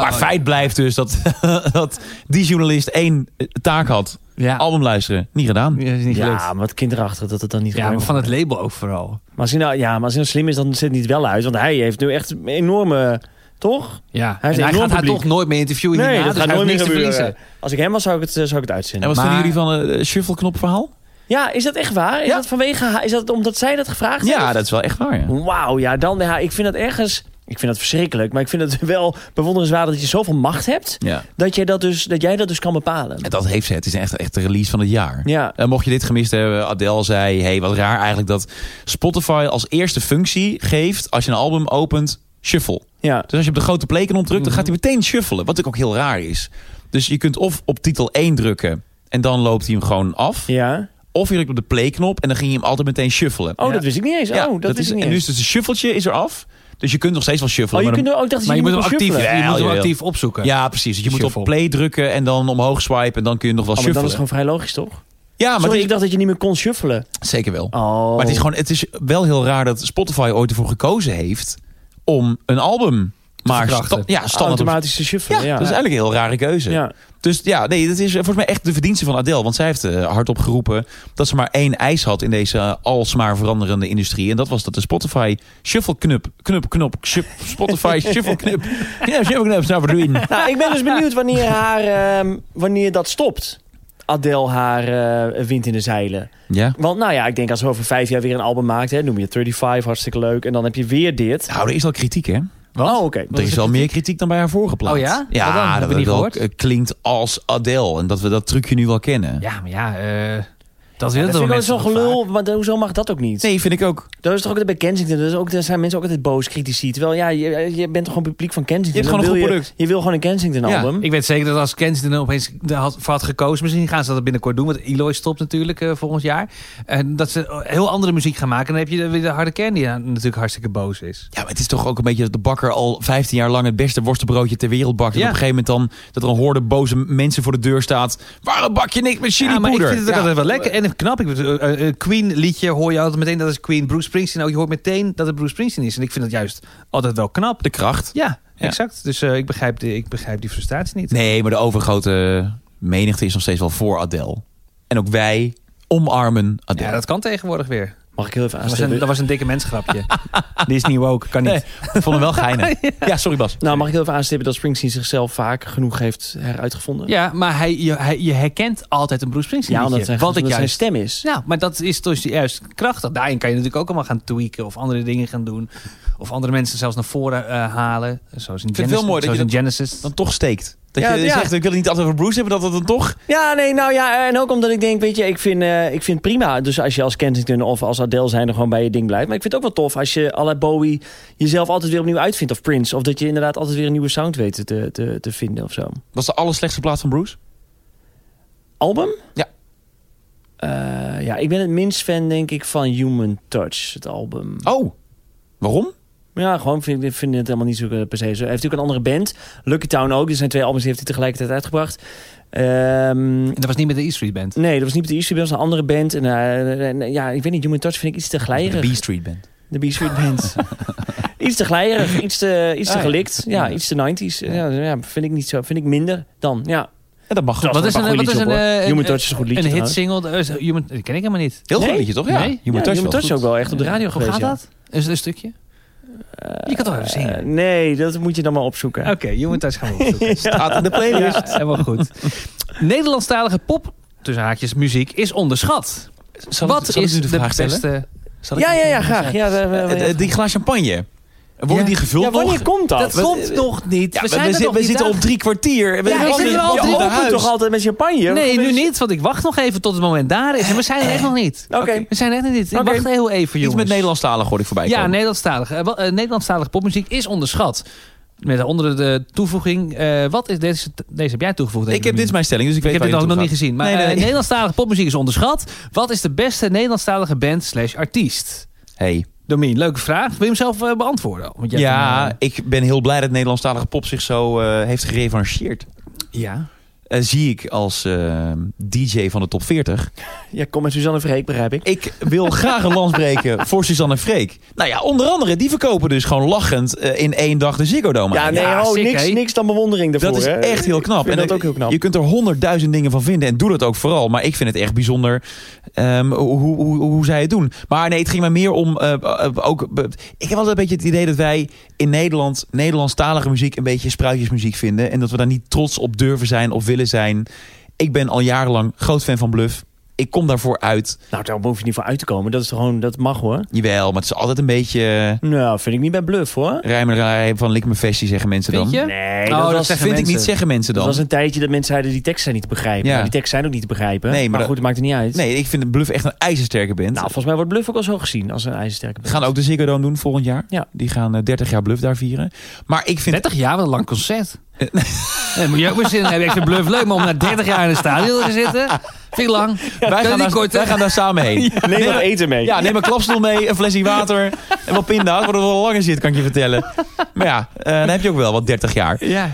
Speaker 1: maar feit blijft dus dat, *laughs* dat die journalist één eh, taak had.
Speaker 3: Ja.
Speaker 1: Album luisteren. Niet gedaan.
Speaker 3: Ja, is niet gelukt.
Speaker 2: Ja, maar wat kinderachtig dat het dan niet
Speaker 3: Ja, maar
Speaker 2: gebeurt.
Speaker 3: van het label ook vooral.
Speaker 2: Maar als hij nou, ja, maar als hij nou slim is, dan zit het niet wel uit. Want hij heeft nu echt een enorme... Toch?
Speaker 3: Ja.
Speaker 2: Hij
Speaker 3: Hij,
Speaker 2: is
Speaker 3: en hij
Speaker 2: enorm
Speaker 3: gaat haar
Speaker 2: publiek.
Speaker 3: toch nooit meer interviewen.
Speaker 1: nou,
Speaker 2: Nee,
Speaker 3: hierna,
Speaker 2: dat
Speaker 3: dus
Speaker 2: gaat
Speaker 3: hij
Speaker 2: nooit
Speaker 3: heeft
Speaker 2: meer
Speaker 3: niks te
Speaker 2: gebeuren.
Speaker 3: verliezen.
Speaker 2: Als ik hem was, zou ik het, eh, zou ik het
Speaker 1: En
Speaker 2: uitzenden.
Speaker 1: wat
Speaker 3: Maar-
Speaker 1: vinden jullie van eh, het shuffle-knop verhaal?
Speaker 2: Ja, is dat echt waar? Is, dat vanwege, haar- is dat omdat zij dat gevraagd heeft?
Speaker 1: Ja, dat is wel echt waar. Ja.
Speaker 2: Wauw, ja, dan, ja, ik vind dat ergens... Ik vind dat verschrikkelijk, maar ik vind het *laughs* wel bewonderenswaardig dat je zoveel macht hebt...
Speaker 1: Ja.
Speaker 2: dat, je dat, dus, dat jij dat dus kan bepalen.
Speaker 1: En dat heeft ze. Het is echt, echt de release van het jaar.
Speaker 2: Ja.
Speaker 1: En mocht je dit gemist hebben, Adele zei... hey, wat raar eigenlijk dat Spotify als eerste functie geeft... als je een album opent, shuffle.
Speaker 2: Ja,
Speaker 1: Dus als je op de grote playknop drukt, dan gaat hij meteen shuffelen. Wat ook heel raar is. Dus je kunt of op titel 1 drukken... en dan loopt hij hem gewoon af.
Speaker 2: ja.
Speaker 1: Of je drukt op de playknop en dan ging je hem altijd meteen shuffelen.
Speaker 2: Oh, dat wist ik niet eens.
Speaker 1: Ja,
Speaker 2: oh, dat, wist ik niet
Speaker 1: En nu
Speaker 2: eens.
Speaker 1: is dus een shuffeltje is er af. Dus je kunt nog steeds wel
Speaker 2: Oh,
Speaker 1: shuffelen.
Speaker 2: je
Speaker 1: maar dan-
Speaker 2: kunt er ook dacht dat
Speaker 3: Maar je moet hem
Speaker 2: nog
Speaker 3: actief,
Speaker 2: shuffelen.
Speaker 1: Ja,
Speaker 3: je moet hem
Speaker 1: jawel.
Speaker 3: actief opzoeken.
Speaker 1: Ja, precies. Dus je moet
Speaker 3: Shuffle.
Speaker 1: op play drukken en dan omhoog swipen en dan kun je nog wel
Speaker 2: Oh, maar dat
Speaker 1: shuffelen.
Speaker 2: is gewoon vrij logisch, toch?
Speaker 1: Ja, maar
Speaker 2: Sorry,
Speaker 1: het
Speaker 2: ik dacht dat je niet meer kon shuffelen.
Speaker 1: is- zeker wel.
Speaker 2: Oh.
Speaker 1: Maar het is gewoon, het is wel heel raar dat Spotify ooit ervoor gekozen heeft om een album maar
Speaker 3: verkrachten.
Speaker 1: sta- ja, standaard op-
Speaker 2: automatische shuffelen.
Speaker 1: Ja,
Speaker 2: Ja,
Speaker 1: dat is eigenlijk een heel rare keuze.
Speaker 2: Ja.
Speaker 1: Dus ja, nee, dat is eh, volgens mij echt de verdienste van Adele. Want zij heeft eh, hardop geroepen dat ze maar één eis had in deze eh, alsmaar veranderende industrie. En dat was dat de Spotify shuffle knup, knup, knop, shup-
Speaker 3: *laughs*
Speaker 1: Spotify shuffle knup. Ja, shuffle knup, nou wat doe je?
Speaker 2: Nou, ik ben dus benieuwd wanneer, haar, ehm, wanneer dat stopt. Adele haar eh, wind in de zeilen.
Speaker 1: Ja.
Speaker 2: Want nou ja, ik denk als ze over vijf jaar weer een album maakt... Hè, noem je 35, hartstikke leuk. En dan heb je weer dit.
Speaker 1: Nou, er is al kritiek, hè?
Speaker 2: Oh, oké.
Speaker 1: Er is wel meer kritiek dan bij haar vorige plaat.
Speaker 3: Oh ja? Wat dan?
Speaker 1: Ja,
Speaker 3: Heb
Speaker 1: dat
Speaker 3: ik
Speaker 1: het
Speaker 3: niet
Speaker 1: wel
Speaker 3: gehoord.
Speaker 1: eh, klinkt als Adele. En dat we dat trucje nu wel kennen.
Speaker 3: Ja, maar ja, eh, dat wil
Speaker 2: Dat
Speaker 3: wel
Speaker 2: vind ik wel
Speaker 3: mensen
Speaker 2: zo'n
Speaker 3: toch vaak.
Speaker 2: gelul, maar hoezo mag dat ook niet?
Speaker 1: Nee, vind ik ook.
Speaker 2: Dat is toch ook de bij Kensington. Dat is ook, daar zijn mensen ook altijd boos critici. Terwijl ja, je, je bent toch gewoon publiek van Kensington.
Speaker 1: Je hebt
Speaker 2: Dan
Speaker 1: gewoon een
Speaker 2: wil
Speaker 1: goed
Speaker 2: Je, je wil gewoon een Kensington
Speaker 1: Ja,
Speaker 2: album.
Speaker 3: Ik weet zeker dat als Kensington er opeens de had, voor had gekozen... misschien gaan ze dat binnenkort doen, want Eloy stopt natuurlijk eh, volgend jaar. En dat ze heel andere muziek gaan maken. En dan heb je weer de harde kern die dan natuurlijk hartstikke boos is.
Speaker 1: Ja, maar het is toch ook een beetje dat de bakker al 15 jaar lang het beste worstenbroodje ter wereld bakt. En
Speaker 3: Ja.
Speaker 1: op een gegeven moment dan dat er een horde boze mensen voor de deur staat. Waarom bak je niks met
Speaker 3: Ja, maar ik
Speaker 1: chilipoeder?
Speaker 3: vind het ook altijd wel lekker en knap. Ik, bedoel, eh, eh, Queen liedje hoor je altijd meteen dat is Queen. Bruce Springsteen ook, je hoort meteen dat het Bruce Springsteen is. En ik vind dat juist altijd wel knap.
Speaker 1: De kracht.
Speaker 3: Ja,
Speaker 1: Ja.
Speaker 3: exact. Dus eh, ik, begrijp de, ik begrijp die frustratie niet.
Speaker 1: Nee, maar de overgrote menigte is nog steeds wel voor Adele. En ook wij omarmen Adele.
Speaker 3: Ja, dat kan tegenwoordig weer.
Speaker 2: Mag ik heel even
Speaker 3: Dat was een,
Speaker 2: aanstellen?
Speaker 3: dat was een dikke *laughs* mensgrapje. Die is niet woke, kan niet.
Speaker 1: Nee, *laughs* ik vond hem wel geinig.
Speaker 3: *laughs*
Speaker 1: Ja, sorry Bas.
Speaker 2: Nou, mag ik heel even aanstippen dat Springsteen zichzelf vaak genoeg heeft heruitgevonden?
Speaker 3: Ja, maar hij, je, hij, je herkent altijd een Bruce Springsteen
Speaker 2: Ja, omdat,
Speaker 3: liedje.
Speaker 2: zijn,
Speaker 3: wat ik
Speaker 2: omdat zijn
Speaker 3: juist... Nou,
Speaker 2: stem is.
Speaker 3: Ja, maar dat is dus juist krachtig. Daarin kan je natuurlijk ook allemaal gaan tweaken of andere dingen gaan doen. Of andere mensen zelfs naar voren eh, halen. Zoals in,
Speaker 1: vind het
Speaker 3: Genesis,
Speaker 1: wel mooi dat
Speaker 3: zoals
Speaker 1: je
Speaker 3: in Genesis.
Speaker 1: Dan toch steekt. Dat
Speaker 2: Ja,
Speaker 1: je
Speaker 2: ja.
Speaker 1: zegt, ik wil het niet altijd over Bruce hebben, dat het dan toch...
Speaker 2: Ja, nee, nou ja, en ook omdat ik denk, weet je, ik vind, eh, ik vind prima. Dus als je als Kensington of als Adele zijn er gewoon bij je ding blijft. Maar ik vind het ook wel tof als je à la Bowie jezelf altijd weer opnieuw uitvindt. Of Prince. Of dat je inderdaad altijd weer een nieuwe sound weet te, te, te vinden of zo.
Speaker 1: Was de allerslechtste plaat van Bruce?
Speaker 2: Album?
Speaker 1: Ja.
Speaker 2: Eh, ja, ik ben het minst fan, denk ik, van Human Touch, het album.
Speaker 1: Oh, waarom?
Speaker 2: Ja, gewoon vind ik vind het helemaal niet zo eh, per se zo. Hij heeft natuurlijk een andere band. Lucky Town ook. Er zijn twee albums die heeft hij tegelijkertijd uitgebracht. Ehm,
Speaker 3: En dat was niet met de E Street Band.
Speaker 2: nee, dat was niet met de E-Street Band, dat was een andere band. En, eh, en, eh, ja, ik weet niet, Human Touch vind ik iets te
Speaker 1: De
Speaker 2: glijerig.
Speaker 1: B-Street Band.
Speaker 2: De B-Street Band. *laughs* iets te glijerig, iets te, iets te
Speaker 1: Ah, ja.
Speaker 2: gelikt. Ja, iets te 90s. Ja, ja, vind ik niet zo. Vind ik minder dan, ja.
Speaker 1: Ja, dat mag.
Speaker 2: Dat
Speaker 1: wel.
Speaker 2: is een- wat is een, eh, Human Touch is een goed liedje
Speaker 3: Een hit
Speaker 2: trouwens.
Speaker 3: single. eh, is- Human, dat ken ik helemaal niet.
Speaker 1: Heel goed
Speaker 2: Nee.
Speaker 1: liedje, toch? Ja,
Speaker 3: Nee.
Speaker 1: Human
Speaker 2: ja,
Speaker 1: Touch
Speaker 2: Human
Speaker 1: wel.
Speaker 2: Touch is ook wel echt op de radio
Speaker 3: Hoe
Speaker 2: geweest.
Speaker 3: gaat
Speaker 2: ja.
Speaker 3: dat? Is het een stukje? Je kan toch even zingen?
Speaker 2: Eh, nee, dat moet je dan maar opzoeken.
Speaker 3: Oké, Human Touch gaan we opzoeken.
Speaker 1: Staat in de playlist.
Speaker 3: Ja, helemaal goed. Nederlandstalige pop, tussen haakjes, muziek, is onderschat.
Speaker 1: Zal ik-
Speaker 3: Wat
Speaker 1: zal ik
Speaker 3: is
Speaker 1: u de vraag stellen?
Speaker 3: beste...
Speaker 1: Zal ik-
Speaker 2: Ja, ja, ja, graag. Ja, daar-
Speaker 1: Eh, eh, die glaas champagne. Worden
Speaker 3: Ja.
Speaker 1: die gevuld
Speaker 2: Ja,
Speaker 1: nog?
Speaker 2: wanneer komt dat?
Speaker 3: Dat
Speaker 1: Wat-
Speaker 3: komt nog
Speaker 1: Ah,
Speaker 3: niet.
Speaker 1: Ja,
Speaker 3: we
Speaker 1: we,
Speaker 3: zijn
Speaker 1: we
Speaker 3: er
Speaker 1: zi-
Speaker 3: nog
Speaker 1: we
Speaker 3: niet
Speaker 1: zitten
Speaker 3: aan.
Speaker 1: op drie kwartier. En we
Speaker 3: Ja,
Speaker 1: zijn
Speaker 3: we
Speaker 1: al
Speaker 3: zitten
Speaker 1: in-
Speaker 3: er al
Speaker 1: al
Speaker 3: drie
Speaker 1: in
Speaker 3: op,
Speaker 1: huis.
Speaker 2: toch altijd met champagne?
Speaker 3: Nee,
Speaker 1: dus-
Speaker 3: nu niet, want ik wacht nog even tot het moment daar is. En we zijn er echt nog
Speaker 1: *laughs*
Speaker 3: niet.
Speaker 2: Oké.
Speaker 3: We zijn er echt nog niet. Ik
Speaker 2: Oké.
Speaker 3: wacht heel even,
Speaker 1: Nou, Iets
Speaker 3: jongens.
Speaker 1: met Nederlandstalig hoorde ik voorbij
Speaker 3: Ja,
Speaker 1: komen.
Speaker 3: Nederlandstalig. Eh, wa- eh, Nederlandstalige popmuziek is onderschat. Met eh, onder de toevoeging... eh, wat is deze? Deze heb jij toegevoegd.
Speaker 1: Ik heb dit is
Speaker 3: Economie.
Speaker 1: mijn stelling, dus ik weet
Speaker 3: Ik heb
Speaker 1: waar
Speaker 3: dit
Speaker 1: je
Speaker 3: ook nog niet
Speaker 1: naartoe
Speaker 3: gezien. Maar
Speaker 1: Nee, nee,
Speaker 3: eh,
Speaker 1: nee.
Speaker 3: Nederlandstalige popmuziek is onderschat. Wat is de beste Nederlandstalige band slash artiest?
Speaker 1: gaat. Hey.
Speaker 3: Domien, leuke vraag. Wil je hem zelf eh, beantwoorden? Want jij
Speaker 1: Ja,
Speaker 3: hebt
Speaker 1: ik ben heel blij dat Nederlandstalige pop zich zo eh, heeft gerevancheerd.
Speaker 3: een, eh, ja.
Speaker 1: Eh, zie ik als eh, DJ van de top 40.
Speaker 2: Ja, kom met Suzanne Verheek, begrijp ik.
Speaker 1: Ik
Speaker 3: *laughs*
Speaker 1: wil graag een lans breken voor Suzanne en Freek. Nou ja, onder andere, die verkopen dus gewoon lachend eh, in één dag de Ziggo Dome.
Speaker 2: Ja,
Speaker 1: aan.
Speaker 2: nee,
Speaker 3: Ja,
Speaker 2: oh,
Speaker 3: sick,
Speaker 2: niks,
Speaker 3: hè?
Speaker 2: niks dan bewondering daarvoor.
Speaker 1: Dat is
Speaker 2: hè.
Speaker 1: echt heel knap.
Speaker 2: Ik vind
Speaker 1: En,
Speaker 2: dat ook
Speaker 1: eh,
Speaker 2: heel knap.
Speaker 1: Je kunt er honderdduizend dingen van vinden en doe dat ook vooral. Maar ik vind het echt bijzonder ehm, hoe, hoe, hoe zij het doen. Maar nee, het ging mij meer om eh, eh, ook. be- ik heb altijd een beetje het idee dat wij in Nederland Nederlandstalige muziek een beetje spruitjesmuziek vinden en dat we daar niet trots op durven zijn of willen zijn. Ik ben al jarenlang groot fan van Bluff. Ik kom daarvoor uit.
Speaker 2: Nou, daar hoef je niet voor uit te komen. Dat, is toch gewoon, dat mag hoor.
Speaker 1: Jawel, maar het is altijd een beetje
Speaker 2: Nou, vind ik niet bij bluff hoor.
Speaker 1: eh, rijmerij van Lik me Festie, zeggen mensen
Speaker 3: Vind
Speaker 1: dan.
Speaker 3: je?
Speaker 2: Nee,
Speaker 3: Oh,
Speaker 2: dat,
Speaker 3: dat
Speaker 2: was,
Speaker 1: Dat
Speaker 3: zeggen
Speaker 1: vind ik
Speaker 3: mensen.
Speaker 1: niet, zeggen mensen
Speaker 2: dat
Speaker 1: dan.
Speaker 2: was een tijdje dat mensen zeiden die tekst zijn niet te begrijpen.
Speaker 1: Ja.
Speaker 2: Nou, die tekst zijn ook niet te begrijpen.
Speaker 1: Nee, maar
Speaker 2: maar
Speaker 1: dat-
Speaker 2: goed, het maakt het niet uit.
Speaker 1: Nee, ik vind Bluff echt een ijzersterke band.
Speaker 2: Nou, volgens mij wordt bluff ook al zo gezien als een ijzersterke *laughs*
Speaker 1: We gaan ook de Ziggo Dome doen volgend jaar.
Speaker 2: Ja.
Speaker 1: Die gaan eh, 30 jaar Bluff daar vieren. Maar ik vind...
Speaker 3: 30 jaar, wat een lang
Speaker 1: *laughs*
Speaker 3: concert. Nee, moet je ook weer zin in hebben. Ik vind bluff leuk, maar om na 30 jaar in een stadion te zitten, vind ik lang.
Speaker 1: wij, gaan daar, wij gaan daar samen heen. Ja,
Speaker 2: Neem wat eten mee.
Speaker 1: neem een klapstoel mee, een flesje water en wat pinda's. Waardoor het wel langer zit, kan ik je vertellen. Maar ja, eh, dan heb je ook wel wat 30 jaar.
Speaker 3: Ja.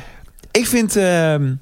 Speaker 1: Ik vind ehm,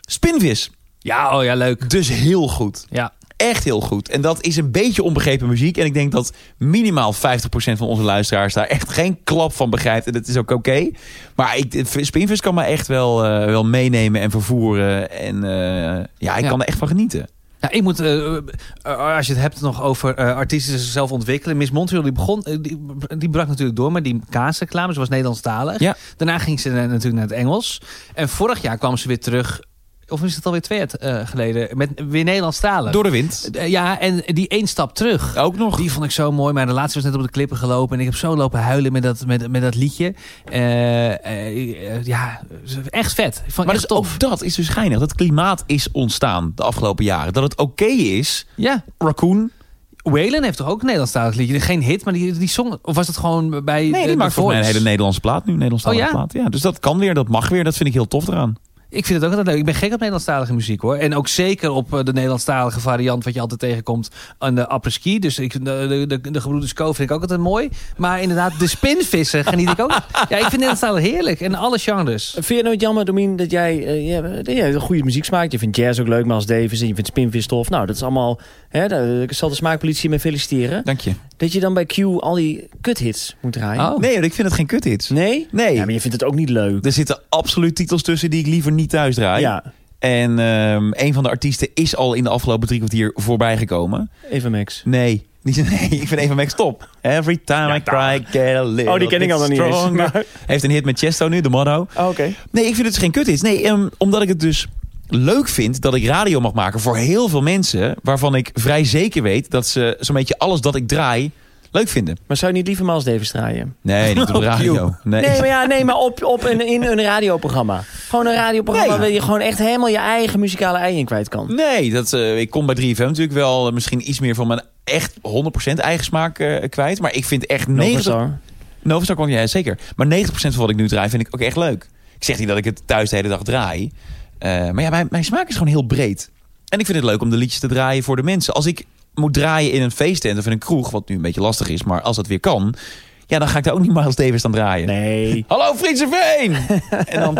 Speaker 1: Spinvis
Speaker 3: ja, oh ja, leuk.
Speaker 1: dus heel goed.
Speaker 3: Ja.
Speaker 1: Echt heel goed. En dat is een beetje onbegrepen muziek. En ik denk dat minimaal 50% van onze luisteraars daar echt geen klap van begrijpt. En dat is ook oké. Maar ik, Spinvis kan me echt wel, eh, wel meenemen en vervoeren. En eh, ja, ik
Speaker 3: Ja.
Speaker 1: kan er echt van genieten.
Speaker 3: Nou, ik moet, eh, eh, eh, als je het hebt nog over eh, artiesten die zichzelf ontwikkelen. Miss Montreal, die begon, eh, die, die brak natuurlijk door met die kaasreclame. Ze was Nederlandstalig.
Speaker 1: Ja.
Speaker 3: Daarna ging ze na- natuurlijk naar het Engels. En vorig jaar kwam ze weer terug, of is het alweer twee jaar eh, geleden, met weer Nederlandstalig.
Speaker 1: Door de wind.
Speaker 3: Eh, ja, en die één stap terug.
Speaker 1: Ook nog.
Speaker 3: Die vond ik zo mooi. Mijn relatie was net op de klippen gelopen. En ik heb zo lopen huilen met dat, met, met dat liedje. Eh, eh, eh, ja, echt vet. Ik vond
Speaker 1: maar
Speaker 3: maar
Speaker 1: dus
Speaker 3: echt tof.
Speaker 1: ook dat is dus geinig. Dat klimaat is ontstaan de afgelopen jaren. Dat het oké is.
Speaker 3: Ja,
Speaker 1: Raccoon.
Speaker 3: Waylon heeft toch ook een Nederlandstalig liedje? Geen hit, maar die, die zong... Of was dat gewoon bij
Speaker 1: Nee,
Speaker 3: eh,
Speaker 1: die
Speaker 3: The
Speaker 1: maakt volgens mij een
Speaker 3: Voice?
Speaker 1: hele Nederlandse plaat nu. Nederlandstalige
Speaker 3: Oh ja?
Speaker 1: plaat. Ja, dus dat kan weer, dat mag weer. Dat vind ik heel tof eraan.
Speaker 3: Ik vind het ook altijd leuk. Ik ben gek op Nederlandstalige muziek, hoor. En ook zeker op eh, de Nederlandstalige variant... wat je altijd tegenkomt aan de apres-ski. Dus ik, vind de, de, de, de Gebroeders Co vind ik ook altijd mooi. Maar inderdaad, de spinvissen *laughs* geniet ik ook. Ja, ik vind Nederlandstalig heerlijk. En alle genres.
Speaker 2: Vind je nooit jammer, Domien, dat jij eh, je, hebt- je hebt een goede muziek smaakt? Je vindt jazz ook leuk, Miles Davis, en je vindt spinvis tof. Nou, dat is allemaal... Hè, daar eh, ik zal de smaakpolitie mee feliciteren.
Speaker 1: Dank je.
Speaker 2: Dat je dan bij Q al die kuthits moet draaien.
Speaker 3: Oh.
Speaker 1: Nee, ik vind het geen kut hits.
Speaker 2: Nee?
Speaker 1: Nee.
Speaker 2: Ja, maar je vindt het ook niet leuk.
Speaker 1: Er zitten absoluut titels tussen die ik liever niet thuis draai.
Speaker 2: Ja,
Speaker 1: En ehm, een van de artiesten is al in de afgelopen drie kwartier voorbij gekomen.
Speaker 2: even Max.
Speaker 1: Nee, *laughs* die, nee ik vind even Max top. Every time I cry, I get a little
Speaker 2: Oh, die ken ik
Speaker 1: bit
Speaker 2: al nog niet eens. *laughs*
Speaker 1: stronger.
Speaker 2: Maar-
Speaker 1: Heeft een hit met Chesto nu, de motto.
Speaker 2: Oh, Oké.
Speaker 1: Nee, ik vind het geen kut is. Nee, ehm, omdat ik het dus leuk vind dat ik radio mag maken voor heel veel mensen... waarvan ik vrij zeker weet dat ze zo'n beetje alles dat ik draai leuk vinden.
Speaker 2: Maar zou je niet liever Miles Davis draaien?
Speaker 1: Nee, niet op
Speaker 2: *laughs*
Speaker 1: de radio. Nee.
Speaker 2: Nee, maar, ja, nee, maar op, op een, in een radioprogramma. Gewoon een radioprogramma
Speaker 1: Nee.
Speaker 2: waar je gewoon echt helemaal je eigen muzikale ei in kwijt kan.
Speaker 1: Nee, dat, eh, ik kom bij 3FM natuurlijk wel eh, misschien iets meer van mijn echt 100% eigen smaak eh, kwijt. Maar ik vind echt 90%...
Speaker 2: Novastar.
Speaker 1: Novastar kwam jij zeker. Maar 90% van wat ik nu draai vind ik ook echt leuk. Ik zeg niet dat ik het thuis de hele dag draai. Eh, maar ja, mijn, mijn smaak is gewoon heel breed. En ik vind het leuk om de liedjes te draaien voor de mensen. Als ik moet draaien in een feesttent of in een kroeg, wat nu een beetje lastig is, maar als dat weer kan, ja, dan ga ik daar ook niet *laughs* Miles Davis aan draaien.
Speaker 2: Nee.
Speaker 1: Hallo Friese Veen! en dan,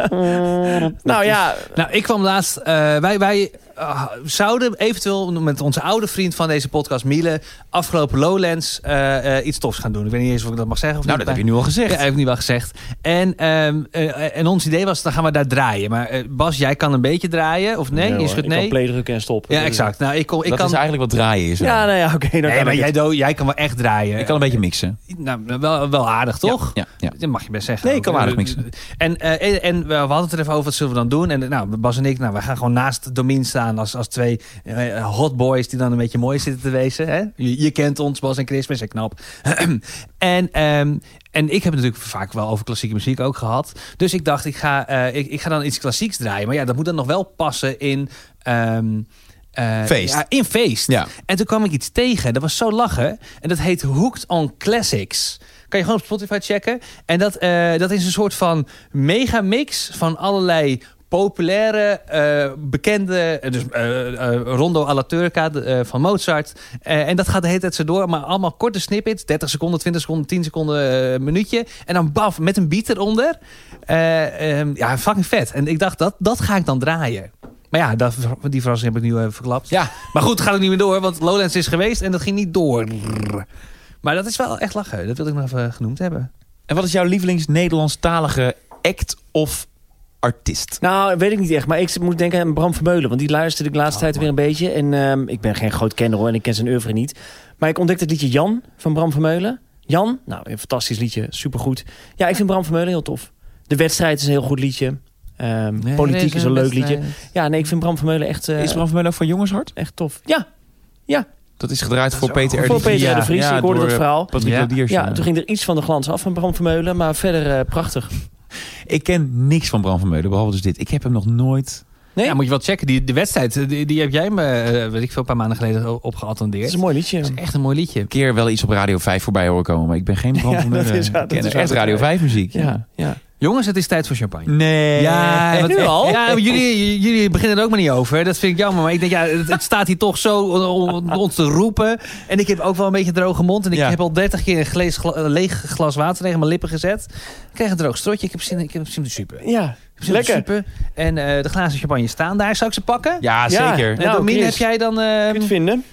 Speaker 2: nou ja,
Speaker 3: Nou, ik kwam laatst. eh, wij wij eh, zouden eventueel met onze oude vriend van deze podcast, Miele, afgelopen Lowlands eh, eh, iets tofs gaan doen. Ik weet niet eens of ik dat mag zeggen. Of
Speaker 1: nou,
Speaker 3: niet,
Speaker 1: dat heb je
Speaker 3: maar-
Speaker 1: nu al gezegd.
Speaker 3: Ja, hij heeft nu wel gezegd. En, ehm, eh, en ons idee was, dan gaan we daar draaien. Maar eh, Bas, jij kan een beetje draaien, of nee? je
Speaker 2: hoor,
Speaker 3: schudt
Speaker 2: ik kan
Speaker 3: nee?
Speaker 2: play drukken en stoppen.
Speaker 3: Ja,
Speaker 2: Dus-
Speaker 3: exact. Nou, ik, kon, ik
Speaker 1: dat
Speaker 3: kan...
Speaker 1: is eigenlijk wat draaien is.
Speaker 2: Ja, nou ja, oké. dan
Speaker 3: Nee,
Speaker 2: kan
Speaker 3: maar
Speaker 2: ik
Speaker 3: jij,
Speaker 2: het.
Speaker 3: Do, jij kan wel echt draaien.
Speaker 1: Ik kan een beetje mixen.
Speaker 3: Nou, wel, wel aardig, toch?
Speaker 1: Ja, ja.
Speaker 3: Dat mag je best zeggen.
Speaker 1: Nee, ik kan
Speaker 3: Ook,
Speaker 1: aardig
Speaker 3: eh,
Speaker 1: mixen.
Speaker 3: En, eh, en, en we hadden het er even over, wat zullen we dan doen? En eh, nou, Bas en ik, nou, we gaan gewoon naast Domien staan als, als twee eh, hot boys die dan een beetje mooi zitten te wezen. Hè? Je, je kent ons, Bas en Chris, we zijn knap. *clears throat* en, ehm, en ik heb het natuurlijk vaak wel over klassieke muziek ook gehad. Dus ik dacht, ik ga, eh, ik, ik ga dan iets klassieks draaien. Maar ja, dat moet dan nog wel passen in... ehm, eh,
Speaker 1: Feest.
Speaker 3: Ja, in feest.
Speaker 1: Ja.
Speaker 3: En toen kwam ik iets tegen. Dat was zo lachen. En dat heet Hooked on Classics. Kan je gewoon op Spotify checken. En dat, eh, dat is een soort van mega mix van allerlei populaire, eh, bekende, eh, dus eh, eh, Rondo alla Turca de, eh, van Mozart. Eh, en dat gaat de hele tijd zo door, maar allemaal korte snippets. 30 seconden, 20 seconden, 10 seconden, eh, een minuutje. En dan baf, met een beat eronder. Eh, ehm, ja, fucking vet. En ik dacht, dat, dat ga ik dan draaien. Maar ja, dat, die verrassing heb ik nu even verklapt.
Speaker 1: Ja.
Speaker 3: Maar goed, het gaat ook niet meer door, want Lowlands is geweest en dat ging niet door. Maar dat is wel echt lachen. Dat wil ik nog even genoemd hebben.
Speaker 1: En wat is jouw lievelings-Nederlandstalige act of artiest?
Speaker 2: Nou, weet ik niet echt. Maar ik moet denken aan Bram Vermeulen. Want die luisterde ik de laatste tijd weer een beetje. En ehm, ik ben geen groot kenner hoor. En ik ken zijn oeuvre niet. Maar ik ontdekte het liedje Jan van Bram Vermeulen. Jan, nou, een fantastisch liedje. Supergoed. Ja, ik vind Bram Vermeulen heel tof. De wedstrijd is een heel goed liedje. Ehm, politiek is een leuk liedje.
Speaker 3: eh,
Speaker 2: Ja, nee, ik vind Bram Vermeulen echt, eh,
Speaker 1: Is Bram van ook van Jongenshart?
Speaker 2: echt tof. Ja,
Speaker 1: Dat is gedraaid voor
Speaker 3: Dat is ook-
Speaker 1: Peter R.
Speaker 2: voor
Speaker 1: de Vries.
Speaker 2: Peter R. de
Speaker 1: Ja,
Speaker 2: Vries.
Speaker 1: ja,
Speaker 2: ik hoorde
Speaker 1: door,
Speaker 2: dat
Speaker 1: eh,
Speaker 2: verhaal.
Speaker 1: Patrick
Speaker 3: Ja.
Speaker 1: Lodiers.
Speaker 2: Ja, toen ging er iets van de glans af van Bram Vermeulen. Maar verder eh, prachtig.
Speaker 1: Ik ken niks van Bram van Meulen, behalve dus dit. Ik heb hem nog nooit...
Speaker 2: Nee?
Speaker 3: Ja, moet je wel checken. Die, die wedstrijd, eh, die, die heb jij me, eh, weet ik veel, een paar maanden geleden o-
Speaker 2: Het
Speaker 3: opgeattendeerd.
Speaker 2: is een mooi liedje.
Speaker 3: Dat is echt een mooi liedje.
Speaker 1: Een keer wel iets op Radio 5 voorbij horen komen, maar ik ben
Speaker 2: *laughs*
Speaker 1: geen Bram
Speaker 2: Ja,
Speaker 1: van
Speaker 2: dat
Speaker 1: Meulen.
Speaker 2: is waar,
Speaker 1: Ik
Speaker 2: dat
Speaker 1: ken
Speaker 2: is
Speaker 1: echt
Speaker 2: waar.
Speaker 1: Radio 5 muziek.
Speaker 2: Ja, ja.
Speaker 3: Jongens, het is tijd voor champagne.
Speaker 1: Nee.
Speaker 3: Ja,
Speaker 1: Echt?
Speaker 3: wat-
Speaker 1: *laughs*
Speaker 3: Ja, maar jullie, jullie beginnen er ook maar niet over. Dat vind ik jammer. Maar ik denk, ja, het, het staat hier toch zo om- om ons te roepen. En ik heb ook wel een beetje droge mond. En ik
Speaker 1: Ja.
Speaker 3: heb al 30 keer een glees, gla- eh, leeg glas water tegen mijn lippen gezet. Ik krijg een droog strotje. Ik heb zin, ik heb zin in de super. Ik
Speaker 2: Ja,
Speaker 3: heb zin in de
Speaker 2: lekker.
Speaker 3: super. En eh, de glazen champagne staan daar. Zou ik ze pakken?
Speaker 1: Ja, zeker.
Speaker 3: En
Speaker 2: Nou,
Speaker 3: Domien,
Speaker 2: Chris.
Speaker 3: heb jij dan...
Speaker 2: Kun je
Speaker 3: ehm,
Speaker 2: het vinden?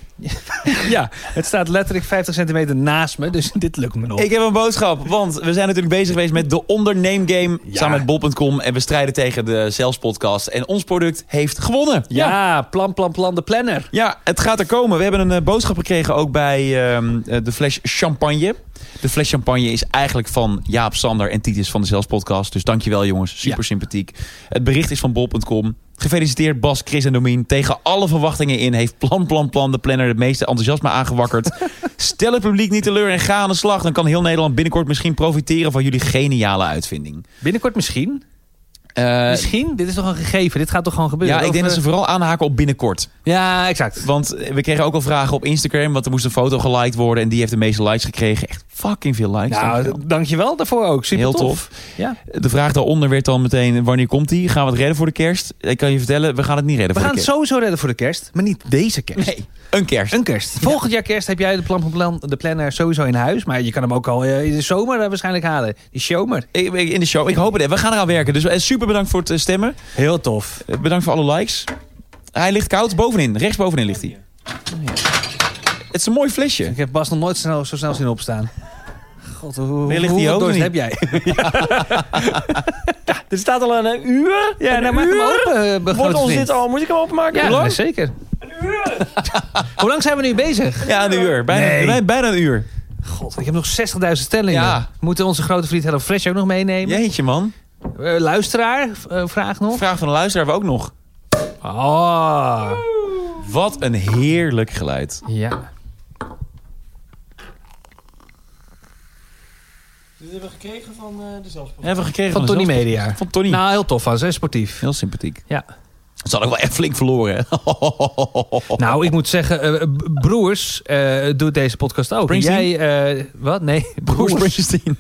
Speaker 3: ja, het staat letterlijk 50 centimeter naast me. Dus *laughs* dit lukt me nog.
Speaker 1: Ik heb een boodschap, want we zijn natuurlijk bezig geweest met de onderneem game samen met bol.com. En we strijden tegen de Sales Podcast. En ons product heeft gewonnen.
Speaker 3: ja, plan, plan, plan, de planner.
Speaker 1: Ja, het gaat er komen. We hebben een eh, boodschap gekregen ook bij ehm, eh, de fles champagne. De fles champagne is eigenlijk van Jaap Sander en Titus van de Zelfs podcast. Dus dankjewel jongens, super
Speaker 3: Ja.
Speaker 1: sympathiek. Het bericht is van bol.com. Gefeliciteerd Bas, Chris en Domien. Tegen alle verwachtingen in heeft plan, plan, plan de planner het meeste enthousiasme aangewakkerd.
Speaker 3: *laughs*
Speaker 1: Stel het publiek niet teleur en ga aan de slag. Dan kan heel Nederland binnenkort misschien profiteren van jullie geniale uitvinding.
Speaker 3: Binnenkort misschien.
Speaker 1: Eh,
Speaker 3: misschien? Dit is toch een gegeven? Dit gaat toch gewoon gebeuren?
Speaker 1: ja, ik
Speaker 3: Of,
Speaker 1: denk dat
Speaker 3: eh,
Speaker 1: ze vooral aanhaken op binnenkort.
Speaker 3: Ja, exact.
Speaker 1: Want we kregen ook al vragen op Instagram. Want er moest een foto geliked worden. En die heeft de meeste likes gekregen. Echt fucking veel likes. Dankjewel.
Speaker 3: Nou, dankjewel daarvoor ook. Super
Speaker 1: Heel
Speaker 3: tof.
Speaker 1: tof.
Speaker 3: Ja.
Speaker 1: De vraag daaronder werd dan meteen: wanneer komt die? Gaan we het redden voor de kerst? Ik kan je vertellen, we gaan het niet redden
Speaker 3: We
Speaker 1: voor
Speaker 3: gaan
Speaker 1: de
Speaker 3: het
Speaker 1: kerst.
Speaker 3: sowieso redden voor de kerst, maar niet deze kerst.
Speaker 1: Een kerst.
Speaker 3: Een kerst. Volgend jaar kerst heb jij de, plan, plan- de planner sowieso in huis. Maar je kan hem ook al eh, in de zomer eh, waarschijnlijk halen. Die zomer.
Speaker 1: Ik- ik- In de show. Ik hoop het. We gaan eraan werken. Dus eh, super bedankt voor het eh, stemmen.
Speaker 3: Heel tof.
Speaker 1: Eh, Bedankt voor alle likes. Hij ligt koud bovenin. Rechts bovenin ligt hij. Oh, Het is een mooi flesje.
Speaker 3: Ik heb Bas nog nooit snel, zo snel zien opstaan. God, hoe, hoe,
Speaker 1: ligt die
Speaker 3: hoeveel
Speaker 1: ook
Speaker 3: dorst
Speaker 1: niet?
Speaker 3: heb jij?
Speaker 1: *laughs*
Speaker 2: Er staat al een eh, uur.
Speaker 3: Ja,
Speaker 2: Een
Speaker 3: nou maak hem
Speaker 2: uur?
Speaker 3: open, eh,
Speaker 2: Wordt
Speaker 3: grote
Speaker 2: ons
Speaker 3: vriend.
Speaker 2: dit al, moet ik hem openmaken?
Speaker 3: Ja, nou,
Speaker 2: Hoe lang?
Speaker 3: zeker. *laughs* Hoe lang zijn we nu bezig?
Speaker 1: Ja, een uur. Bijna,
Speaker 3: Nee.
Speaker 1: bij- bijna een uur.
Speaker 3: God, ik heb nog 60.000 stellingen.
Speaker 1: Ja.
Speaker 3: Moeten onze grote vriend Hello Fresh ook nog meenemen?
Speaker 1: Jeetje, man.
Speaker 3: Eh, luisteraar, eh, vraag nog.
Speaker 1: Vraag van de luisteraar hebben we ook nog.
Speaker 3: Ah.
Speaker 1: Wat een heerlijk geluid.
Speaker 3: Ja.
Speaker 5: Dit hebben we gekregen van eh, de zelfspot.
Speaker 1: Hebben we gekregen
Speaker 3: Van Tony Media.
Speaker 1: Van Tony.
Speaker 3: Nou, heel tof was, hè, sportief.
Speaker 1: Heel sympathiek.
Speaker 3: Ja.
Speaker 1: Ze hadden wel echt flink verloren. hè? *laughs*
Speaker 3: Nou, ik moet zeggen, eh, b- Broers eh, doet deze podcast ook.
Speaker 1: Springsteen?
Speaker 3: Jij, eh, wat? Nee, *laughs*
Speaker 1: Bruce Springsteen.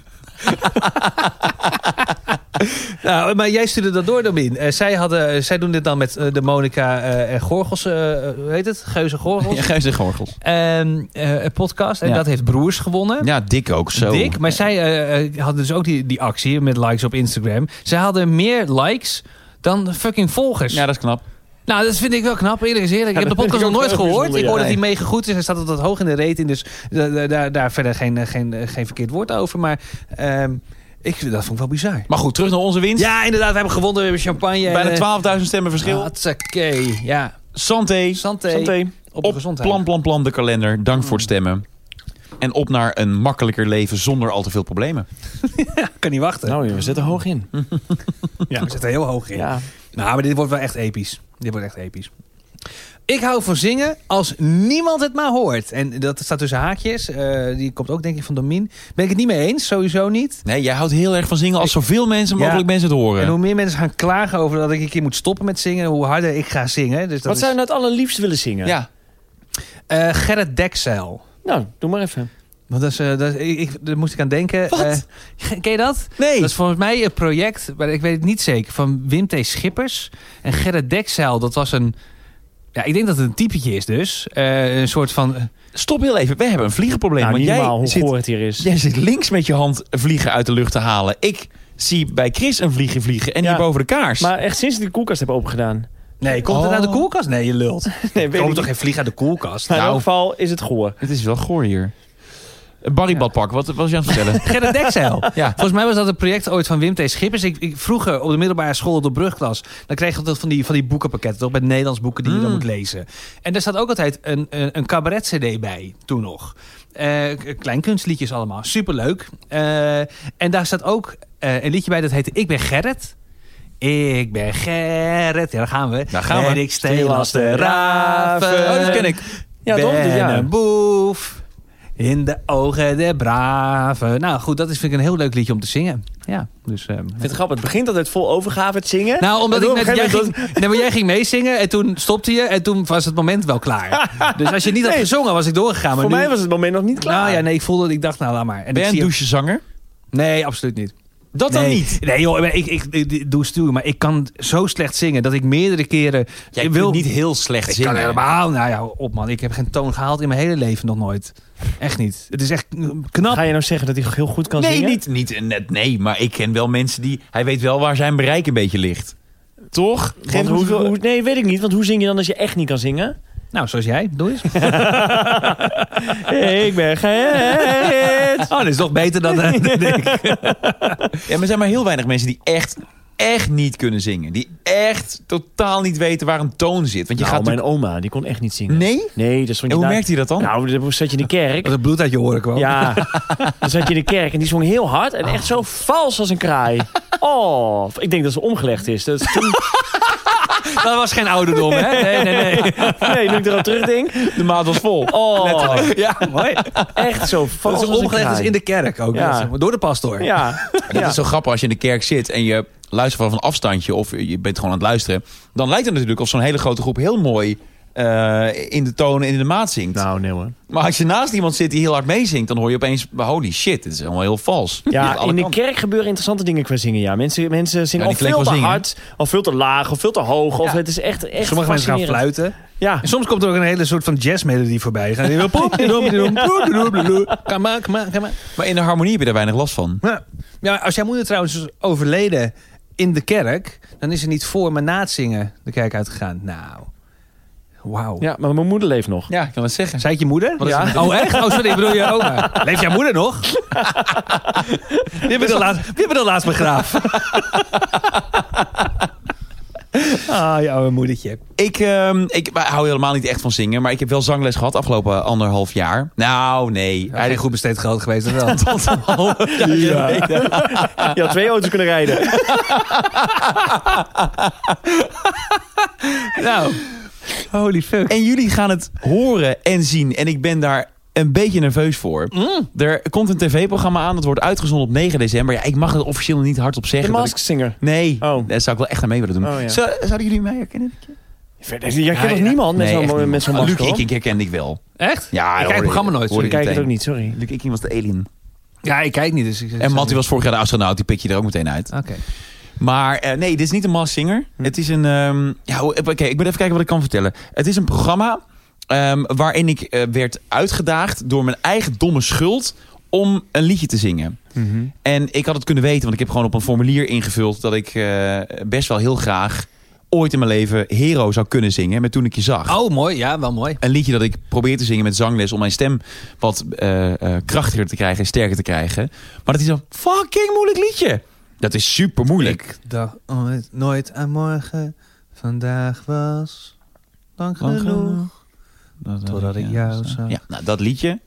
Speaker 3: Nou, maar jij stuurde dat door, Domin. Eh, zij, hadden, zij doen dit dan met eh, de Monica eh, en Gorgels, eh, hoe heet het? Geuze Gorgels.
Speaker 1: *laughs* Ja, Gijs en Gorgels.
Speaker 3: Ehm, eh, een podcast. En
Speaker 1: Ja.
Speaker 3: dat heeft Broers gewonnen.
Speaker 1: Ja, dik ook. Zo.
Speaker 3: Dik. Maar zij eh, eh, hadden dus ook die, die actie met likes op Instagram. Zij hadden meer likes dan fucking volgers.
Speaker 1: Ja, dat is knap.
Speaker 3: Nou, dat vind ik wel knap. Eerlijk is eerlijk. Ik
Speaker 2: Ja,
Speaker 3: heb de
Speaker 2: dat vind
Speaker 3: podcast
Speaker 2: ik
Speaker 3: nog
Speaker 2: ook
Speaker 3: nooit
Speaker 2: heel
Speaker 3: gehoord.
Speaker 2: bijzonder,
Speaker 3: Ik hoor
Speaker 2: ja.
Speaker 3: dat hij mega goed is. Hij staat altijd hoog in de rating. Dus da- da- daar, daar verder geen, eh, geen, eh, geen verkeerd woord over. Maar ehm, ik, dat vond ik wel bizar.
Speaker 1: Maar goed, terug naar onze winst.
Speaker 3: Ja, inderdaad. We hebben gewonnen. We hebben champagne. en, eh,
Speaker 1: Bijna 12.000 stemmen verschil.
Speaker 3: Hotsakee. Ja.
Speaker 1: Santé.
Speaker 3: Santé.
Speaker 2: Santé.
Speaker 3: Op, de
Speaker 1: Op Mm.
Speaker 3: gezondheid. *laughs*
Speaker 1: plan, plan, plan de kalender. Dank voor het stemmen. En op naar een makkelijker leven zonder al te veel problemen.
Speaker 3: Kan niet wachten.
Speaker 2: Nou, we zitten hoog in.
Speaker 3: ja. We zitten heel hoog in.
Speaker 2: Ja.
Speaker 3: Nou, maar dit wordt wel echt episch. Dit wordt echt episch. Ik hou van zingen als niemand het maar hoort. En dat staat tussen haakjes. Eh, die komt ook denk ik van Domin. Ben ik het niet mee eens. Sowieso niet.
Speaker 1: Nee, jij houdt heel erg van zingen als zoveel mensen
Speaker 3: Ja.
Speaker 1: mogelijk mensen het
Speaker 3: En hoe
Speaker 1: horen.
Speaker 3: meer mensen gaan klagen over dat ik een keer moet stoppen met zingen, hoe harder ik ga zingen. Dus
Speaker 2: Wat
Speaker 3: dat
Speaker 2: nou- zou je
Speaker 3: is,
Speaker 2: nou het allerliefst willen zingen?
Speaker 1: Ja,
Speaker 3: Eh, Gerrit Dekzeil.
Speaker 2: Nou, doe maar even.
Speaker 3: Want dat is, eh, dat is- ik, ik- daar moest ik aan denken.
Speaker 1: Wat?
Speaker 3: Eh, ken je dat?
Speaker 1: nee.
Speaker 3: Dat is volgens mij een project, maar ik weet het niet zeker, van Wim T. Schippers. En Gerrit Dekzeil, dat was een... Ja, ik denk dat het een typetje is dus. Eh, een soort van...
Speaker 1: Stop heel even. We hebben een vliegenprobleem.
Speaker 2: Nou,
Speaker 1: want
Speaker 2: niet normaal
Speaker 1: jij
Speaker 2: hoe
Speaker 1: zit,
Speaker 2: goor het hier is.
Speaker 1: jij zit links met je hand vliegen uit de lucht te halen. Ik zie bij Chris een vliegen vliegen en
Speaker 2: Ja.
Speaker 1: hier boven de kaars.
Speaker 2: Maar echt sinds ik die koelkast heb opengedaan.
Speaker 3: Nee, komt het
Speaker 1: Oh.
Speaker 3: uit de koelkast? *laughs* Nee, je lult.
Speaker 2: Nee,
Speaker 3: Er
Speaker 2: weet *laughs* ik
Speaker 3: komt
Speaker 2: niet.
Speaker 3: toch geen vlieg uit de koelkast?
Speaker 2: Maar in elk
Speaker 3: Nou,
Speaker 2: geval is het goor.
Speaker 1: het is wel goor hier. Een barrybadpak, wat wat was je aan het
Speaker 2: *laughs*
Speaker 1: vertellen?
Speaker 3: Gerrit Dekzeil.
Speaker 1: ja.
Speaker 3: Volgens mij was dat een project ooit van Wim T. Schippers. Ik, ik, vroeger op de middelbare school, de brugklas, dan kreeg je altijd van die, van die boekenpakketten, toch? Met Nederlands boeken die je dan
Speaker 1: Mm.
Speaker 3: moet lezen. En daar staat ook altijd een, een, een cabaret-cd bij, toen nog. Eh, k- klein kunstliedjes allemaal, superleuk. Eh, en daar staat ook eh, een liedje bij dat heette Ik ben Gerrit. Ik ben Gerrit. Ja, daar gaan we.
Speaker 1: Daar gaan we.
Speaker 3: En ik steel als de raven.
Speaker 1: Oh, dat ken ik.
Speaker 2: Ja,
Speaker 3: ben
Speaker 2: toch? Dus ja.
Speaker 3: een boef. In de ogen der braven. Nou goed, dat is vind ik een heel leuk liedje om te zingen. Ja, dus... ehm,
Speaker 2: Ik vind het grappig. Het begint altijd vol overgave het zingen.
Speaker 3: nou, omdat
Speaker 2: En
Speaker 3: ik
Speaker 2: op een
Speaker 3: net, jij,
Speaker 2: gegeven
Speaker 3: ging, nee, maar jij ging meezingen en toen stopte je en toen was het moment wel
Speaker 2: *laughs*
Speaker 3: klaar. dus als je niet had gezongen, was ik doorgegaan. Maar
Speaker 2: Voor
Speaker 3: nu-
Speaker 2: mij was het moment nog niet klaar.
Speaker 3: Nou ja, nee, ik voelde, ik dacht nou, laat maar.
Speaker 1: Ben
Speaker 3: En ik
Speaker 1: jij een
Speaker 3: zie-
Speaker 1: douchezanger?
Speaker 3: Nee, absoluut niet.
Speaker 1: Dat dan
Speaker 3: nee.
Speaker 1: niet.
Speaker 3: Nee joh, ik, ik, ik, ik doe stuur, maar ik kan zo slecht zingen dat ik meerdere keren...
Speaker 1: Jij
Speaker 3: ik
Speaker 1: kunt
Speaker 3: wil
Speaker 1: niet heel slecht
Speaker 3: Ik
Speaker 1: zingen.
Speaker 3: kan helemaal, nou ja, op man. Ik heb geen toon gehaald in mijn hele leven nog nooit. Echt niet. Het is echt knap.
Speaker 2: Ga je nou zeggen dat hij heel goed kan
Speaker 1: nee,
Speaker 2: zingen?
Speaker 1: niet, niet net nee, maar ik ken wel mensen die... Hij weet wel waar zijn bereik een beetje ligt. Toch?
Speaker 2: Want hoe, hoe- nee, weet ik niet. Want hoe zing je dan als je echt niet kan zingen?
Speaker 3: Nou, zoals jij, doe eens.
Speaker 2: *laughs* ik ben Gerrit.
Speaker 3: *laughs* Oh, dat is toch beter dan
Speaker 2: *laughs*
Speaker 3: eh, dan ik.
Speaker 1: Ja, maar er zijn maar heel weinig mensen die echt, echt niet kunnen zingen. Die echt totaal niet weten waar een toon zit. Want je
Speaker 2: Nou,
Speaker 1: gaat...
Speaker 2: mijn oma, die kon echt niet zingen.
Speaker 1: Nee?
Speaker 2: Nee, dat stond
Speaker 1: En
Speaker 2: je
Speaker 1: hoe
Speaker 2: daar-
Speaker 1: merkt hij dat dan?
Speaker 2: Nou, dan zat je in de kerk.
Speaker 3: Dat het bloed uit je oren kwam.
Speaker 2: Ja, dan zat je in de kerk en die zong heel hard en echt zo vals als een kraai. Oh, ik denk dat ze omgelegd is. Dat is toen,
Speaker 3: Dat was geen ouderdom,
Speaker 2: *laughs*
Speaker 3: hè? Nee, nee, nee.
Speaker 2: nee, nu ik eraan terugdenk.
Speaker 1: de maat was vol.
Speaker 2: Oh,
Speaker 3: *laughs* Ja, mooi.
Speaker 2: echt zo vals
Speaker 3: Dat
Speaker 2: als een
Speaker 3: is
Speaker 2: kraai.
Speaker 3: omgelegd is in de kerk ook.
Speaker 2: Ja.
Speaker 3: Dat is- Door de pastoor.
Speaker 2: Ja,
Speaker 1: Dat
Speaker 2: ja.
Speaker 1: is zo grappig als je in de kerk zit en je luistert van een afstandje of je bent gewoon aan het luisteren. Dan lijkt het natuurlijk of zo'n hele grote groep heel mooi eh, in de toon en in de maat zingt.
Speaker 2: Nou, nee hoor.
Speaker 1: Maar als je naast iemand zit die heel hard meezingt, dan hoor je opeens: holy shit, dit is allemaal heel vals. Ligt
Speaker 2: Ja,
Speaker 1: alle
Speaker 2: in de
Speaker 1: kanten.
Speaker 2: kerk gebeuren interessante dingen qua zingen. Ja. Mensen, mensen zingen
Speaker 1: Ja,
Speaker 2: al
Speaker 1: die klinkt
Speaker 2: veel te
Speaker 1: wel zingen,
Speaker 2: hard, al veel te laag, al veel te hoog. Of
Speaker 1: Ja.
Speaker 2: het is echt, echt
Speaker 3: Sommige mensen gaan
Speaker 2: fascinerend.
Speaker 3: fluiten.
Speaker 2: Ja,
Speaker 3: En soms komt er ook een hele soort van jazzmelodie voorbij. Gaan die poep, doem, doem, poep, doem, doem, doem. Kom maar, kom maar, kom maar.
Speaker 1: Maar in de harmonie heb je daar weinig last van.
Speaker 3: Ja. Ja, maar als jouw moeder trouwens is overleden in de kerk, dan is ze niet voor, maar na het zingen de kerk uitgegaan. Nou, wauw.
Speaker 2: ja, maar mijn moeder leeft nog.
Speaker 1: Ja, ik kan het zeggen.
Speaker 3: Zei het je moeder?
Speaker 1: Wat is
Speaker 3: Ja.
Speaker 1: er met
Speaker 3: Oh, echt? Oh, sorry, ik bedoel *laughs* je oma. Leeft jouw moeder nog? Wie hebben we dan laatst, *laughs* wie hebben we dan laatst begraven? *laughs* ah, je oude moedertje.
Speaker 1: Ik, ehm, ik hou helemaal niet echt van zingen, maar ik heb wel zangles gehad afgelopen anderhalf jaar. Nou, nee.
Speaker 3: Hij is
Speaker 1: Eigenlijk
Speaker 3: goed besteed geld geweest. dat *laughs* wel.
Speaker 2: Ja. Je had twee auto's kunnen *laughs* rijden.
Speaker 3: nou, holy fuck.
Speaker 1: En jullie gaan het horen en zien. En ik ben daar een beetje nerveus voor. Er komt een tv-programma aan, dat wordt uitgezonden op 9 december. Ja, ik mag het officieel niet hardop
Speaker 2: De
Speaker 1: zeggen. dat ik-
Speaker 2: Mask Singer.
Speaker 1: Nee,
Speaker 2: Oh.
Speaker 1: daar zou ik wel echt aan mee willen doen.
Speaker 2: Oh, ja.
Speaker 1: Zou- zouden jullie mij herkennen?
Speaker 2: Verder, jij kent
Speaker 3: Ja,
Speaker 2: nog
Speaker 3: ja.
Speaker 2: niemand met
Speaker 1: echt
Speaker 2: zo'n
Speaker 1: niet.
Speaker 2: met zo'n
Speaker 1: Ah,
Speaker 2: masker.
Speaker 1: Luc, ik,
Speaker 2: hoor.
Speaker 1: ik herkende ik wel.
Speaker 3: Echt?
Speaker 1: Ja,
Speaker 3: ik
Speaker 1: hoor,
Speaker 3: kijk het programma nooit.
Speaker 1: hoor
Speaker 2: Ik
Speaker 3: sorry.
Speaker 2: kijk het
Speaker 1: meteen.
Speaker 2: ook niet, sorry.
Speaker 1: Luc, ik was de alien.
Speaker 3: Ja, ik kijk niet. Dus ik,
Speaker 1: En Matty was vorig jaar de astronaut, die pik je er ook meteen uit.
Speaker 3: Oké.
Speaker 1: Maar eh, nee, dit is niet een mass singer. Het is een... ehm, ja, hoe- Oké, ik ben even kijken wat ik kan vertellen. Het is een programma ehm, waarin ik eh, werd uitgedaagd door mijn eigen domme schuld om een liedje te zingen.
Speaker 3: Mhm.
Speaker 1: En ik had het kunnen weten, want ik heb gewoon op een formulier ingevuld... dat ik eh, best wel heel graag ooit in mijn leven Hero zou kunnen zingen. Met Toen ik je zag.
Speaker 3: Oh, mooi. Ja, wel mooi.
Speaker 1: een liedje dat ik probeer te zingen met zangles om mijn stem wat eh, eh, krachtiger te krijgen en sterker te krijgen. Maar dat is een fucking moeilijk liedje. Dat is super moeilijk.
Speaker 3: Ik dacht ooit nooit aan morgen. Vandaag was lang
Speaker 1: Lang
Speaker 3: genoeg. Totdat ik jou
Speaker 1: ja.
Speaker 3: zag.
Speaker 1: Ja, nou, dat liedje.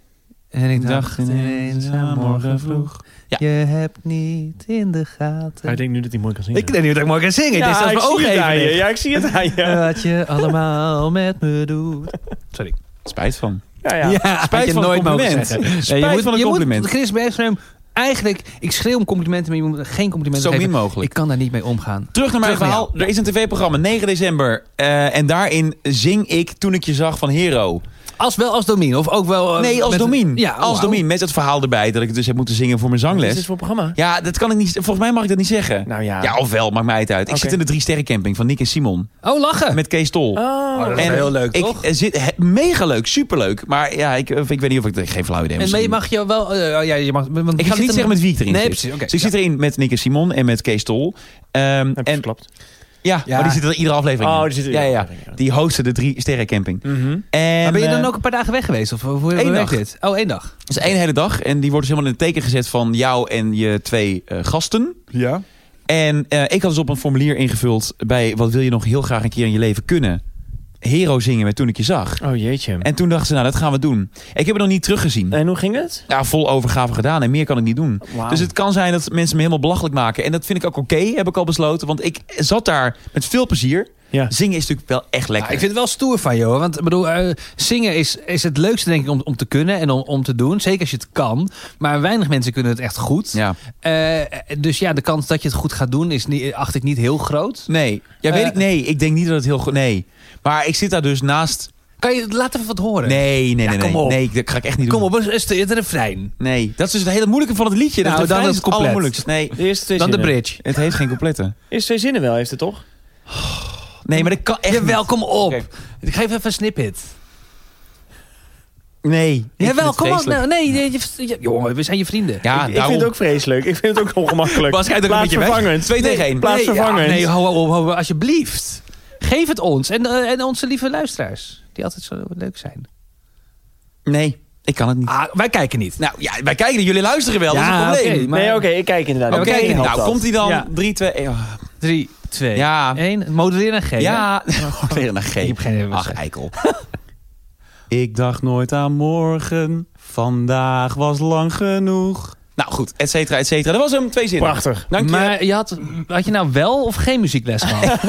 Speaker 3: En ik dacht ineens aan morgen vroeg.
Speaker 1: Ja.
Speaker 3: Je hebt niet in de gaten.
Speaker 2: Hij denkt nu dat hij mooi kan zingen.
Speaker 3: Ik weet niet dat ik mooi kan zingen.
Speaker 2: ja,
Speaker 3: het is zelfs
Speaker 2: ik zie
Speaker 3: mijn ogen
Speaker 2: het
Speaker 3: even
Speaker 2: aan je.
Speaker 3: dicht.
Speaker 2: Ja, ik zie het aan je.
Speaker 3: *laughs* Wat je allemaal met me doet. Sorry.
Speaker 1: Spijt van.
Speaker 2: *laughs* Ja, ja.
Speaker 1: Spijt van het compliment. Spijt
Speaker 3: je moet,
Speaker 1: van het
Speaker 3: je
Speaker 1: compliment.
Speaker 3: Moet, Chris Bergström, eigenlijk, ik schreeuw om complimenten, maar je moet geen
Speaker 1: Zo
Speaker 3: complimenten
Speaker 1: min
Speaker 3: geven.
Speaker 1: mogelijk.
Speaker 3: Ik kan daar niet mee omgaan.
Speaker 1: Terug naar mijn
Speaker 3: Terug naar
Speaker 1: verhaal. er is een tv-programma, 9 december. eh, en daarin zing ik Toen ik je zag van Hero.
Speaker 3: Als wel als Domien, of ook wel... eh,
Speaker 1: Nee, als
Speaker 3: met-
Speaker 1: Domien.
Speaker 3: Ja,
Speaker 1: als
Speaker 3: oh,
Speaker 1: Domien. Met het verhaal erbij dat ik het dus heb moeten zingen voor mijn
Speaker 2: Wat is
Speaker 1: zangles.
Speaker 2: dit voor programma?
Speaker 1: Ja, dat kan ik niet. Volgens mij mag ik dat niet zeggen.
Speaker 2: Nou ja.
Speaker 1: Ja, ofwel, maakt mij het uit. Ik
Speaker 2: Oké.
Speaker 1: zit in de drie sterren camping van Nick en Simon.
Speaker 3: Oh, lachen.
Speaker 1: Met Kees Tol.
Speaker 2: Oh,
Speaker 3: dat is
Speaker 1: En
Speaker 3: heel leuk,
Speaker 1: ik
Speaker 3: toch?
Speaker 1: eh, Zit, he- mega leuk, superleuk. Maar ja, ik, eh, ik weet niet of ik... ik Geen flauw idee
Speaker 3: En maar
Speaker 1: misschien.
Speaker 3: je mag je wel... eh, ja, je mag, want
Speaker 1: Ik
Speaker 3: wie
Speaker 1: ga
Speaker 3: zit
Speaker 1: niet
Speaker 3: er-
Speaker 1: zeggen met wie ik erin
Speaker 3: Nee,
Speaker 1: zit.
Speaker 3: precies, oké,
Speaker 1: dus ik
Speaker 3: ja.
Speaker 1: zit erin met Nick en Simon en met Kees Tol. Ehm,
Speaker 2: Heb je
Speaker 1: en
Speaker 2: verklapt.
Speaker 1: ja,
Speaker 3: Ja.
Speaker 1: maar die zitten er iedere aflevering
Speaker 2: Oh,
Speaker 1: in.
Speaker 2: die zitten er
Speaker 1: ja, ja, ja.
Speaker 2: iedere aflevering in. Mm.
Speaker 1: Die hosten de drie sterren camping.
Speaker 2: Mhm.
Speaker 1: En,
Speaker 3: Maar ben je dan
Speaker 1: eh,
Speaker 3: ook een paar dagen weg geweest? Of hoe
Speaker 1: één
Speaker 3: hoe werkt
Speaker 1: dag.
Speaker 3: dit? Oh, één dag.
Speaker 1: Dat is één hele dag. En die wordt dus helemaal in het teken gezet van jou en je twee eh, gasten.
Speaker 3: Ja.
Speaker 1: En eh, ik had dus op een formulier ingevuld bij wat wil je nog heel graag een keer in je leven kunnen. Hero zingen met Toen ik je zag.
Speaker 2: Oh jeetje. En,
Speaker 1: En toen dachten ze, nou dat gaan we doen. Ik heb het nog niet teruggezien.
Speaker 2: hoe ging het?
Speaker 1: Ja, vol overgave gedaan en meer kan ik niet doen.
Speaker 2: Wauw.
Speaker 1: Dus het kan zijn dat mensen me helemaal belachelijk maken. En dat vind ik ook oké, heb ik al besloten. Want ik zat daar met veel plezier.
Speaker 2: Ja.
Speaker 1: Zingen is natuurlijk wel echt lekker.
Speaker 3: ik vind het wel stoer van jou. Want ik bedoel, eh, zingen is, is het leukste denk ik om, om te kunnen en om, om te doen. Zeker als je het kan. Maar weinig mensen kunnen het echt goed.
Speaker 1: Ja.
Speaker 3: Eh, dus ja, de kans dat je het goed gaat doen is niet, acht ik niet heel groot.
Speaker 1: Nee. Ja, weet
Speaker 3: Eh.
Speaker 1: ik. Nee, ik denk niet dat het heel goed... Nee. Maar ik zit daar dus naast...
Speaker 3: Kan je laat even wat horen?
Speaker 1: Nee, nee, nee. nee.
Speaker 3: kom op.
Speaker 1: Nee, dat ga ik echt niet
Speaker 3: Kom
Speaker 1: doen.
Speaker 3: op, eens- eens de- het refrein.
Speaker 1: Nee. Dat is dus het hele moeilijke van het liedje.
Speaker 3: Nou,
Speaker 1: dat
Speaker 3: dan
Speaker 1: refrein
Speaker 3: is
Speaker 1: het
Speaker 3: het compleet.
Speaker 1: allermoeilijkst. Nee,
Speaker 2: De eerste twee
Speaker 3: Dan de
Speaker 2: zinnen.
Speaker 3: bridge.
Speaker 1: het heeft geen complete.
Speaker 2: Eerste twee zinnen wel, heeft het toch?
Speaker 1: Nee, maar dat kan echt
Speaker 3: Jawel,
Speaker 1: niet.
Speaker 3: kom op.
Speaker 1: Oké.
Speaker 3: Ik geef even een snippet.
Speaker 1: Nee. ik vind
Speaker 3: Jawel,
Speaker 1: het
Speaker 3: kom op.
Speaker 1: vreselijk.
Speaker 3: Nou, nee, je, je- je- jongen, we zijn je vrienden.
Speaker 1: Ja, Ah,
Speaker 2: ik
Speaker 1: daarom.
Speaker 2: vind het ook vreselijk. Ik vind het ook ongemakkelijk.
Speaker 1: Waarschijnlijk ook een beetje weg.
Speaker 2: Plaatsvervangend.
Speaker 1: Twee tegen één.
Speaker 2: Plaats-
Speaker 3: nee, ja,
Speaker 2: vervangend.
Speaker 3: nee, ho, ho, ho, ho, alsjeblieft. Geef het ons en, eh, en onze lieve luisteraars. Die altijd zo leuk zijn.
Speaker 1: Nee, ik kan het niet.
Speaker 3: Ah, wij kijken niet.
Speaker 1: Nou, ja, wij kijken, jullie luisteren wel. dat is
Speaker 3: Ja,
Speaker 1: een probleem.
Speaker 3: oké, maar-
Speaker 2: Nee, oké, ik kijk inderdaad.
Speaker 1: Oké,
Speaker 3: we kijken,
Speaker 2: helpt
Speaker 1: nou
Speaker 2: dat.
Speaker 1: komt hij dan.
Speaker 3: Ja.
Speaker 1: 3, 2, 1.
Speaker 3: Drie, twee,
Speaker 1: Ja.
Speaker 3: één. Modelleer en G. hè?
Speaker 1: Oh, *laughs* Ja, Oh, weer een G.
Speaker 3: Ik heb geen idee wat
Speaker 1: Ach,
Speaker 3: het
Speaker 1: eikel. *laughs* Ik dacht nooit aan morgen. Vandaag was lang genoeg. Nou goed, et cetera, et cetera. Dat was hem, twee zinnen.
Speaker 2: Prachtig.
Speaker 1: Dank je.
Speaker 3: Maar je had, had je nou wel of geen muziekles gehad?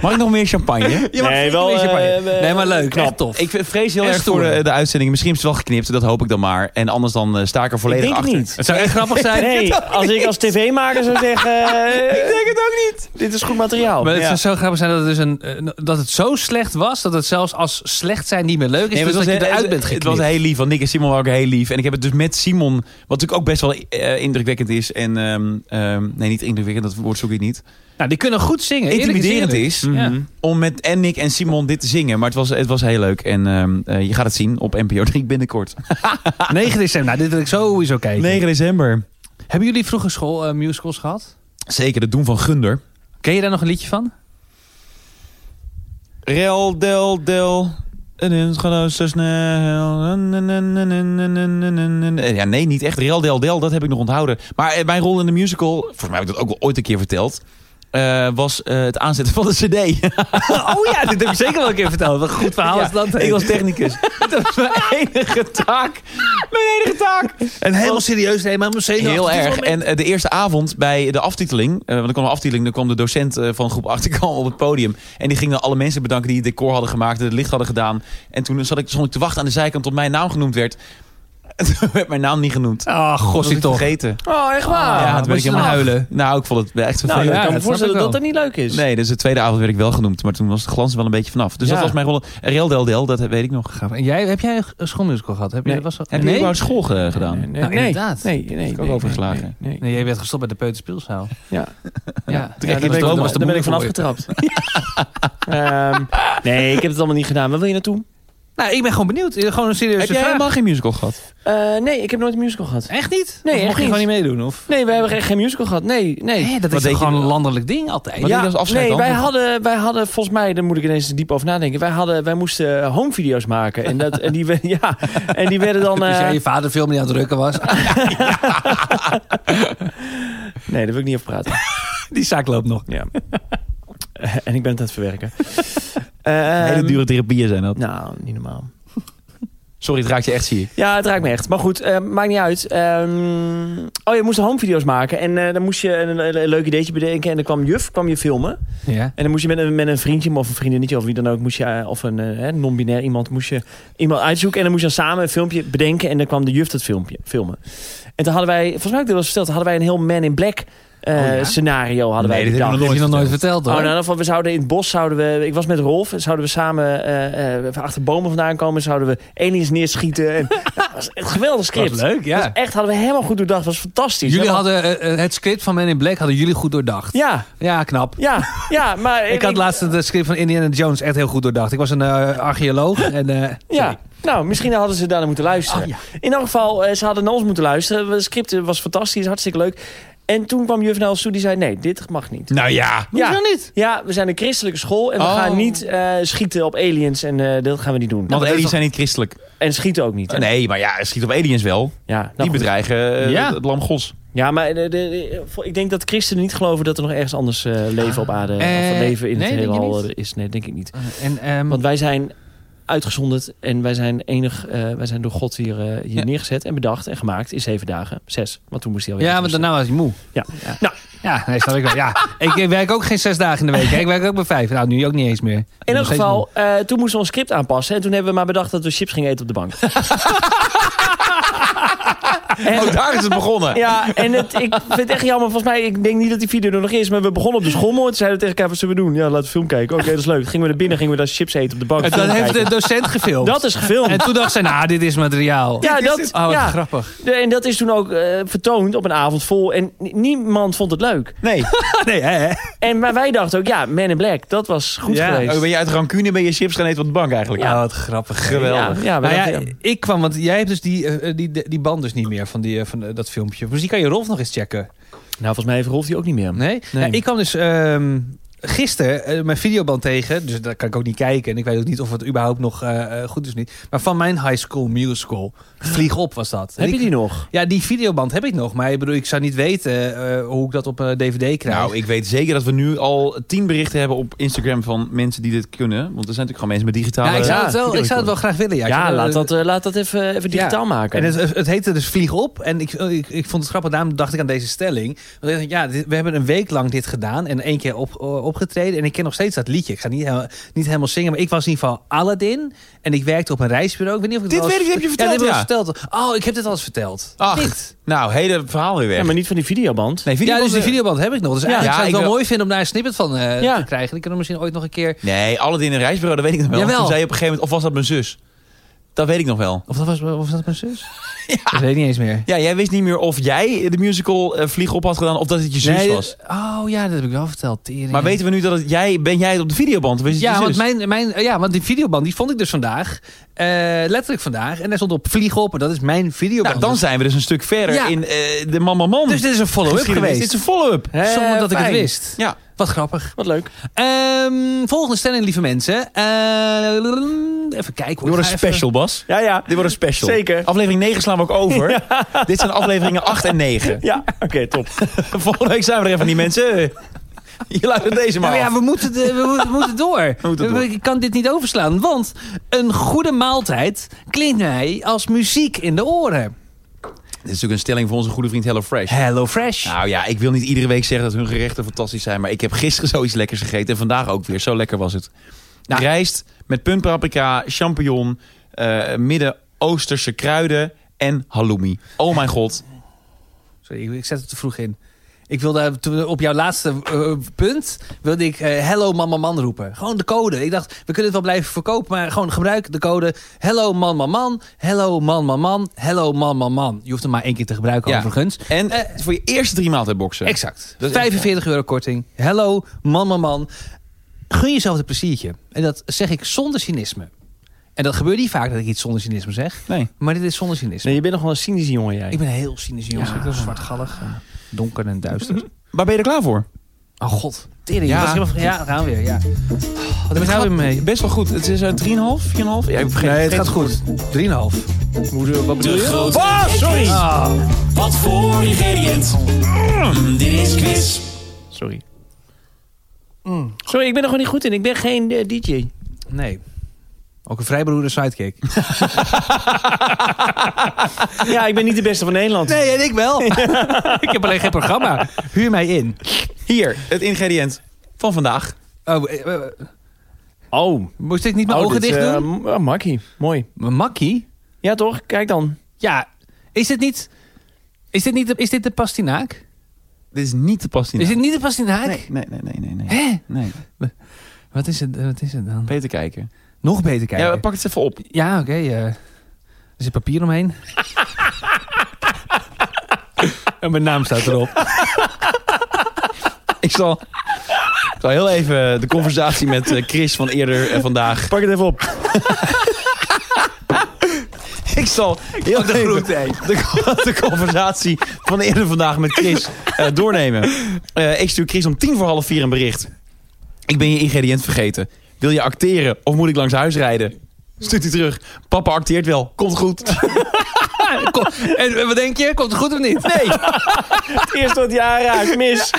Speaker 1: Mag ik nog meer *laughs* champagne?
Speaker 3: Je mag
Speaker 2: Nee,
Speaker 3: zeker
Speaker 2: wel,
Speaker 3: een beetje
Speaker 2: eh,
Speaker 3: champagne.
Speaker 2: eh,
Speaker 3: nee, *laughs* maar leuk.
Speaker 2: knap.
Speaker 3: Echt tof.
Speaker 1: Ik v- vrees heel
Speaker 3: En
Speaker 1: erg voor
Speaker 3: stoer.
Speaker 1: de, de uitzending. Misschien is het wel geknipt, dat hoop ik dan maar. En anders dan eh, sta ik er volledig
Speaker 2: Ik denk het
Speaker 1: achter.
Speaker 2: niet.
Speaker 3: het zou echt grappig zijn.
Speaker 2: Nee, als ik als tv-maker zou zeggen...
Speaker 1: Ik
Speaker 2: eh,
Speaker 1: denk het ook niet.
Speaker 2: dit is goed materiaal.
Speaker 3: Maar het
Speaker 2: Ja.
Speaker 3: zou zo grappig zijn dat het, dus een, eh, dat het zo slecht was... dat het zelfs als slecht zijn niet meer leuk is.
Speaker 1: Nee, maar
Speaker 3: dus dat
Speaker 1: het, was,
Speaker 3: je eruit
Speaker 1: het-
Speaker 3: bent
Speaker 1: het
Speaker 3: geknipt.
Speaker 1: was heel lief, want Nick en Simon waren ook heel lief. En ik heb het dus met Simon, wat natuurlijk ook best wel eh, indrukwekkend is. En ehm, ehm, nee, niet indrukwekkend, dat woord zoek ik niet.
Speaker 3: Nou, die kunnen goed zingen. Eerlijk
Speaker 1: Intimiderend is
Speaker 3: eerlijk. Mm. Ja.
Speaker 1: mhm,
Speaker 3: *laughs*
Speaker 1: om met en Nick en Simon dit te zingen. Maar het was, het was heel leuk. En ehm, eh, je gaat het zien op NPO 3 binnenkort.
Speaker 3: 9 december. Nou, dit wil ik sowieso kijken.
Speaker 1: 9 december.
Speaker 3: Hebben jullie vroeger school, eh, musicals gehad?
Speaker 1: Zeker, het doen van Gunder.
Speaker 3: Ken je daar nog een liedje van?
Speaker 1: Rel, del, del. En het gaat zo snel. Ja, nee, niet echt. Rel, del, del, dat heb ik nog onthouden. Maar eh, mijn rol in de musical, volgens mij heb ik dat ook wel ooit een keer verteld. eh, was eh, het aanzetten van de cd.
Speaker 3: *laughs* Oh ja, dit heb je zeker wel een keer verteld. Wat een goed verhaal
Speaker 1: Ja,
Speaker 3: is dat.
Speaker 1: ik
Speaker 3: *laughs*
Speaker 1: was technicus. *laughs* dat was mijn enige taak. Mijn enige taak.
Speaker 3: En helemaal serieus, nee, maar om zenuwachtig
Speaker 1: Heel
Speaker 3: te
Speaker 1: erg.
Speaker 3: worden.
Speaker 1: En eh, de eerste avond bij de aftiteling, eh want er kwam een aftiteling, dan kwam de docent eh, van groep 8 die kwam op het podium. En die ging dan alle mensen bedanken die het decor hadden gemaakt, het licht hadden gedaan. En toen zat ik, stond ik te wachten aan de zijkant tot mijn naam genoemd werd. *laughs* En toen werd mijn naam niet genoemd.
Speaker 3: Ah,
Speaker 1: Dat was
Speaker 3: gossie
Speaker 1: ik
Speaker 3: toch.
Speaker 1: vergeten. Ah,
Speaker 2: Oh, echt waar?
Speaker 1: ja, toen
Speaker 3: was
Speaker 1: werd ik
Speaker 3: je
Speaker 1: helemaal
Speaker 3: dan
Speaker 1: huilen.
Speaker 3: af?
Speaker 1: Nou, ik vond het echt
Speaker 2: nou,
Speaker 1: vervelend.
Speaker 2: ik
Speaker 3: ja,
Speaker 2: kan me
Speaker 3: dat
Speaker 2: voorstellen
Speaker 3: snap
Speaker 2: dat
Speaker 3: ik
Speaker 2: dat niet leuk is.
Speaker 1: Nee, dus de tweede avond werd ik wel genoemd, maar toen was de glans er wel een beetje vanaf. Dus
Speaker 2: Ja.
Speaker 1: dat was mijn rol. Riel Del Del, dat weet ik nog.
Speaker 3: Gaaf. En jij, heb jij een schoolmusical gehad? Heb,
Speaker 2: Nee.
Speaker 3: je, was dat,
Speaker 1: Heb je überhaupt school ge- gedaan?
Speaker 2: Nee, nee,
Speaker 3: Nou,
Speaker 2: nee,
Speaker 3: inderdaad.
Speaker 2: Nee, nee, nee,
Speaker 1: ook overgeslagen.
Speaker 2: nee, nee, nee.
Speaker 3: Nee, jij werd gestopt bij de *laughs* peuterspeelzaal.
Speaker 2: Ja.
Speaker 3: Ja.
Speaker 2: Ja,
Speaker 1: kreeg je de
Speaker 2: daar ben ik-
Speaker 1: stroom als de
Speaker 2: daar ben ik
Speaker 1: moeder
Speaker 2: van afgetrapt. Ehm, nee, ik heb het allemaal niet gedaan. Waar wil je naartoe?
Speaker 3: Nou, ik ben gewoon benieuwd. Gewoon een serieuze
Speaker 1: Heb jij
Speaker 3: vraag.
Speaker 1: helemaal geen musical gehad?
Speaker 2: Eh, nee, ik heb nooit een musical gehad.
Speaker 3: Echt niet?
Speaker 2: Nee,
Speaker 3: Of
Speaker 2: echt
Speaker 3: mocht je
Speaker 2: niet.
Speaker 3: gewoon niet meedoen?
Speaker 2: *laughs*
Speaker 3: Of?
Speaker 2: Nee, we hebben echt geen musical gehad. Nee, nee.
Speaker 3: Nee, dat
Speaker 1: Wat deed
Speaker 3: is toch
Speaker 1: je
Speaker 3: gewoon een
Speaker 1: dan?
Speaker 3: landelijk ding altijd.
Speaker 1: Wat- deed je als afscheid
Speaker 2: nee,
Speaker 1: dan?
Speaker 2: wij
Speaker 1: Of-
Speaker 2: hadden, wij hadden volgens mij, daar moet ik ineens diep over nadenken. Wij, hadden, wij moesten eh, homevideo's maken. En, dat, en, die, we- *laughs* ja, en die werden
Speaker 1: *laughs*
Speaker 2: dan.
Speaker 3: Dus
Speaker 2: eh,
Speaker 3: jij je vader veel meer aan het drukken *laughs* was.
Speaker 2: nee, daar wil ik niet over praten.
Speaker 3: Die zaak loopt nog.
Speaker 2: Ja. Eh, en ik ben het aan het
Speaker 1: *laughs*
Speaker 2: verwerken. Ehm,
Speaker 1: Hele dure therapieën zijn dat.
Speaker 2: Nou, niet normaal.
Speaker 1: Sorry, het raakt je echt ziek.
Speaker 2: Ja, het raakt me echt. Maar goed, eh, maakt niet uit. Ehm, oh, je moest homevideo's maken. En eh, dan moest je een, een- een leuk ideetje bedenken. En dan kwam juf, kwam je filmen.
Speaker 3: Ja.
Speaker 2: En dan moest je met een, met een vriendje of een vriendinnetje of wie dan ook, moest je, eh, of een eh, hè, non-binair iemand, moest je iemand uitzoeken. En dan moest je dan samen een filmpje bedenken. En dan kwam de juf dat filmpje filmen. En toen hadden wij, volgens mij heb ik dit wel eens verteld, hadden wij een heel Man in Black eh,
Speaker 3: Oh ja?
Speaker 2: scenario. Hadden wij
Speaker 1: dit
Speaker 2: bedacht.
Speaker 1: hebben
Speaker 3: Dat heb je nog nooit verteld
Speaker 2: Oh, nou,
Speaker 3: hoor.
Speaker 2: in ieder geval, we zouden in het bos, zouden we, ik was met Rolf, zouden we samen eh, eh, achter bomen vandaan komen, zouden we aliens neerschieten.
Speaker 3: *laughs*
Speaker 2: En, dat was een geweldig script.
Speaker 3: was leuk, ja.
Speaker 2: Dat was echt hadden we helemaal goed doordacht, was fantastisch.
Speaker 3: jullie
Speaker 2: Helemaal-
Speaker 3: hadden eh, eh, het script van Men in Black hadden jullie goed doordacht.
Speaker 2: Ja,
Speaker 3: Ja, knap.
Speaker 2: ja,
Speaker 3: *laughs*
Speaker 2: ja, maar
Speaker 3: Ik had laatst het eh, script van Indiana Jones echt heel goed doordacht. Ik was een eh, archeoloog. En, eh, sorry.
Speaker 2: Ja, nou, misschien hadden ze daarna moeten luisteren.
Speaker 3: Oh, ja.
Speaker 2: In elk geval, eh, ze hadden naar ons moeten luisteren. Het script eh, was fantastisch, hartstikke leuk. En toen kwam juf naar ons toe, die zei, nee, dit mag niet.
Speaker 1: Nou ja.
Speaker 2: Ja.
Speaker 3: Hoezo niet?
Speaker 2: Ja, we zijn een christelijke school en we
Speaker 1: Oh.
Speaker 2: gaan niet eh, schieten op aliens en eh, dat gaan we niet doen.
Speaker 1: Want aliens zijn niet christelijk.
Speaker 2: En schieten ook niet. hè?
Speaker 1: Nee, maar ja, schiet op aliens wel.
Speaker 2: Ja, nou
Speaker 1: Die
Speaker 2: goed.
Speaker 1: bedreigen eh,
Speaker 3: Ja.
Speaker 1: het lam gods.
Speaker 2: Ja, maar eh, de, de- de- vol- ik denk dat christenen niet geloven dat er nog ergens anders eh, leven op aarde
Speaker 3: Eh,
Speaker 2: of leven in
Speaker 3: nee,
Speaker 2: het
Speaker 3: denk je
Speaker 2: heelal
Speaker 3: niet?
Speaker 2: eh, is. Nee, denk ik niet.
Speaker 3: En, ehm,
Speaker 2: Want wij zijn uitgezonderd en wij zijn enig, eh, wij zijn door God hier, eh, hier
Speaker 1: Ja.
Speaker 2: neergezet en bedacht en gemaakt in zeven dagen. Zes, want toen moest hij alweer.
Speaker 3: ja, want
Speaker 2: rusten.
Speaker 3: daarna was hij moe.
Speaker 2: Ja.
Speaker 3: ja.
Speaker 2: Nou.
Speaker 3: Ja, nee, snap ik wel. Ja. Ik werk ook geen zes dagen in de week. hè. Ik werk ook maar vijf. Nou, nu ook niet eens meer. Ik
Speaker 2: In
Speaker 3: ben
Speaker 2: elk
Speaker 3: nog steeds moe.
Speaker 2: geval, eh, toen moesten we ons script aanpassen en toen hebben we maar bedacht dat we chips gingen eten op de
Speaker 3: *laughs*
Speaker 2: bank. En-
Speaker 1: Oh, daar is het begonnen.
Speaker 2: *laughs* Ja, en het, ik vind het echt jammer. Volgens mij, ik denk niet dat die video er nog is. Maar we begonnen op de schommel. En toen zeiden we tegen elkaar, wat zullen we doen? Ja, laten we film kijken. Oké, dat is leuk. Gingen we naar binnen, gingen we daar chips eten op de bank.
Speaker 3: En dat
Speaker 2: film
Speaker 3: heeft de
Speaker 2: kijken.
Speaker 3: docent gefilmd.
Speaker 2: dat is gefilmd.
Speaker 3: En toen dacht ze, nou, dit is materiaal.
Speaker 2: Ja,
Speaker 3: Dit is
Speaker 2: dat-
Speaker 3: het. Oh, wat
Speaker 2: ja.
Speaker 3: grappig.
Speaker 2: De- En dat is toen ook eh, vertoond op een avond vol. En ni- niemand vond het leuk.
Speaker 1: Nee.
Speaker 3: *laughs* Nee, hè, hè?
Speaker 2: En maar wij dachten ook, ja, Man in Black, dat was goed
Speaker 3: Ja.
Speaker 2: geweest.
Speaker 1: Oh, ben je uit rancune ben je chips gaan eten op de bank eigenlijk?
Speaker 3: Ja, wat grappig.
Speaker 1: Geweldig.
Speaker 2: Ja, ja, eh, wij
Speaker 3: Nou ja,
Speaker 2: dachten, ja.
Speaker 3: ik kwam, want jij hebt dus die, eh, die, die, die band dus niet meer van, die, eh, van eh, dat filmpje. Dus die kan je Rolf nog eens checken.
Speaker 2: Nou, volgens mij heeft Rolf die ook niet meer.
Speaker 3: Nee?
Speaker 1: Nee.
Speaker 3: Ja, ik kwam dus ehm gisteren eh, mijn videoband tegen. Dus daar kan ik ook niet kijken. En ik weet ook niet of het überhaupt nog eh, eh, goed is of niet. Maar van mijn high school musical. Vlieg op was dat. En
Speaker 2: Heb je
Speaker 3: ik-
Speaker 2: die nog?
Speaker 3: Ja, die videoband heb ik nog. Maar ik bedoel, ik zou niet weten eh, hoe ik dat op eh, dvd krijg.
Speaker 1: Nou, ik weet zeker dat we nu al tien berichten hebben op Instagram van mensen die dit kunnen. Want er zijn natuurlijk gewoon mensen met digitale...
Speaker 3: ja, Nou, ik, zou het wel, ik
Speaker 1: video's
Speaker 3: zou het wel graag willen. Ja,
Speaker 2: Ja,
Speaker 3: Ik zou-
Speaker 2: laat, dat, eh, laat dat even, even digitaal maken.
Speaker 3: En het, het heette dus Vlieg op. En ik, ik, ik vond het grappig, daarom dacht ik aan deze stelling. Want ik dacht, ja, dit- we hebben een week lang dit gedaan en één keer op, eh, opgetreden. En ik ken nog steeds dat liedje. Ik ga niet, helemaal- niet helemaal zingen, maar ik was in ieder geval Aladdin. En ik werkte op een reisbureau. Ik weet niet of ik
Speaker 1: Dit
Speaker 3: het wel
Speaker 1: weet
Speaker 3: eens-
Speaker 1: ik, dit heb je
Speaker 3: Ja, dit
Speaker 1: verteld,
Speaker 3: heb ik wel eens verteld. Oh, ik heb dit al eens verteld.
Speaker 1: Ach,
Speaker 3: Dit.
Speaker 1: Nou, hele verhaal weer weg.
Speaker 2: ja, maar niet van die
Speaker 1: Nee,
Speaker 2: videoband.
Speaker 3: Ja, dus
Speaker 1: videobanden-
Speaker 3: die videoband heb ik nog. Dus eigenlijk
Speaker 1: Ja,
Speaker 3: zou ik
Speaker 1: ik
Speaker 3: het wel
Speaker 1: wil-
Speaker 3: mooi vinden om daar een snippet van eh,
Speaker 2: Ja.
Speaker 3: te krijgen. Ik kan er misschien ooit nog een keer...
Speaker 1: Nee, alle dingen in een reisbureau, dat weet ik nog wel.
Speaker 3: Jawel.
Speaker 1: Toen zei je op een gegeven moment, of was dat mijn zus? Dat weet ik nog wel.
Speaker 3: Of dat was, of was dat mijn *laughs* zus? Dat weet ik niet eens meer.
Speaker 1: Ja, jij wist niet meer of jij de musical eh, Vlieg op had gedaan of dat het je zus
Speaker 3: Nee,
Speaker 1: was.
Speaker 3: Oh ja, dat heb ik wel verteld. Tering.
Speaker 1: Maar weten we nu dat het jij, ben jij het op de videoband? of is het je
Speaker 3: Ja,
Speaker 1: zus?
Speaker 3: want, mijn, mijn, ja, want die videoband die vond ik dus vandaag. eh, letterlijk vandaag. En daar stond op vlieg op. En dat is mijn videoband.
Speaker 1: Nou, dan zijn we dus een stuk verder
Speaker 3: Ja.
Speaker 1: in eh, de Mamma Man.
Speaker 3: Dus dit is een follow-up
Speaker 1: Geschiedenis.
Speaker 3: geweest.
Speaker 1: Dit is een follow-up.
Speaker 2: Hè,
Speaker 3: Zonder dat ik het
Speaker 2: fijn.
Speaker 3: wist.
Speaker 1: Ja.
Speaker 3: Wat grappig.
Speaker 2: Wat leuk.
Speaker 3: Ehm, volgende stelling, lieve mensen. Eh, even kijken
Speaker 1: Dit
Speaker 3: hoor.
Speaker 1: wordt
Speaker 3: Ik
Speaker 1: een
Speaker 3: ga even-
Speaker 1: special, Bas.
Speaker 2: Ja, ja.
Speaker 1: Dit wordt een special.
Speaker 2: Zeker.
Speaker 1: Aflevering 9 slaan we ook over.
Speaker 3: *laughs*
Speaker 1: Dit zijn afleveringen 8 en 9.
Speaker 2: Ja, *laughs* oké, top.
Speaker 3: *laughs*
Speaker 1: Volgende week zijn we er even niet, mensen. Je luistert deze maar
Speaker 3: Nou Ja,
Speaker 1: af.
Speaker 3: maar ja, we moeten, de- we, moeten- we moeten door.
Speaker 1: *laughs* We moeten door.
Speaker 3: Ik kan dit niet overslaan. Want een goede maaltijd klinkt mij als muziek in de oren.
Speaker 1: Dit is natuurlijk een stelling voor onze goede vriend Hello Fresh.
Speaker 3: Hello Fresh.
Speaker 1: Nou ja, ik wil niet iedere week zeggen dat hun gerechten fantastisch zijn. Maar ik heb gisteren *laughs* zoiets lekkers gegeten. En vandaag ook weer. Zo lekker was het.
Speaker 3: Nou.
Speaker 1: Rijst met puntpaprika, champignon, eh, Midden-Oosterse kruiden en halloumi. Oh mijn
Speaker 3: *laughs*
Speaker 1: god.
Speaker 3: Sorry, ik- ik zet het te vroeg in. Ik wilde toen- op jouw laatste eh, punt wilde ik eh, Hello Man Man Man roepen. Gewoon de code. Ik dacht, we kunnen het wel blijven verkopen, maar gewoon gebruik de code Hello Man Man Man, Hello Man Man Man, Hello Man Man Man. Je hoeft hem maar één keer te gebruiken
Speaker 1: Ja.
Speaker 3: overigens.
Speaker 1: En
Speaker 3: Eh,
Speaker 1: voor je eerste drie maaltijdboxen.
Speaker 3: Exact.
Speaker 1: Dat is-
Speaker 3: 45 euro korting. Hello Man Man Man. Gun jezelf een pleziertje. En dat zeg ik zonder cynisme. En dat gebeurt niet vaak dat ik iets zonder cynisme zeg.
Speaker 1: Nee.
Speaker 3: Maar dit is zonder cynisme.
Speaker 2: Nee, je bent nog wel een cynische jongen, jij.
Speaker 3: Ik ben heel cynisch, jongens. Ik ben zwartgallig. en Donker en duister.
Speaker 1: Waar ben je er klaar voor?
Speaker 3: Oh god, tering.
Speaker 1: Ja.
Speaker 3: Ja, was helemaal, ja gaan we weer. Ja. Wat heb ik nou weer mee?
Speaker 1: Best wel goed. Het is eh, 3,5, 4,5. Ja, ik vergeet- vergeet-
Speaker 3: goed. 3,5.
Speaker 2: Wat bedoel je?
Speaker 3: Ah,
Speaker 5: sorry!
Speaker 1: Mm.
Speaker 5: Wat voor ingrediënt? Mm, dit is quiz.
Speaker 2: Sorry.
Speaker 3: Mm.
Speaker 2: Sorry, ik ben er gewoon niet goed in. Ik ben geen eh, DJ.
Speaker 3: Nee. Ook een vrijbroeder sidekick.
Speaker 2: Ja, ik ben niet de beste van Nederland.
Speaker 3: *laughs* Nee, en ik wel. *laughs* ik heb alleen geen programma. Huur mij in.
Speaker 1: Hier, het ingrediënt van vandaag.
Speaker 3: Oh, eh, eh,
Speaker 2: Oh,
Speaker 3: moest ik niet mijn
Speaker 2: oh,
Speaker 3: ogen
Speaker 2: dit,
Speaker 3: dicht
Speaker 2: eh,
Speaker 3: doen?
Speaker 2: m- oh, makkie. Mooi.
Speaker 3: Mijn makkie?
Speaker 2: Ja, toch? Kijk *laughs* dan.
Speaker 3: Ja. Is dit niet... Is dit, niet de, is dit de pastinaak?
Speaker 1: Dit is niet te passen.
Speaker 3: Is dit niet de pastinaak?
Speaker 1: Nee, nee, nee, nee, nee. nee.
Speaker 3: Hè?
Speaker 1: Nee,
Speaker 3: Wat is het, wat is het dan?
Speaker 1: beter kijken.
Speaker 3: Nog beter kijken.
Speaker 1: Ja, pak het even op. *laughs*
Speaker 3: Ja, oké. eh, er zit papier omheen. *laughs* en mijn naam staat *laughs* erop.
Speaker 1: Ik zal, ik zal heel even de conversatie met eh, Chris van eerder en *laughs* vandaag.
Speaker 2: Pak het even op.
Speaker 1: Ik zal heel
Speaker 3: de
Speaker 1: even
Speaker 3: groente
Speaker 1: de, de conversatie van eerder vandaag met Chris eh, doornemen. Eh, ik stuur Chris om tien voor half vier een bericht. Ik ben je ingrediënt vergeten. Wil je acteren of moet ik langs huis rijden? Stuurt hij terug. Papa acteert wel. Komt goed.
Speaker 3: Kom, en wat denk je? Komt het goed of niet?
Speaker 1: Nee.
Speaker 2: Het eerste wat je aanraakt, mis.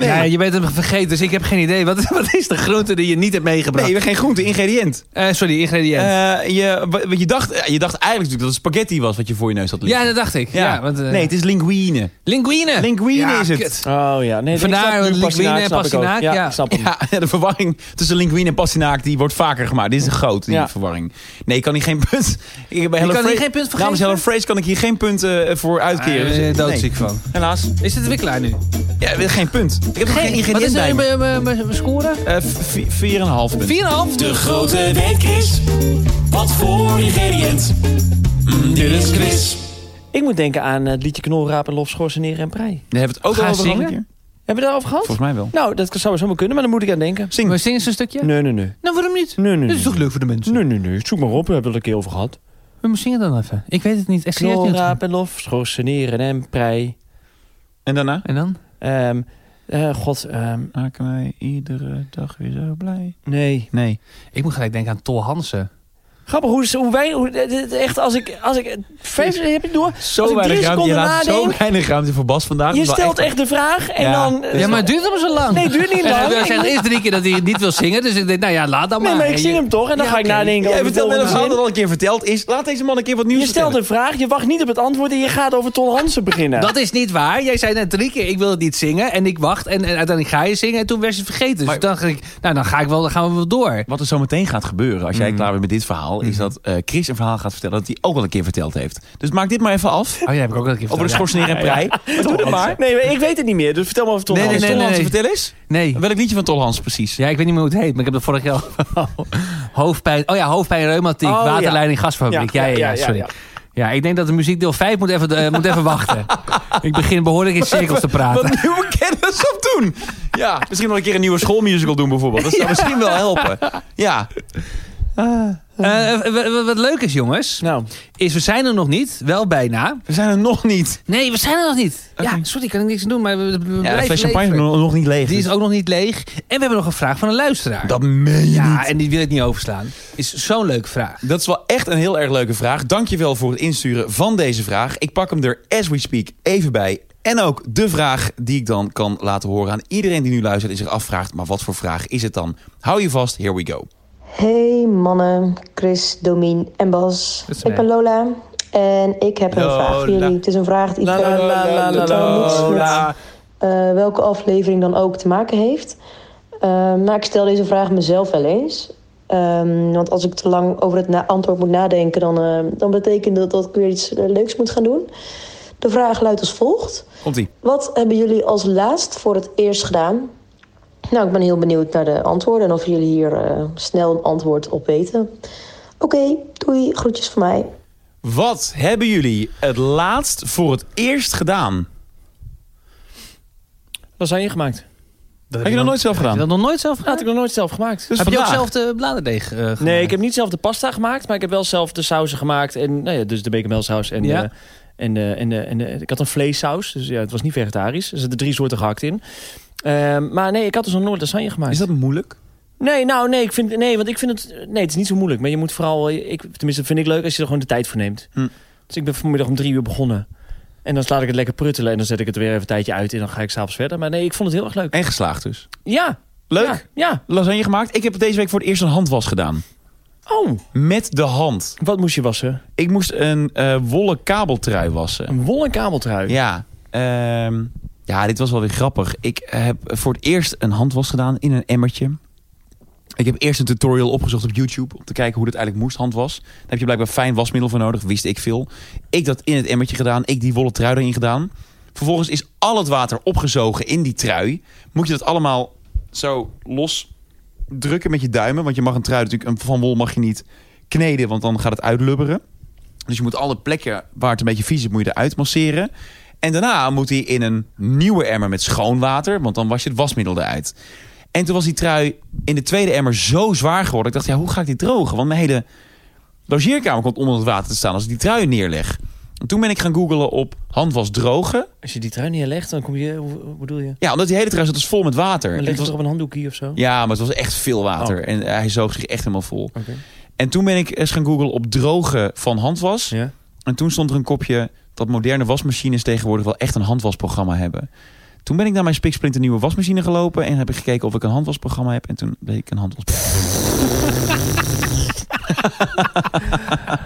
Speaker 3: Ja, je bent hem vergeten, dus ik heb geen idee. Wat, *laughs* wat is de groente die je niet hebt meegebracht?
Speaker 1: Nee, geen groente. Ingrediënt.
Speaker 3: Eh, sorry, ingrediënt.
Speaker 1: Eh, je, wa- wat je, dacht, eh, je dacht eigenlijk natuurlijk dat het spaghetti was wat je voor je neus had liggen.
Speaker 3: ja, dat dacht ik. Ja. want, eh,
Speaker 1: nee, het is
Speaker 3: *laughs*
Speaker 1: linguine.
Speaker 3: Linguine.
Speaker 1: Linguine
Speaker 3: Ja,
Speaker 1: is het.
Speaker 3: kut.
Speaker 2: *laughs* Oh ja. Nee,
Speaker 3: Vandaar,
Speaker 2: ik snap nu
Speaker 3: want
Speaker 2: pastinaak,
Speaker 3: Linguine en
Speaker 2: snap ik ook.
Speaker 3: pastinaak,
Speaker 2: Ja,
Speaker 3: ja.
Speaker 2: ik snap hem.
Speaker 1: *laughs* Ja, de verwarring tussen linguine en pastinaak die wordt vaker gemaakt. Dit is groot, die
Speaker 2: Ja.
Speaker 1: verwarring. Nee, ik kan hier geen punt... Ik bij
Speaker 3: Je
Speaker 1: Hello
Speaker 3: kan hier
Speaker 1: Fresh-
Speaker 3: geen punt voor
Speaker 1: Namens
Speaker 3: geven?
Speaker 1: Hello Fresh kan ik hier geen punt eh, voor uitkeren.
Speaker 3: Eh,
Speaker 1: Dus-
Speaker 3: doodziek van.
Speaker 1: Nee, helaas.
Speaker 3: Is het de wikkelaar nu?
Speaker 1: Ja, geen punt. Ik heb er geen
Speaker 3: Wat
Speaker 1: ingrediënt
Speaker 3: is
Speaker 1: bij
Speaker 3: er
Speaker 1: me.
Speaker 3: mijn- mijn- mijn mijn score?
Speaker 1: Eh, vi- Vier en een half punt.
Speaker 3: 4,5.
Speaker 5: De grote weetquiz. Wat voor ingrediënt? Mm, dit is quiz.
Speaker 2: Ik moet denken aan eh, het liedje Knolraap en Lof, Schorseneren en Prei.
Speaker 1: Dan hebben we het ook
Speaker 3: Ga
Speaker 1: al over gehad
Speaker 3: zingen?
Speaker 1: een keer.
Speaker 2: Hebben we daarover gehad?
Speaker 1: Volgens mij wel.
Speaker 2: Nou, dat zou zomaar kunnen, maar dan moet ik aan denken.
Speaker 1: Zing.
Speaker 3: Maar zingen ze een stukje?
Speaker 2: Nee, nee, nee.
Speaker 3: Nou, waarom niet?
Speaker 2: Nee, nee,
Speaker 3: Dat is
Speaker 2: nee.
Speaker 3: toch leuk voor de mensen?
Speaker 2: Nee, nee, nee. Zoek maar op, we hebben het er een keer over gehad.
Speaker 3: We moeten zingen dan even. Ik weet het niet. Echt serieus niet.
Speaker 2: Knolraap en Lof, Schorseneren en Prei.
Speaker 1: En daarna?
Speaker 3: En dan?
Speaker 2: Ehm, eh, god, ehm,
Speaker 1: Maken wij iedere dag weer zo blij.
Speaker 2: nee.
Speaker 1: Nee.
Speaker 3: Ik moet gelijk denken aan Tol Hansen.
Speaker 2: Grappig hoe, ze- hoe wij... Hoe, eh, dit- echt, als ik... Als ik eh, vijf, heb je het door? Als
Speaker 1: Zo
Speaker 2: ik
Speaker 1: weinig
Speaker 2: drie
Speaker 1: ruimte. Je
Speaker 2: seconden
Speaker 1: laat
Speaker 2: nadenk,
Speaker 1: zo weinig ruimte voor Bas vandaag.
Speaker 2: je
Speaker 1: Dat is wel
Speaker 2: stelt echt de vraag en
Speaker 1: Ja,
Speaker 2: dan... eh,
Speaker 3: Ja, maar het duurt hem zo lang.
Speaker 2: Nee, het duurt niet
Speaker 3: *laughs* En
Speaker 2: lang.
Speaker 3: Hij zegt eerst drie keer dat hij niet wil zingen. Dus ik denk, nou ja, laat dan maar.
Speaker 2: nee, maar ik zing hem toch en dan
Speaker 3: Ja,
Speaker 2: ga ik
Speaker 3: oké.
Speaker 2: nadenken
Speaker 1: Jij
Speaker 2: over de
Speaker 1: vertelt net een verhaal
Speaker 2: volgende
Speaker 1: dat al een keer verteld is. Laat deze man een keer wat nieuws
Speaker 2: Je stelt
Speaker 1: vertellen.
Speaker 2: een vraag, je wacht niet op het antwoord en je gaat over Ton Hansen beginnen.
Speaker 3: Dat is niet waar. Jij zei net drie keer, ik wil het niet zingen. En ik wacht. En, en uiteindelijk ga je zingen. En toen werd je het vergeten. Dus
Speaker 1: Maar-
Speaker 3: dan, ging ik, nou, dan, ga ik wel, dan gaan we wel door.
Speaker 1: Wat er zo meteen gaat gebeuren, als jij klaar bent met dit verhaal... is dat eh, Chris een verhaal gaat vertellen dat hij ook al een keer verteld heeft. Dus maak dit maar even
Speaker 2: *laughs*
Speaker 1: af.
Speaker 3: Oh, jij heb ik ook wel een keer
Speaker 1: Over de
Speaker 3: verteld,
Speaker 1: schorseneer en prei. Maar doe het maar.
Speaker 2: Nee, ik weet het niet meer, dus vertel me over Ton
Speaker 3: Nee, nee,
Speaker 1: Hans,
Speaker 2: Hansen.
Speaker 1: Tol Hansen,
Speaker 3: nee.
Speaker 1: vertel eens.
Speaker 3: ja. Nee.
Speaker 1: Welk liedje van Tol Hans precies?
Speaker 3: Ja, ik weet niet meer hoe het heet. Maar ik heb dat vorig jaar al- *laughs* Hoofdpijn. Oh ja, hoofdpijn, reumatiek,
Speaker 2: Oh, ja.
Speaker 3: waterleiding, gasfabriek. Ja, ja, ja, sorry. Ja, ik denk dat de muziekdeel 5 moet even, eh, moet even
Speaker 2: *laughs*
Speaker 3: wachten. Ik begin behoorlijk in cirkels te praten.
Speaker 1: Wat nieuwe *laughs* kennis op doen. Ja, misschien nog een keer een nieuwe schoolmusical doen bijvoorbeeld.
Speaker 2: *laughs*
Speaker 1: Dat zou misschien wel helpen. Ja.
Speaker 3: Eh, w- w- w- wat leuk is, jongens,
Speaker 2: Nou,
Speaker 3: is we zijn er nog niet. Wel bijna.
Speaker 1: We zijn er nog niet.
Speaker 3: Nee, we zijn er nog niet. Ja, sorry, kan ik niks aan doen, maar we, we we
Speaker 1: Ja, de
Speaker 3: blijven
Speaker 1: fles champagne is
Speaker 3: leven.
Speaker 1: nog nog niet leeg.
Speaker 3: Die is
Speaker 1: dus
Speaker 3: ook nog niet leeg. En we hebben nog een vraag van een luisteraar.
Speaker 1: Dat meen je
Speaker 3: ja,
Speaker 1: niet.
Speaker 3: en die wil ik niet overslaan. Is zo'n leuke vraag.
Speaker 1: Dat is wel echt een heel erg leuke vraag. Dankjewel voor het insturen van deze vraag. Ik pak hem er as we speak even bij. En ook de vraag die ik dan kan laten horen aan iedereen die nu luistert en zich afvraagt, maar wat voor vraag is het dan? Hou je vast, here we go.
Speaker 6: Hey mannen, Chris, Domien en Bas.
Speaker 3: Dat zijn
Speaker 6: Ik ben Lola en ik heb een
Speaker 1: Lola.
Speaker 6: vraag voor jullie. Het is een vraag die verder niets met eh, welke aflevering dan ook te maken heeft. Eh, maar ik stel deze vraag mezelf wel eens. Ehm, want als ik te lang over het na- antwoord moet nadenken, dan, eh, dan betekent dat dat ik weer iets eh, leuks moet gaan doen. De vraag luidt als volgt.
Speaker 1: Komt ie.
Speaker 6: Wat hebben jullie als laatst voor het eerst gedaan? Nou, ik ben heel benieuwd naar de antwoorden en of jullie hier eh, snel een antwoord op weten. Oké, doei, groetjes van mij.
Speaker 1: Wat hebben jullie het laatst voor het eerst gedaan?
Speaker 2: Lasagne gemaakt.
Speaker 1: Heb je dat nooit zelf
Speaker 3: Heb je
Speaker 1: gedaan?
Speaker 3: dat nog nooit
Speaker 2: Dat
Speaker 3: zelf gedaan?
Speaker 2: had ik nog nooit zelf gemaakt.
Speaker 1: Dus
Speaker 3: heb je ook
Speaker 1: vandaag.
Speaker 3: zelf de bladerdeeg eh, gemaakt?
Speaker 2: Nee, ik heb niet zelf de pasta gemaakt, maar ik heb wel zelf de sauzen gemaakt. En, nou ja, dus de bekermelsaus en,
Speaker 3: Ja.
Speaker 2: eh, en, eh, en, eh, en eh, ik had een vleessaus, dus ja, het was niet vegetarisch. Er zitten drie soorten gehakt in. Ehm, maar nee, ik had dus nog nooit lasagne gemaakt.
Speaker 1: Is dat moeilijk?
Speaker 2: Nee, nou nee, ik vind, nee, want ik vind het, nee, het is niet zo moeilijk. Maar je moet vooral, eh, ik, tenminste vind ik leuk als je er gewoon de tijd voor neemt.
Speaker 1: Hm.
Speaker 2: Dus ik ben vanmiddag om drie uur begonnen. En dan laat ik het lekker pruttelen en dan zet ik het weer even een tijdje uit en dan ga ik s'avonds verder. Maar nee, ik vond het heel erg leuk.
Speaker 1: En geslaagd dus.
Speaker 2: Ja.
Speaker 1: Leuk.
Speaker 2: Ja. ja.
Speaker 1: Lasagne gemaakt. Ik heb deze week voor het eerst een handwas gedaan.
Speaker 2: Oh,
Speaker 1: Met de hand.
Speaker 2: wat moest je wassen?
Speaker 1: Ik moest een eh, wollen kabeltrui wassen.
Speaker 2: Een wollen kabeltrui.
Speaker 1: Ja, ehm, ja, dit was wel weer grappig. Ik heb voor het eerst een handwas gedaan in een emmertje. Ik heb eerst een tutorial opgezocht op YouTube om te kijken hoe dit eigenlijk moest handwas. Daar heb je blijkbaar fijn wasmiddel voor nodig, wist ik veel. Ik dat in het emmertje gedaan, ik die wollen trui erin gedaan. Vervolgens is al het water opgezogen in die trui. Moet je dat allemaal zo los drukken met je duimen, want je mag een trui natuurlijk een- van wol mag je niet kneden, want dan gaat het uitlubberen. Dus je moet alle plekken waar het een beetje vies is, moet je eruit masseren. En daarna moet hij in een nieuwe emmer met schoon water, want dan was je het wasmiddel eruit. En toen was die trui in de tweede emmer zo zwaar geworden. Ik dacht, ja, hoe ga ik die drogen? Want mijn hele logeerkamer komt onder het water te staan als ik die trui neerleg. En toen ben ik gaan googlen op handwas drogen.
Speaker 2: Als je die trui neerlegt, dan kom je, hoe, hoe bedoel je?
Speaker 1: Ja, omdat die hele trui zat dus vol met water.
Speaker 2: Dan
Speaker 1: En het
Speaker 2: ligt het
Speaker 1: was-
Speaker 2: toch op een handdoekje of zo?
Speaker 1: ja, maar het was echt veel water. En eh, hij zoog zich echt helemaal vol.
Speaker 2: Oké.
Speaker 1: En toen ben ik eens gaan googlen op drogen van handwas.
Speaker 2: Ja.
Speaker 1: En toen stond er een kopje dat moderne wasmachines tegenwoordig wel echt een handwasprogramma hebben. Toen ben ik naar mijn spiksplinter nieuwe wasmachine gelopen en heb ik gekeken of ik een handwasprogramma heb. En toen deed ik een handwas. *laughs*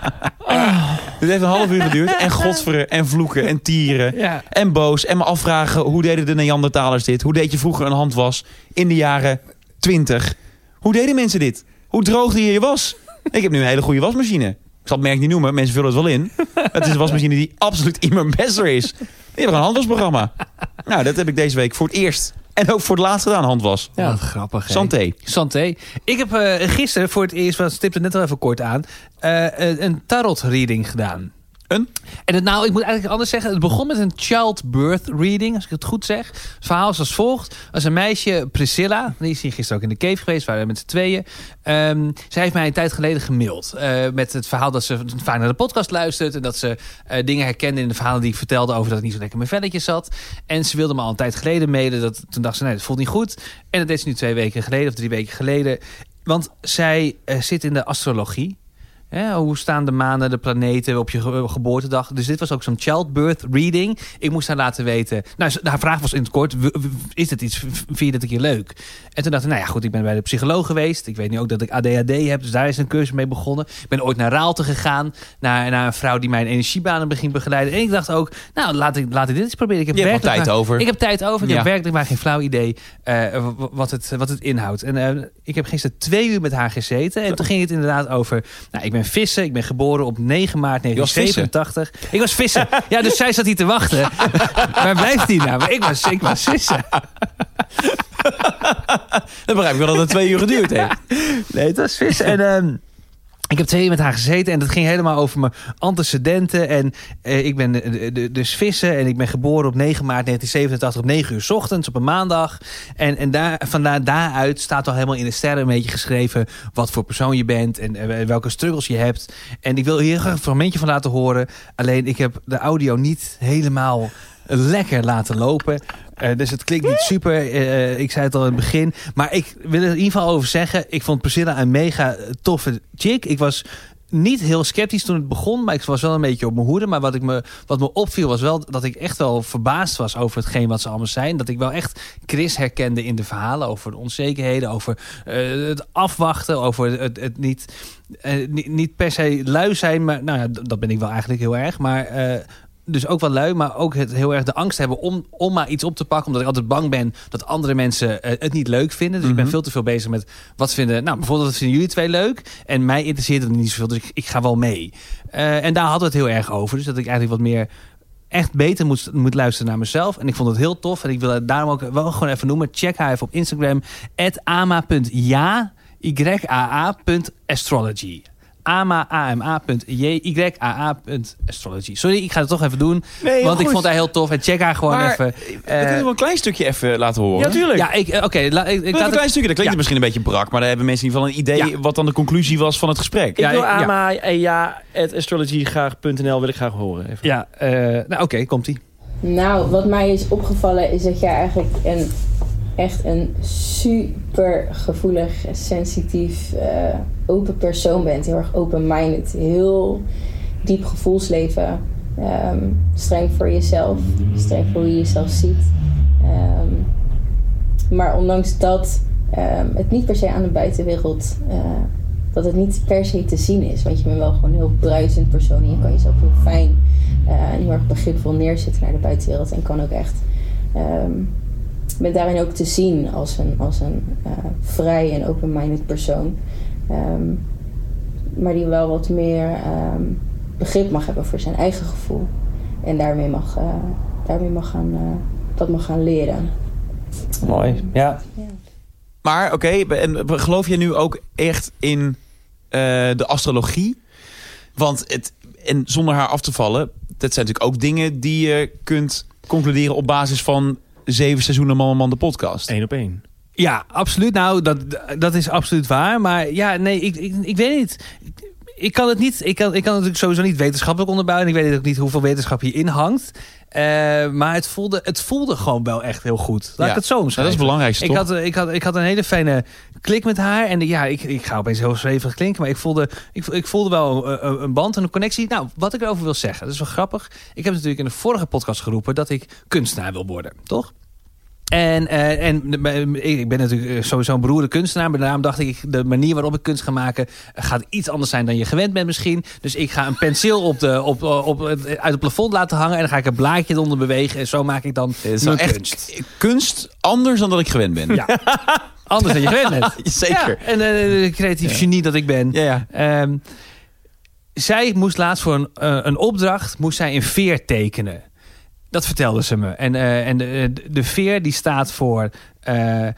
Speaker 1: Dit heeft een half uur geduurd. En godveren en vloeken en tieren.
Speaker 3: Ja.
Speaker 1: En boos. En me afvragen hoe deden de Neandertalers dit? Hoe deed je vroeger een handwas in de jaren 20? Hoe deden mensen dit? Hoe droogde je je was? Ik heb nu een hele goede wasmachine. Ik zal het merk niet noemen, mensen vullen het wel in. Maar Het is een wasmachine die absoluut iemand besser is. Die hebben een handwasprogramma. Nou, dat heb ik deze week voor het eerst. En ook voor het laatst gedaan, handwas.
Speaker 3: Ja, Wat grappig. hè?
Speaker 1: Santé.
Speaker 3: Santé. Ik heb eh, gisteren voor het eerst, want ik stipte net al even kort aan, eh, een- een tarot reading gedaan.
Speaker 1: Een?
Speaker 3: En het, nou, ik moet eigenlijk anders zeggen. Het begon met een childbirth reading, als ik het goed zeg. Het verhaal is als volgt. Als een meisje, Priscilla, die is hier gisteren ook in de cave geweest, waren we met z'n tweeën. Ehm, zij heeft mij een tijd geleden gemaild. eh, met het verhaal dat ze vaak naar de podcast luistert. En dat ze eh, dingen herkende in de verhalen die ik vertelde over dat ik niet zo lekker in mijn velletjes zat. En ze wilde me al een tijd geleden mailen. Dat, toen dacht ze, nee, dat voelt niet goed. En dat deed ze nu twee weken geleden of drie weken geleden. Want zij eh, zit in de astrologie. Hè, hoe staan de maanden, de planeten op je ge- geboortedag? Dus dit was ook zo'n childbirth reading. Ik moest haar laten weten. Nou, ze- haar vraag was in het kort: w- w- is het iets? v- Vind je dat een keer leuk? En toen dacht ik: Nou ja, goed, ik ben bij de psycholoog geweest. Ik weet nu ook dat ik ADHD heb. Dus daar is een cursus mee begonnen. Ik ben ooit naar Raalte gegaan. Naar, naar een vrouw die mijn energiebanen begint begeleiden. En ik dacht ook: Nou, laat ik, laat ik dit eens proberen. Ik heb
Speaker 1: Je hebt wel
Speaker 3: werkelijk
Speaker 1: tijd over.
Speaker 3: ik heb tijd over. Ik
Speaker 1: Ja.
Speaker 3: heb werkelijk maar geen flauw idee eh, w- w- wat, het, wat het inhoudt. En eh, ik heb gisteren twee uur met haar gezeten. En toen ging het inderdaad over... Nou, ik ben vissen. Ik ben geboren op 9 maart
Speaker 1: was vissen?
Speaker 3: 1987. Ik was vissen. ja, dus zij zat hier te wachten. *laughs* Waar blijft die nou? Maar ik was, ik was vissen.
Speaker 1: Dan begrijp ik wel dat het twee uur geduurd heeft.
Speaker 3: Nee, het was vissen. En... ehm, ik heb twee uur met haar gezeten en dat ging helemaal over mijn antecedenten. En eh, ik ben eh, de- dus vissen en ik ben geboren op 9 maart 1987 op 9 uur 's ochtends op een maandag. En, en daar, vandaar daaruit staat al helemaal in de sterren een beetje geschreven wat voor persoon je bent en, eh, welke struggles je hebt. En ik wil hier graag een fragmentje van laten horen. Alleen ik heb de audio niet helemaal lekker laten lopen. Eh, dus het klinkt niet super. Eh, ik zei het al in het begin. Maar ik wil er in ieder geval over zeggen. Ik vond Priscilla een mega toffe chick. Ik was niet heel sceptisch toen het begon, maar ik was wel een beetje op mijn hoede. Maar wat, ik me, wat me opviel was wel dat ik echt wel verbaasd was over hetgeen wat ze allemaal zijn. Dat ik wel echt Chris herkende in de verhalen over de onzekerheden, over eh, het afwachten, over het, het niet, eh, niet, niet per se lui zijn. Maar nou ja, d- dat ben ik wel eigenlijk heel erg. Maar eh, dus ook wel lui, maar ook het heel erg de angst hebben om, om maar iets op te pakken. Omdat ik altijd bang ben dat andere mensen eh, het niet leuk vinden. Dus ik ben veel te veel bezig met wat vinden. Nou, bijvoorbeeld, wat vinden jullie twee leuk? En mij interesseert het niet zoveel, dus ik, ik ga wel mee. Eh, en daar hadden we het heel erg over. Dus dat ik eigenlijk wat meer echt beter moet, moet luisteren naar mezelf. En ik vond het heel tof. En ik wil het daarom ook wel gewoon even noemen. Check haar even op Instagram. ama.ja, y-a-a punt astrology. ama.j-y-a-a.astrology. Sorry, ik ga het toch even doen.
Speaker 1: Nee,
Speaker 3: want ik
Speaker 1: goed.
Speaker 3: vond haar heel tof. En check haar gewoon
Speaker 1: Maar,
Speaker 3: even.
Speaker 1: eh, we
Speaker 3: eh,
Speaker 1: kunnen wel een klein stukje even laten horen.
Speaker 2: Ja, tuurlijk.
Speaker 3: ja, ik, eh, oké. la- ik, ik
Speaker 1: Even een
Speaker 3: laat
Speaker 1: klein
Speaker 3: het,
Speaker 1: stukje, dat klinkt
Speaker 3: Ja.
Speaker 1: misschien een beetje brak, maar daar hebben mensen in ieder geval een idee
Speaker 3: Ja.
Speaker 1: wat dan de conclusie was van het gesprek.
Speaker 2: Ik
Speaker 3: Ja,
Speaker 2: wil
Speaker 3: ik- ja.
Speaker 2: Ama en Ah, eh, ja, at astrologygraag.nl wil ik graag horen. Even.
Speaker 3: ja, eh, nou oké, komt-ie.
Speaker 7: Nou, wat mij is opgevallen is dat jij eigenlijk een, echt een super gevoelig, sensitief, eh, open persoon bent. Heel erg open-minded, heel diep gevoelsleven. Ehm, streng voor jezelf, streng voor hoe je jezelf ziet. Ehm, maar ondanks dat ehm, het niet per se aan de buitenwereld, eh, dat het niet per se te zien is. Want je bent wel gewoon een heel bruisend persoon en je kan jezelf heel fijn eh, en heel erg begripvol neerzetten naar de buitenwereld. En kan ook echt, ehm ben daarin ook te zien als een, als een eh, vrij en open-minded persoon. Ehm, maar die wel wat meer ehm, begrip mag hebben voor zijn eigen gevoel. En daarmee mag, eh, daarmee mag gaan, eh, dat mag gaan leren.
Speaker 2: Mooi. Ja.
Speaker 1: Maar oké, en geloof je nu ook echt in eh, de astrologie? Want het, en zonder haar af te vallen, dat zijn natuurlijk ook dingen die je kunt concluderen op basis van zeven seizoenen Man en Man de podcast.
Speaker 2: Eén op één.
Speaker 3: Ja, absoluut. Nou, dat, dat is absoluut waar. Maar ja, nee, ik, ik, ik weet niet. Ik kan het niet. Ik kan, ik kan het natuurlijk sowieso niet wetenschappelijk onderbouwen. En ik weet ook niet hoeveel wetenschap hierin hangt. Eh, maar het voelde, het voelde gewoon wel echt heel goed. Laat
Speaker 1: Ja.
Speaker 3: ik het zo
Speaker 1: Nou, dat is
Speaker 3: omschrijven.
Speaker 1: het belangrijkste,
Speaker 3: Ik
Speaker 1: toch?
Speaker 3: had, ik, had, ik had een hele fijne klik met haar. En ja, ik, ik ga opeens heel zwevig klinken. Maar ik voelde, ik, ik voelde wel een, een- een band en een connectie. Nou, wat ik erover wil zeggen. Dat is wel grappig. Ik heb natuurlijk in de vorige podcast geroepen... dat ik kunstenaar wil worden, toch? En, eh, en de- m- ik ben natuurlijk eh, sowieso een beroerde kunstenaar. Maar daarom dacht ik, de manier waarop ik kunst ga maken... eh, gaat iets anders zijn dan je gewend bent misschien. Dus ik ga een penseel op de, op, eh, op, het- uit het plafond laten hangen... en dan ga ik een blaadje eronder bewegen. En zo maak ik dan
Speaker 1: Het is nou
Speaker 3: mijn
Speaker 1: echt
Speaker 3: kunst.
Speaker 1: kunst. anders dan dat ik gewend ben.
Speaker 3: Ja. Anders dan je gewend bent.
Speaker 1: *laughs* Zeker.
Speaker 3: Ja, en eh, de creatief genie dat ik ben.
Speaker 1: Ja, ja.
Speaker 3: Ehm, zij moest laatst voor een, eh, een opdracht moest zij een veer tekenen. Dat vertelde ze me. En, eh, en de, de veer die staat voor eh, eh,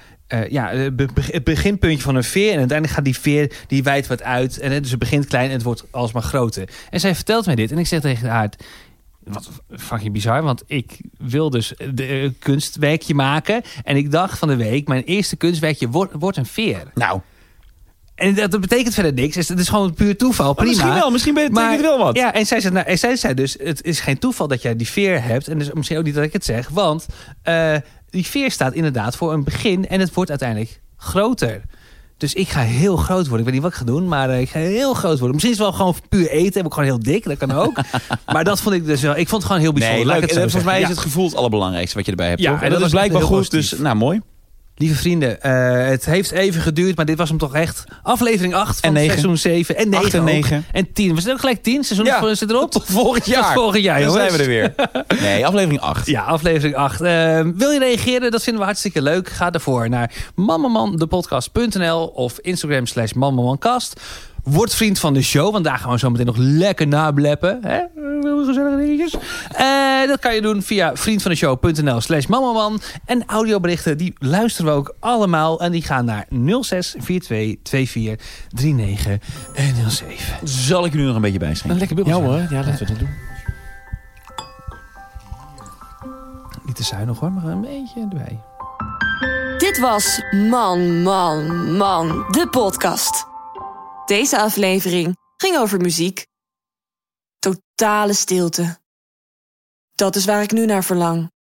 Speaker 3: ja, het be- be- het beginpuntje van een veer. En uiteindelijk gaat die veer, die wijdt wat uit. En, eh, dus het begint klein en het wordt alsmaar groter. En zij vertelt mij dit. En ik zeg tegen haar, wat fucking bizar, want ik wil dus eh, de, eh, kunstwerkje maken. En ik dacht van de week, mijn eerste kunstwerkje wordt, wordt een veer.
Speaker 1: Nou,
Speaker 3: En dat, dat betekent verder niks. Het is- Het is gewoon puur toeval. Prima.
Speaker 1: misschien wel, misschien betekent het wel wat.
Speaker 3: Ja, en zij, zei, nou, en zij zei dus, het is geen toeval dat jij die veer hebt. En dus misschien ook niet dat ik het zeg. Want eh, die veer staat inderdaad voor een begin. En het wordt uiteindelijk groter. Dus ik ga heel groot worden. Ik weet niet wat ik ga doen, maar eh, ik ga heel groot worden. Misschien is het wel gewoon puur eten. Heb ik gewoon heel dik, dat kan
Speaker 1: *laughs*
Speaker 3: ook. maar dat vond ik dus wel... Ik vond het gewoon heel bijzonder.
Speaker 1: nee,
Speaker 3: laat
Speaker 1: leuk.
Speaker 3: ik
Speaker 1: En
Speaker 3: het zo
Speaker 1: volgens mij
Speaker 3: zeggen.
Speaker 1: is
Speaker 3: Ja.
Speaker 1: het gevoel het allerbelangrijkste wat je erbij hebt.
Speaker 3: Ja,
Speaker 1: toch? En,
Speaker 3: en
Speaker 1: dat,
Speaker 3: dat
Speaker 1: is
Speaker 3: was echt
Speaker 1: blijkbaar
Speaker 3: heel
Speaker 1: goed, dus
Speaker 3: positief.
Speaker 1: nou mooi.
Speaker 3: Lieve vrienden, eh, het heeft even geduurd, maar dit was hem toch echt. Aflevering 8 van
Speaker 1: En negen.
Speaker 3: seizoen 7 en 9
Speaker 1: Acht en
Speaker 3: ook.
Speaker 1: negen.
Speaker 3: En 10. We zitten ook gelijk 10. Seizoen
Speaker 1: Ja,
Speaker 3: voor- zit erop.
Speaker 1: tot volgend
Speaker 3: *laughs* Tot
Speaker 1: jaar.
Speaker 3: volgend jaar,
Speaker 1: Dan
Speaker 3: jongens.
Speaker 1: zijn we er weer.
Speaker 3: *laughs*
Speaker 1: Nee, aflevering 8.
Speaker 3: Ja, aflevering 8. Eh, wil je reageren? Dat vinden we hartstikke leuk. Ga daarvoor naar mammamandepodcast.nl of Instagram slash mammamancast. Word vriend van de show, want daar gaan we zo meteen nog lekker nableppen. Hè? Eh, Gezellige dingetjes. Eh, dat kan je doen via vriendvandeshow.nl slash mammaman. En audioberichten, die luisteren we ook allemaal. En die gaan naar 06 42 24 39 en 07.
Speaker 1: Zal ik u nu nog een beetje bijschenken?
Speaker 3: lekker bubbel.
Speaker 2: ja, laten we dat doen.
Speaker 3: Niet te zuinig hoor, maar een beetje erbij.
Speaker 4: Dit was Man, Man, Man, de podcast. Deze aflevering ging over muziek. Totale stilte. Dat is waar ik nu naar verlang.